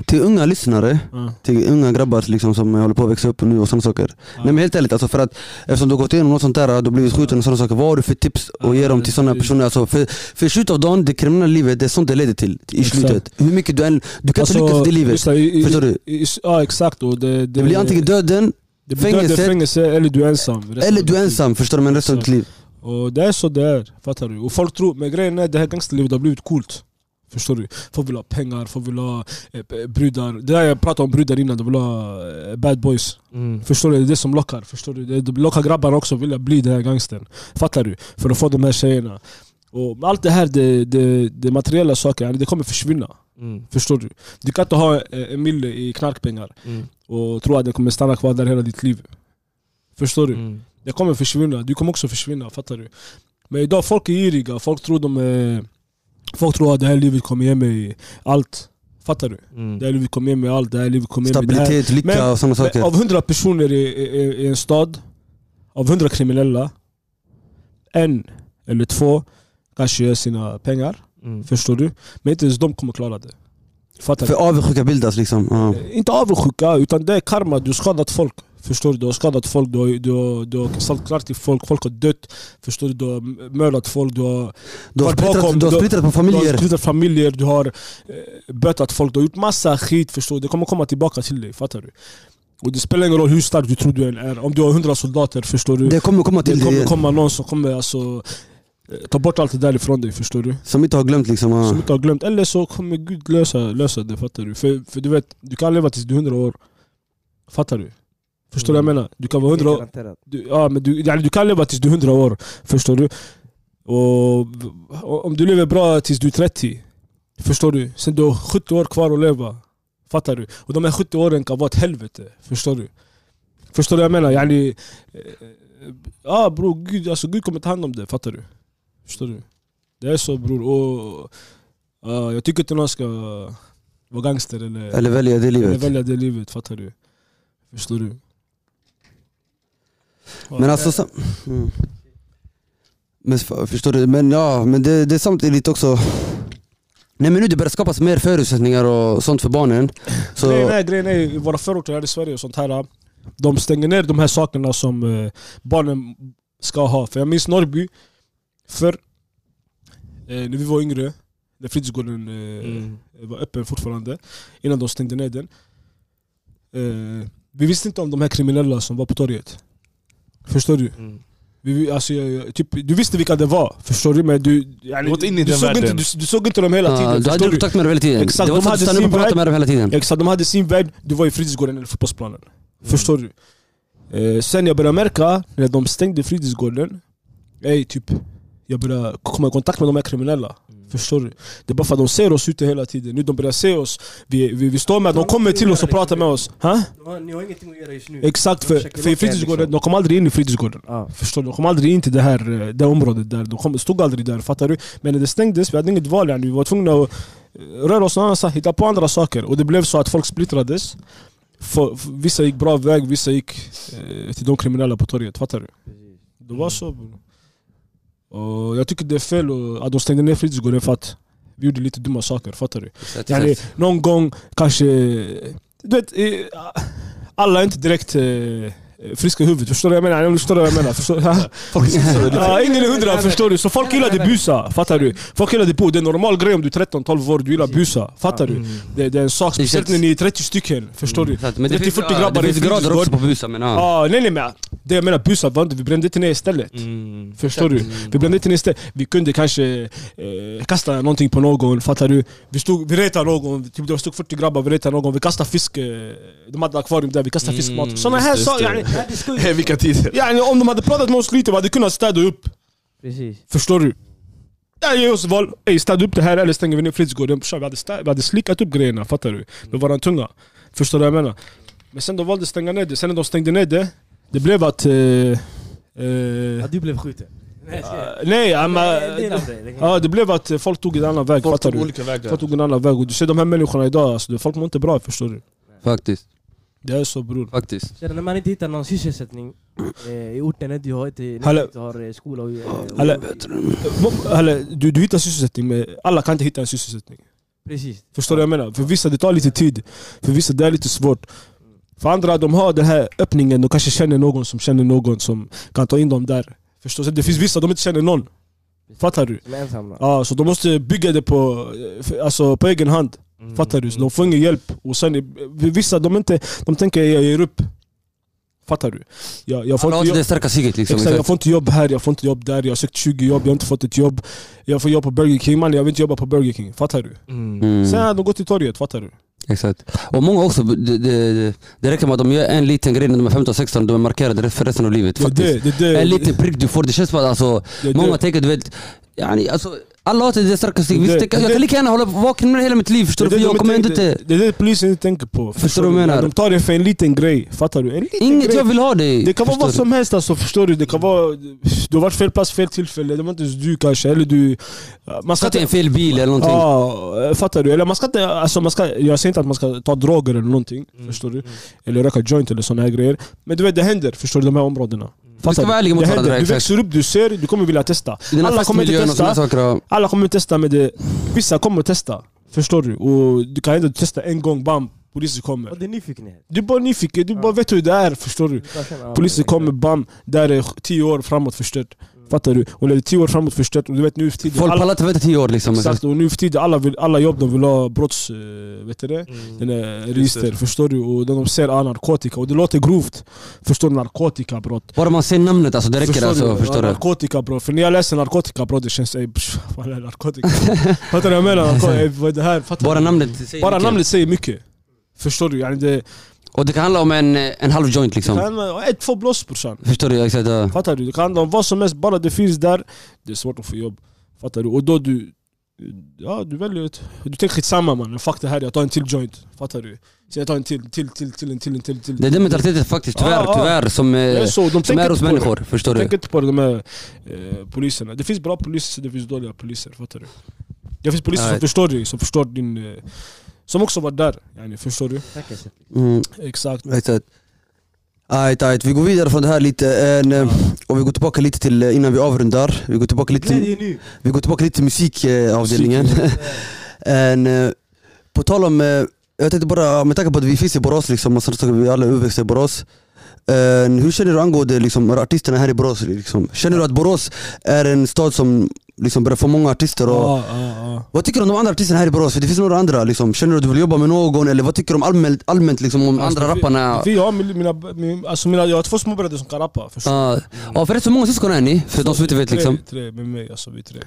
S1: till unga lyssnare,
S2: Ja.
S1: till unga grabbar liksom, som håller på att växa upp nu och sådana saker.
S2: Ja.
S1: Nej men helt ärligt, alltså, för att eftersom du har gått igenom något sånt där, du har blivit skjuten och sådana saker. Vad har du för tips att
S2: Ja,
S1: ge dem till sådana
S2: precis.
S1: personer? Alltså, för, för i slutet av dagen, det kriminella livet, det är sånt det leder till i
S2: Exakt.
S1: slutet. Hur mycket du än, du kan inte lyckas i livet.
S2: Alltså, lyssna, i- i-
S1: Förstår du?
S2: i- i- Ja exakt. Och det, det,
S1: Det blir antingen döden,
S2: det blir döden,
S1: fängelse.
S2: fängelse eller du är ensam. resten
S1: Eller
S2: av
S1: du
S2: ditt
S1: är
S2: liv.
S1: ensam, förstår du? Men resten av ditt liv.
S2: Och det är så det är, fattar du? Och folk tror, men grejen är det här gangsterlivet har blivit coolt. Förstår du? Folk vill ha pengar, folk vill ha eh, p- brudar. Det där jag pratade om brudar innan, de vill ha eh, bad boys.
S3: Mm.
S2: Förstår du? Det är det som lockar. Förstår du? Det det lockar grabbarna också att vilja bli den här gangstern. Fattar du? För att få de här tjejerna. Och allt det här, det, det, det materiella saker, yani, det kommer försvinna.
S3: Mm.
S2: Förstår du? Du kan inte ha eh, en mille i knarkpengar
S3: Mm.
S2: och tro att det kommer stanna kvar där hela ditt liv. Förstår du?
S3: Mm.
S2: Det kommer försvinna, du kommer också försvinna, fattar du? Men idag, folk är giriga, folk tror de är... Folk tror att det här livet kommer ge mig allt. Fattar du?
S3: Mm.
S2: Det här livet kommer ge mig allt, det här livet kommer ge mig det här.
S1: Stabilitet, lycka
S2: Men-
S1: och sådana
S2: Men
S1: saker.
S2: Av 100 personer i, i, i en stad, av 100 kriminella, en eller två kanske gör sina pengar.
S3: Mm.
S2: Förstår du? Men inte ens de kommer klara det. Fattar
S1: För
S2: du?
S1: avundsjuka bildas liksom. Ja.
S2: Inte avundsjuka, utan det är karma. Du har skadat folk. Förstår du? Du har skadat folk, du har, du har, du har ställt klart till folk, folk har dött. Förstår du? Du har m- mördat folk, du har,
S1: Du har
S2: Vart bakom-
S1: splittrat, du har
S2: du-
S1: splittrat på
S2: du har
S1: familjer.
S2: splittrat familjer, du har eh, bötat folk, du har gjort massa skit. Förstår du? Det kommer komma tillbaka till dig, fattar du? Och det spelar ingen roll hur stark du tror du än är. Om du har 100 soldater, förstår du?
S1: Det kommer komma till
S2: Det
S1: dig
S2: kommer
S1: igen,
S2: komma någon som kommer alltså, eh, ta bort allt det där ifrån dig, förstår du?
S1: som inte har glömt liksom.
S2: Som
S1: Ja.
S2: inte har glömt. Eller så kommer Gud lösa, lösa det, fattar du? För, för du vet, du kan leva tills du är 100 år. Fattar du? Förstår
S1: Mm.
S2: du vad jag menar? Du kan vara 100 år.
S4: garanterat.
S2: Du, ja, men du, yani, du kan leva tills du är 100 år. Förstår du? Och, och om du lever bra tills du är 30. Förstår du? Sen du har 70 år kvar att leva. Fattar du? Och de här 70 åren kan vara ett helvete. Förstår du? Förstår du vad jag menar? Yani, eh, ja bror, Gud, alltså, Gud kommer ta hand om det. Fattar du? Förstår du? Det är så bror. Och, ja, jag tycker inte någon ska vara gangster eller,
S1: Eller välja det
S2: eller
S1: livet.
S2: välja det livet. Fattar du? Förstår du?
S1: Men
S2: eh,
S1: alltså... sam- Mm. Men s- förstår du? Men ja, men det, det är samtidigt också... Nej men nu det börjar skapas mer förutsättningar och sånt för barnen.
S2: Grejen
S1: Så,
S2: är, grejen är, i våra förorter här i Sverige och sånt här. äh, De stänger ner de här sakerna som eh, barnen ska ha. För jag minns Norrby, för eh, när vi var yngre, när fritidsgården eh,
S3: Mm.
S2: var öppen fortfarande, innan de stängde ner den. Eh, vi visste inte om de här kriminella som var på torget. Förstår du?
S3: Mm.
S2: Vi- Vi, alltså, jag, jag, typ, du visste vilka det var, förstår du? Men du, yani,
S3: Du gått in i
S2: du,
S3: den
S2: såg inte,
S3: världen.
S2: du, du såg inte dem hela tiden.
S1: ja, du
S2: förstår
S1: hade
S2: du?
S1: kontakt med dem hela tiden.
S2: Exakt,
S1: det var
S2: de
S1: inte så att du
S2: hade
S1: stannade upp
S2: sin
S1: och pratade
S2: värld.
S1: med dem hela tiden.
S2: Exakt, de hade sin värld, du var i fritidsgården eller fotbollsplanen.
S1: Mm.
S2: Förstår du? Eh, sen jag började märka, när de stängde fritidsgården, ey, typ, jag började komma i kontakt med de här kriminella.
S1: Mm.
S2: Förstår du? Det är bara för att de ser oss ute hela tiden. Nu de börjar se oss, vi, vi, vi står med, de kommer till oss och pratar med oss. Ha?
S4: Ni har- Ni har ingenting att göra just nu.
S2: Exakt, för, för i fritidsgården,
S1: liksom.
S2: de kom aldrig in i fritidsgården.
S4: Ja.
S2: Förstår du? De kom aldrig in till det här eh, det området där. De kom, stod aldrig där, fattar du? Men när det stängdes, vi hade inget val. yani. Vi var tvungna att eh, röra oss någon annanstans, hitta på andra saker. Och det blev så att folk splittrades. För, för, vissa gick bra väg, vissa gick eh, till de kriminella på torget, fattar du? Det var så. bro. Och jag tycker det är fel och, att de stängde ner fritidsgården för att vi gjorde lite dumma saker, fattar du?
S1: Exakt,
S2: Yani,
S1: exakt.
S2: någon gång kanske... Du vet, eh, alla är inte direkt eh, eh, friska i huvudet. Förstår du vad jag menar? Förstår du vad jag menar? Förstår, ha? ja, ingen är hundra, förstår du? Så folk gillar det busa, fattar du? Folk gillar det på. Det är en normal grej om du är 13-12 år, du gillar busa. Fattar du? Det, det är en sak, speciellt när ni är 30 stycken. Förstår
S5: Mm.
S2: du?
S1: Men det finns,
S2: 30-40
S1: ja,
S2: grabbar
S1: det
S2: i
S1: finns grader
S2: fritidsgård.
S1: också på busa men ja.
S2: Ah, nej nej men det jag menar busa, var inte- vi brände inte ner istället.
S5: Mm.
S2: Förstår du? Vi brände inte ner istället. Vi kunde kanske eh, kasta någonting på någon, fattar du? Vi, stod, vi retade någon, typ det var stod 40 grabbar, vi retade någon, vi kastade fisk, eh, de hade akvarium där, vi kastade
S5: Mm,
S2: fiskmat. Sådana
S5: just
S2: här
S5: det, just
S2: saker.
S5: det.
S2: Yani,
S4: Ah,
S3: Eh, Vilka tider.
S2: yani, om de hade pratat med oss lite, vi hade kunnat städa upp.
S4: Precis.
S2: Förstår du? Ja, ge oss val. Ey, städa upp det här eller stänger vi ner fritidsgården. Brorsan, Vi hade, stä- vi hade slickat upp grejerna, fattar du? Med våran tunga. Förstår du vad jag menar? Men sen de valde att stänga ner det. Sen när de stängde ner det, det blev att... Eh, eh,
S4: Ja, du blev skjuten. Nej, jag skojar.
S2: nej, ja,
S4: Det
S2: men,
S4: är en del av det. liksom.
S2: ja, det blev att eh, folk tog en annan väg,
S3: Folk
S2: fattar
S3: tog
S2: du?
S3: olika
S2: Folk
S3: vägar.
S2: tog en annan väg. Och du ser de här människorna idag, alltså, folk mår inte bra, förstår du?
S1: Faktiskt,
S2: Det är så bror.
S1: faktiskt.
S4: Så när man inte hittar någon sysselsättning eh, i orten, när du har, inte, när
S2: Hallå.
S4: du inte har eh, skola och... eh,
S2: Hallå.
S4: och-
S2: Eh, eller, Du, du hittar sysselsättning, men alla kan inte hitta en sysselsättning.
S4: Precis.
S2: Förstår du vad jag menar? För vissa det tar lite tid, för vissa det är lite svårt. För andra de har den här öppningen, de kanske känner någon som känner någon som kan ta in dem där. Förstår du? Det finns vissa de inte känner någon. Fattar du?
S4: Som är ensam. då.
S2: Ja, så de måste bygga det på, eh, för- alltså, på egen hand.
S4: Mm,
S2: Fattar du? Så de får ingen hjälp. Och sen, eh, vissa de, inte, de tänker jag ger upp. Fattar du? Jag, jag, får
S1: Alla har
S2: inte
S1: inte
S2: jobb,
S1: det starka psyket liksom.
S2: exakt, jag
S1: Exakt.
S2: får inte jobb här, jag får inte jobb där. Jag har sökt 20 jobb, jag har inte fått ett jobb. Jag får jobb på Burger King, man, jag vill inte jobba på Burger King. Fattar du?
S5: Mm.
S1: Mm.
S2: Sen har de gått till torget, fattar du?
S1: Exakt. Och många också, det, det, det räcker med att de gör en liten grej när de är 15-16, de är markerade för resten av livet.
S2: Det är
S1: Faktiskt.
S2: det, det, är det,
S1: En liten prick du får, det känns som att alltså,
S2: det, är
S1: många
S2: det.
S1: tänker du vet, yani, alltså, alla har inte det starka psyket.
S2: Det-
S1: Visst, det kan- Jag
S2: det-
S1: kan lika gärna hålla vaken med hela mitt liv, förstår du?
S2: Det är
S1: För
S2: det
S1: jag
S2: de
S1: kommer ändå
S2: tänker-
S1: inte...
S2: Det det är det polisen inte tänker på.
S1: Förstår du vad jag menar?
S2: De tar det för en liten grej, fattar du? En liten
S1: Inget
S2: grej.
S1: jag vill ha dig.
S2: Det kan vara
S1: förstår
S2: vad
S1: du?
S2: som helst alltså, förstår du? Det kan vara... Du har varit fel plats, fel tillfälle. Det var inte ens du kanske, eller du... Man
S1: Satt i en fel bil eller någonting.
S2: Ja, fattar du? Eller man ska inte, alltså man ska, jag säger inte att man ska ta droger eller någonting, förstår du? Eller röka joint eller såna här grejer. Men du vet, det händer, förstår du, de här områdena. Fattar
S1: Vi ska vara ärliga mot
S2: Det
S1: varandra,
S2: händer.
S1: exakt.
S2: Du växer upp, du ser, du kommer vilja testa.
S1: I den här
S2: Alla kommer inte
S1: festmiljön och sådana
S2: testa,
S1: saker. ja.
S2: alla kommer att testa men det, vissa kommer att testa. Förstår du? Och du kan inte testa en gång, bam, polisen kommer.
S4: Och det är nyfikenhet.
S2: Du är bara nyfiken, du bara vet hur det är, förstår du?
S4: Du bara känner, ja,
S2: Polisen
S4: men-
S2: kommer, bam, där är tio år framåt förstört. Fattar du? Och när det är tio år framåt förstört, och du vet nu för tiden,
S1: Folk
S2: alla,
S1: pallar inte vänta tio år liksom.
S2: exakt, och nu för tiden alla, vill, alla jobb de vill ha brotts... eh, Vet du det? Den här register,
S3: Register.
S2: förstår du? Och när de ser ah, narkotika, och det låter grovt. Förstår du? Narkotikabrott.
S1: Bara man ser namnet alltså, det räcker alltså. Förstår du?
S2: Narkotika bro, för när jag läser narkotika bro, det känns ey psh, vad är narkotika? fattar du vad jag menar? Narko- ey, vad är det här? Fattar
S1: Bara
S2: du?
S1: namnet säger
S2: Bara
S1: mycket. Liksom.
S2: namnet säger mycket. Förstår du? Yani det,
S1: Och det kan handla om en, en halv joint
S2: det kan
S1: liksom.
S2: handla- ett, två blås brorsan.
S1: Förstår du? Exakt. ja.
S2: Fattar du? Det kan handla om vad som helst, bara det finns där. Det är svårt att få jobb. Fattar du? Och då du... Ja, du väljer ett... Du tänker skitsamma mannen, fuck det här, jag tar en till joint. Fattar du? Sen jag tar en till, till, till, till, en till, en till, till.
S1: Det är den mentaliteten faktiskt, tyvärr,
S2: Ja, ja.
S1: tyvärr som, eh,
S2: Det är så, de
S1: som
S2: tänker
S1: är hos
S2: inte på det.
S1: människor. Förstår du?
S2: Tänk inte på de här eh, poliserna. Det finns bra poliser, det finns dåliga poliser. Fattar du? Det finns poliser som
S1: Nej.
S2: förstår dig, som förstår din... Eh, som också var där. Yani, förstår du?
S4: Tack, Esse.
S1: Mm,
S2: Exakt.
S1: exakt. Ajt, ajt. Vi går vidare från det här lite, en, eh, och vi går tillbaka lite till, eh, innan vi avrundar, vi går tillbaka lite till,
S4: Glädje nu.
S1: vi går tillbaka lite till musikavdelningen. en, eh, på tal om, eh, jag tänkte bara, med tanke på att vi finns i Borås liksom, och sådana saker, vi är alla uppväxta i Borås. En, hur känner du angående liksom, artisterna här i Borås? Liksom? Känner du att Borås är en stad som liksom, börjar få många artister? Och,
S2: Ja, ja, ja.
S1: Vad tycker du om de andra artisterna här i Borås? För det finns några andra liksom. Känner du att du vill jobba med någon? Eller vad tycker du om allmänt, allmänt liksom, om
S2: Alltså,
S1: andra
S2: vi-
S1: rapparna?
S2: Vi har min- mina, min, alltså mina, jag har två småbröder som kan rappa. Förstår du?
S1: Ja, ja förresten hur många syskon är ni? För de som inte vet
S2: tre,
S1: liksom.
S2: Tre med mig, alltså vi tre.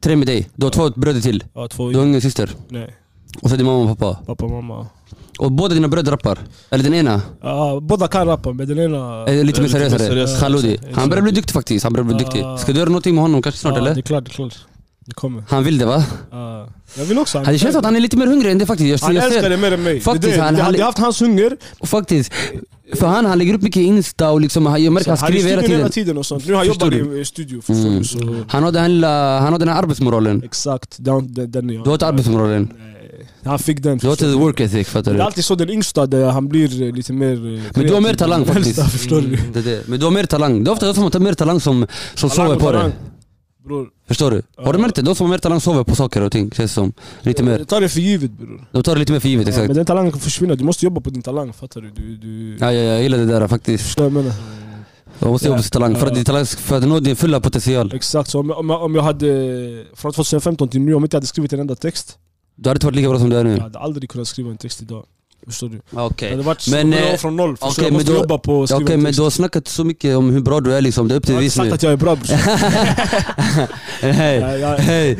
S1: Tre med dig. Du har två bröder till.
S2: Ja, två,
S1: Du har ingen syster.
S2: nej,
S1: Och så din mamma och pappa.
S2: pappa och mamma.
S1: Och båda dina bröder rappar. Eller den ena.
S2: Ja, båda kan rappa men den ena...
S1: Är Eh, lite mer
S3: lite mer
S1: seriösare.
S3: seriös.
S1: Khaludi. Han börjar bli duktig faktiskt. Han börjar bli
S2: Ja.
S1: duktig. Ska du göra någonting med honom kanske snart
S2: Ja, Det
S1: eller?
S2: är klart, det är klart. Det kommer.
S1: Han vill det va?
S2: Ja. jag vill också.
S1: Det känns som att han är lite mer hungrig än det faktiskt. Jag ser,
S2: Han
S1: jag
S2: älskar
S1: ser.
S2: det mer än mig.
S1: Faktiskt,
S2: det, är det,
S1: han-
S2: det,
S1: han-
S2: hade jag haft hans hunger,
S1: Faktiskt. För han, han lägger upp mycket Insta och liksom, han- jag märker att han
S2: är i
S1: skriver hela
S2: studion
S1: tiden.
S2: hela tiden och sånt. Nu har jag
S1: Förstår
S2: jobbat i i studio, förstår
S1: Mm.
S2: du? Så,
S1: Han har den här, lilla- han har den här arbetsmoralen.
S2: exakt, den, den, den är jag.
S1: Du har inte arbetsmoralen.
S2: Nej, Han fick den.
S1: Du har
S2: förstår
S1: inte work ethic,
S2: Det
S1: fattar
S2: är
S1: du?
S2: alltid så den yngsta, där han blir eh, lite mer... eh,
S1: Men du har mer
S2: kreativ.
S1: talang
S2: Den äldsta,
S1: faktiskt.
S2: Förstår du?
S1: Det är det. Men du har mer talang. Det är ofta därför man tar mer talang som, som
S2: Talang
S1: sover
S2: och
S1: på
S2: talang.
S1: det.
S2: Bror,
S1: Förstår du? Har du märkt det? De som har mer talang sover på saker och ting känns som. Lite mer.
S2: eh, ta det för givet bror.
S1: De tar det lite mer för givet
S2: Ja,
S1: exakt.
S2: men den talangen kan försvinna, du måste jobba på din talang fattar du? du, du
S1: Ja, ja, jag gillar det där faktiskt.
S2: Förstår vad jag menar?
S1: Man måste jobba på sin talang för att, din talang, för att nå din fulla potential.
S2: Exakt, så om, om, jag- om jag hade eh, från 2015 till nu, om jag inte hade skrivit en enda text,
S1: Du hade inte varit lika bra som du är nu.
S2: jag hade aldrig kunnat skriva en text idag. Förstår du? Det
S1: Okej.
S2: hade varit
S1: Men,
S2: men, bra
S1: eh,
S2: från noll, förstår
S1: okej,
S2: du? Jag
S1: men
S2: måste
S1: då-
S2: jobba på att
S1: Ja,
S2: skriva
S1: Okej,
S2: en
S1: men
S2: text.
S1: du har snackat så mycket om hur bra du är liksom. Det är upp till
S2: jag har inte
S1: bevis
S2: sagt
S1: nu.
S2: att jag är bra bror.
S1: Hej.
S2: Jag- jag-
S1: Hej.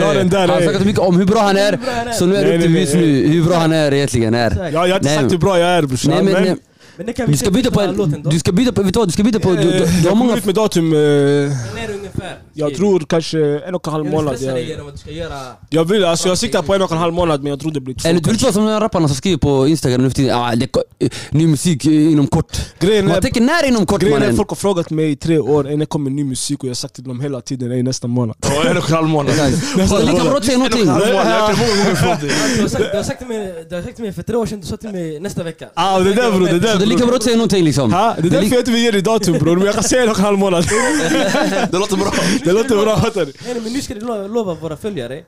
S2: la den där,
S1: Han har
S2: hej.
S1: snackat mycket om hur bra han är. Så nu är det
S2: Nej,
S1: upp till
S2: nej,
S1: bevis
S2: nej.
S1: nu hur bra han är egentligen. Är.
S4: Exakt.
S2: eh, Jag jag har inte
S1: Nej, men-
S2: sagt hur bra jag är brorsan.
S1: Nej, men,
S2: men-
S1: nej.
S4: Men det kan vi
S1: Du ska
S4: säga
S1: byta på
S4: på låten
S1: en...
S4: då.
S1: Du ska byta på... Vet du vad? Du ska byta på... Du, du,
S2: Eh,
S1: du har
S2: jag
S1: många...
S2: kommer ut med datum, eh,
S4: Den är ungefär.
S2: jag tror kanske en och en halv
S4: Kan du
S2: månad.
S4: stressa dig
S2: Jag,
S4: genom att du ska göra...
S2: jag vill, alltså jag siktar på en och en halv månad men jag tror det blir två.
S1: Eller du vill inte vara som de här rapparna som skriver på Instagram nu för tiden. Ah, det, eh, ny musik eh, inom kort.
S2: Grejen
S1: Man
S2: är,
S1: tänker när inom kort
S2: grejen är
S1: mannen?
S2: folk har frågat mig i tre år, "Ey, när kommer ny musik? Och jag har sagt till dem hela tiden, "Ey, nästa månad.
S3: Ja, en och en halv månad. En
S1: Det är lika bra att säga
S3: och en
S1: någonting.
S3: halv månad, jag är många gånger från dig.
S4: Alltså, Du har sagt- du har sagt till mig- du har sagt till mig för tre år sedan, du sa till mig nästa vecka.
S2: Ah, det där bror, det
S1: Så det är
S2: där
S1: lika bra
S2: bror.
S1: att säga någonting liksom.
S2: Ha? Det är därför jag inte vill ge dig datum bror, men jag kan säga en och en halv månad.
S3: Det låter bra.
S2: Det låter bra, fattar du?
S4: Nej, nej, men nu ska du lo- lova våra följare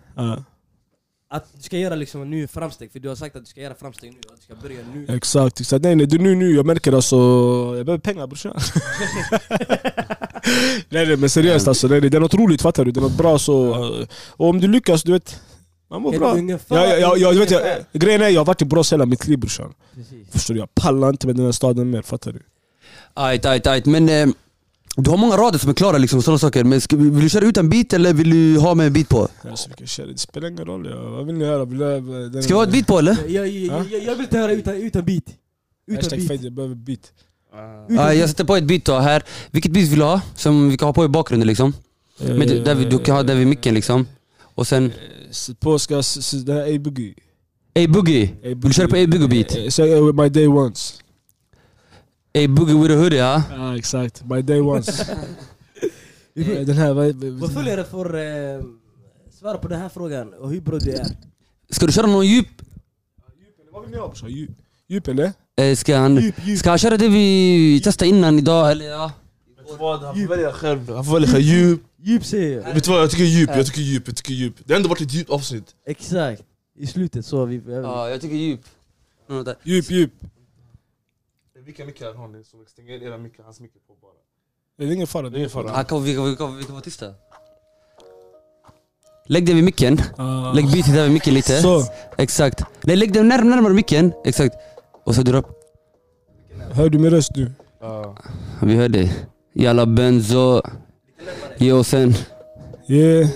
S4: att du ska göra liksom nu framsteg, för du har sagt att du ska göra framsteg nu och att du ska börja nu.
S2: Exakt, exakt. Nej nej, det är nu nu, jag märker alltså, jag behöver pengar brorsan. nej nej men seriöst alltså, nej, nej, det är något roligt fattar du, det är något bra så. eh, Och om du lyckas, du vet, man mår
S4: Ett
S2: bra.
S4: ungefär,
S2: Ja, ja, ja, ja, du vet, jag,
S4: ungefär.
S2: grejen är, jag har varit i Borås hela mitt liv brorsan.
S4: Precis.
S2: Förstår du? Jag pallar inte med den här staden mer, fattar du?
S1: Ajt, ajt, ajt. Men eh, du har många rader som är klara liksom, sådana saker. Men ska, vill du köra ut en bit eller vill du ha med en bit på?
S2: Alltså, vilken kärlek, det spelar ingen roll, ja. vad vill ni höra? Vill jag, den,
S1: Ska vi ha ett bit på eller?
S4: Jag, jag, jag, jag, jag vill inte höra utan, utan beat. Utan
S2: Hashtag
S4: beat.
S2: fade, jag behöver beat. Mm.
S1: Ah, Ja, jag sätter på ett beat då här. Vilket beat vill du ha? Som vi kan ha på i bakgrunden liksom. Men du, där vi, du kan ha där vid micken liksom. Och sen...
S2: Sätt Eh, på, ska jag s- s- den här A-Boogie.
S1: Ey Boogie.
S2: Vill
S1: du köra på A Boogie beat?
S2: Säg eh, My Day Once.
S1: Ey Boogie with a hoodie ja.
S2: Ja exakt, Ah, by day once. Eh, den här, vad,
S4: Våra följare får eh, svara på den här frågan och hur bra du är.
S1: Ska du köra någon djup?
S2: vad vill ni ha brorsan? Djup- Djup eller?
S1: Eh, ska han...
S2: Djup, djup.
S1: Ska han köra det vi testade innan idag eller ja?
S3: Vad, Han får välja själv. Han får välja djup.
S4: Djup säger jag.
S3: Vet du vad, jag tycker djup, jag tycker djup, jag tycker djup. Det har ändå varit ett djupt avsnitt.
S4: Exakt. I slutet så har vi...
S1: Ja, jag tycker djup. Något där.
S2: Djup, djup.
S3: Vilka mickar har ni som stänger era mickar, hans mickar på bara?
S2: Det är ingen fara. Det är ingen
S1: Ah, kan vi, kan vi, kan vi, kan vi vara tysta? Lägg dig vid micken.
S2: Ah.
S1: Lägg beatet där vid micken lite.
S2: Så,
S1: Exakt. Nej, lägg dig närmare, närmare micken. Exakt. Och så dra upp.
S2: hör du min röst nu?
S1: Vi hör dig. Jalla benzo. Ge oss en.
S2: Yeah.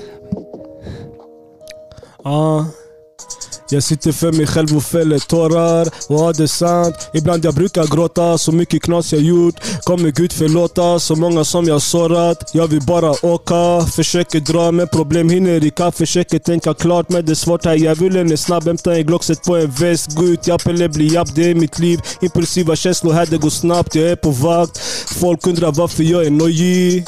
S2: Ah. Jag sitter för mig själv och fäller tårar, ja det är sant Ibland jag brukar gråta, så mycket knas jag gjort Kommer Gud förlåta, så många som jag sårat Jag vill bara åka, försöker dra men problem hinner ikapp Försöker tänka klart men det är svårt här Djävulen är snabb, hämta en Glock, sätt på en väst Gå ut, japp eller bli japp, det är mitt liv Impulsiva känslor här, det går snabbt, jag är på vakt Folk undrar varför jag är nojig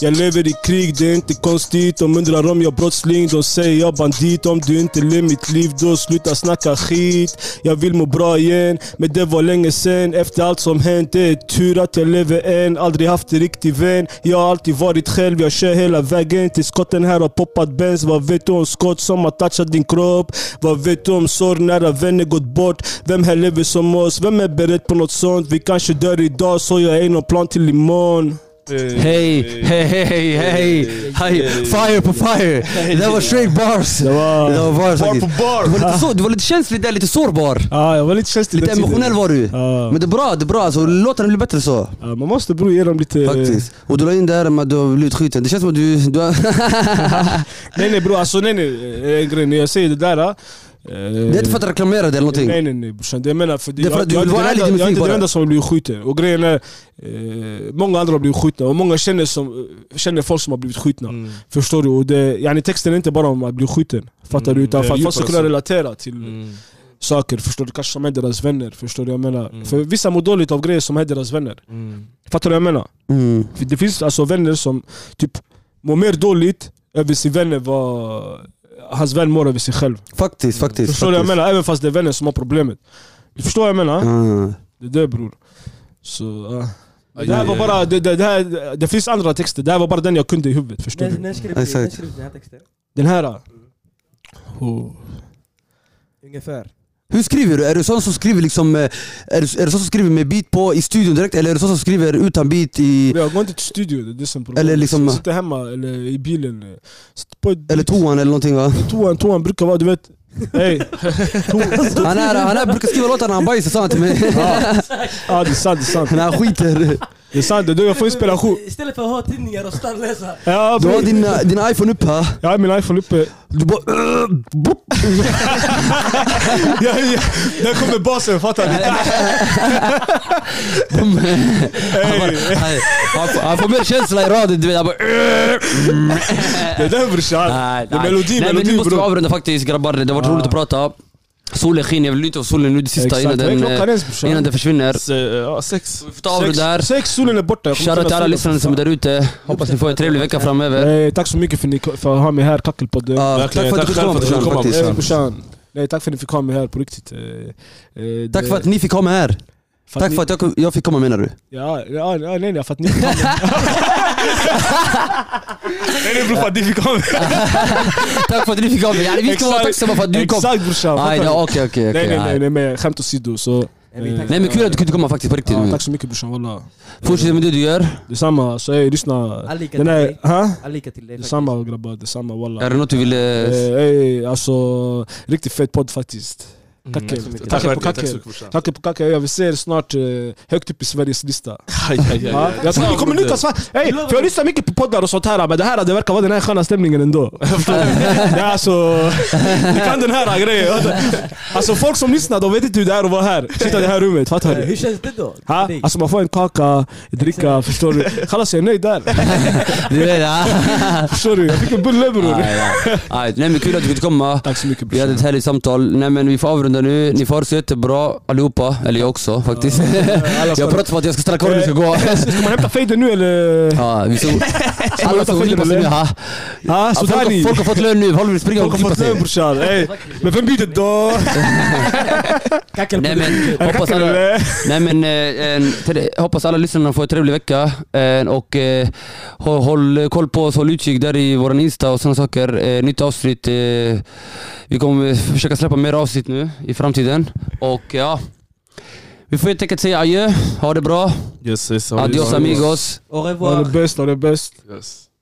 S2: jag lever i krig, det är inte konstigt. De undrar om jag brottsling, de säger jag bandit. Om du inte lever mitt liv, då sluta snacka skit. Jag vill må bra igen, men det var länge sen. Efter allt som hänt, det är tur att jag lever än. Aldrig haft en riktig vän. Jag har alltid varit själv, jag kör hela vägen. Till skotten här har poppat Benz. Vad vet du om skott som har touchat din kropp? Vad vet du om sorg, nära vänner gått bort? Vem här lever som oss? Vem är beredd på något sånt? Vi kanske dör idag, så jag är någon plan till imorgon.
S1: Hej, hej, hej, hej. Hej. Fire på fire. Det var straight bars.
S2: Det var...
S1: Det var bars
S3: Bar
S1: faktiskt.
S3: på bar!
S1: Du var lite, så, du var lite känslig där, lite sårbar.
S2: Ja, Ah, jag var lite känslig
S1: Lite
S2: den tiden.
S1: emotionell var du.
S2: Ja. Eh.
S1: Men det är bra, det är bra. Alltså, låt den bli bättre så.
S2: Ja, man måste bror ge dem lite...
S1: Faktiskt. Och du la in det här med att du har blivit skjuten. Det känns som att du... du har...
S2: Nej nej bror, alltså nej nej. eh, En grej, när jag säger det där... eh,
S1: Det är inte för att reklamera det eller någonting.
S2: Nej nej nej brorsan, det jag menar för...
S1: Det är för att du vill
S2: jag,
S1: vara
S2: jag,
S1: ärlig
S2: jag,
S1: till
S2: jag, är
S1: musik
S2: inte den
S1: bara.
S2: enda som har blivit skjuten. Och grejen är... Eh, många andra har blivit skjutna och många känner, som, känner folk som har blivit skjutna. Förstår du? Och det, yani, texten är inte bara om att bli skjuten. Fattar
S3: Mm,
S2: du? Utan
S3: det är
S2: för att
S3: djup
S2: folk ska kunna
S3: alltså.
S2: relatera till saker. Förstår du? Kanske som är deras vänner. Förstår du? Jag menar. För vissa mår dåligt av grejer som är deras vänner. Fattar du vad jag menar?
S1: Mm.
S2: För Det finns alltså vänner som typ mår mer dåligt över sin vän än vad hans vän mår över sig själv.
S1: Faktiskt, faktiskt.
S2: Förstår du vad jag
S1: faktiskt.
S2: menar? Även fast det är
S6: Ah.
S2: vänner som har problemet. Du förstår vad jag menar?
S1: Mm.
S2: Det är det bror. Så, ja. Det här var bara, det, det, det, här, det finns andra texter, det här var bara den jag kunde i huvudet förstår
S4: När
S2: du?
S4: när skrev
S6: Exakt.
S4: ni- när skrev ni den här texten?
S2: Den här... Oh.
S4: Ungefär.
S6: Hur skriver du? Är du sån som skriver liksom, eh, är du, är du sån som skriver med beat på i studion direkt eller är du sån som skriver utan beat i,
S2: Jag går inte till studio, det är det som är problemet.
S6: Eller liksom-
S2: Jag sitter hemma eller i bilen. Sitter på ett-
S6: eller toan eller någonting va?
S2: toan, toan brukar vara du vet... Hey. To,
S6: Han, är, han är, brukar skriva låtar när han bajsar sa han till mig.
S2: ja det är sant, det är sant.
S6: När han skiter.
S2: Det är sant, det är då jag får inspelation.
S4: Istället för att ha tidningar och standläsa.
S2: Ja,
S6: Du har
S2: bro.
S6: din, eh, din iPhone uppe här.
S2: Jag har min iPhone uppe.
S6: Du bara... eh, boop.
S2: Ja, ja. Där kommer basen, fattar du?
S6: Han bara- nej, han får- Han får mer känsla i radion. Du vet, han bara... eh.
S2: Det där brorsan.
S6: Nej,
S2: Det är
S6: nej.
S2: melodi,
S6: nej, men
S2: melodi,
S6: nu måste vi
S2: bro.
S6: avrunda faktiskt grabbar. Det har varit roligt att prata. Solen skiner, jag vill njuta av solen nu det sista
S2: Exakt,
S6: innan
S2: vad är
S6: den,
S2: klockan ens,
S6: eh,
S2: brorsan?
S6: innan den försvinner.
S3: Se- ja, sex.
S6: Vi får ta avrunda där.
S2: Sex, sex, solen är borta. jag kommer
S6: Shoutout
S2: inte
S6: till alla
S2: kunna
S6: lyssnare som är där ute. Hoppas ni får en trevlig vecka framöver.
S2: Nej, tack så mycket för, ni, för att ha mig här, Kackelpodden.
S6: Ja, "Ah, tack
S3: verkligen.
S6: för att
S3: Tack
S6: du fick
S3: själv
S6: komma
S3: för att du
S6: brorsan
S3: kom,
S6: faktiskt.
S2: Eh, brorsan, nej, tack för att ni fick ha mig här på riktigt. Eh, eh, det-
S6: Tack för att ni fick komma här.
S2: för
S6: Tack
S2: ni-
S6: för att jag, kom- jag fick komma menar du?
S2: Ja, ja, ja, nej, nej, för att ni fick ha mig. nej, nej bror, för att ni fick ha mig.
S6: Tack för att ni fick komma. Ja, Vi ska vara
S2: Exakt.
S6: tacksamma för att du kom.
S2: Exakt brorsan.
S6: Aj,
S2: fattar
S6: ja,
S2: du?
S6: Okej, okej,
S2: nej, nej, nej,
S6: okej.
S2: nej, men skämt åsido. Så, eh,
S6: Nej men kul att du kunde komma faktiskt på riktigt.
S2: ja,
S6: nu.
S2: tack så mycket brorsan, wallah.
S6: Fortsätt med det du gör.
S2: Detsamma, så ey, lyssna.
S4: All lycka
S2: Den
S4: till
S2: här,
S4: dig.
S2: ha?
S4: All lycka till dig.
S2: Detsamma grabbar, detsamma wallah.
S6: Är det något du vill...
S2: Eh,
S6: eh,
S2: Ey, alltså, riktigt fet podd faktiskt.
S3: Mm.
S2: Tack
S3: Tack
S2: så mycket.
S3: tack så
S2: Tack på
S3: mycket
S2: kacken.
S3: brorsan.
S2: Tack på kacka, jag vill se er snart eh, högt upp i Sveriges lista.
S3: Aj, aj, aj,
S2: Ja,
S3: aj.
S2: jag tror ni kommer
S3: Snabbt.
S2: njuta svart. Ey, för jag lyssnar mycket på poddar och sånt här men det här det verkar vara den här sköna stämningen ändå. det är alltså, ni kan den här grejen. Alltså folk som lyssnar de vet inte hur det är att vara här. Sitta i det här rummet, fattar
S4: Eh, Hur
S2: du?
S4: känns det då?
S2: Ha?
S4: För dig?
S2: Alltså man får en kaka, dricka, förstår du? Kallas jag är nöjd där.
S6: Du vet, ja.
S2: Förstår du? Jag fick en bulle bror.
S6: Nej, nej. Nej, nej men kul att du fick komma.
S2: Tack så mycket
S6: Vi hade
S2: brorsan.
S6: ett härligt samtal. Nej men vi får avrunda nu. Ni får ha det så jättebra allihopa. Eller jag också faktiskt.
S2: Alla
S6: Jag
S2: ska-
S6: pratar för att jag ska ställa kvar och ni ska gå.
S2: Ska man hämta fejden nu eller?
S6: Ja, vi såg... Alla som vill måste med ha.
S2: Ja,
S6: Ja,
S2: sådär
S6: Folk,
S2: ni.
S6: folk har fått lön nu, folk vill springa
S2: Folk har
S6: och klippa
S2: fått
S6: sig.
S2: lön brorsan. Ey, Men vem bjuder då?
S6: Nej
S2: Alltså,
S4: Kackelpodden.
S6: men, hoppas
S2: Kackel,
S6: alla,
S2: eller?
S6: nej, men eh, en, tre- hoppas alla lyssnarna får en trevlig vecka. Eh, och eh, hå- håll koll på oss, håll utkik där i våran Insta och sådana saker. Eh, nytt avsnitt. Eh, vi kommer försöka släppa mer avsnitt nu i framtiden. Och ja, vi får helt enkelt säga adjö. Ha det bra.
S3: Yes, yes,
S6: Adios amigos.
S4: Au
S2: Ha
S4: revoir.
S2: det bäst, ha det bäst.
S3: Yes.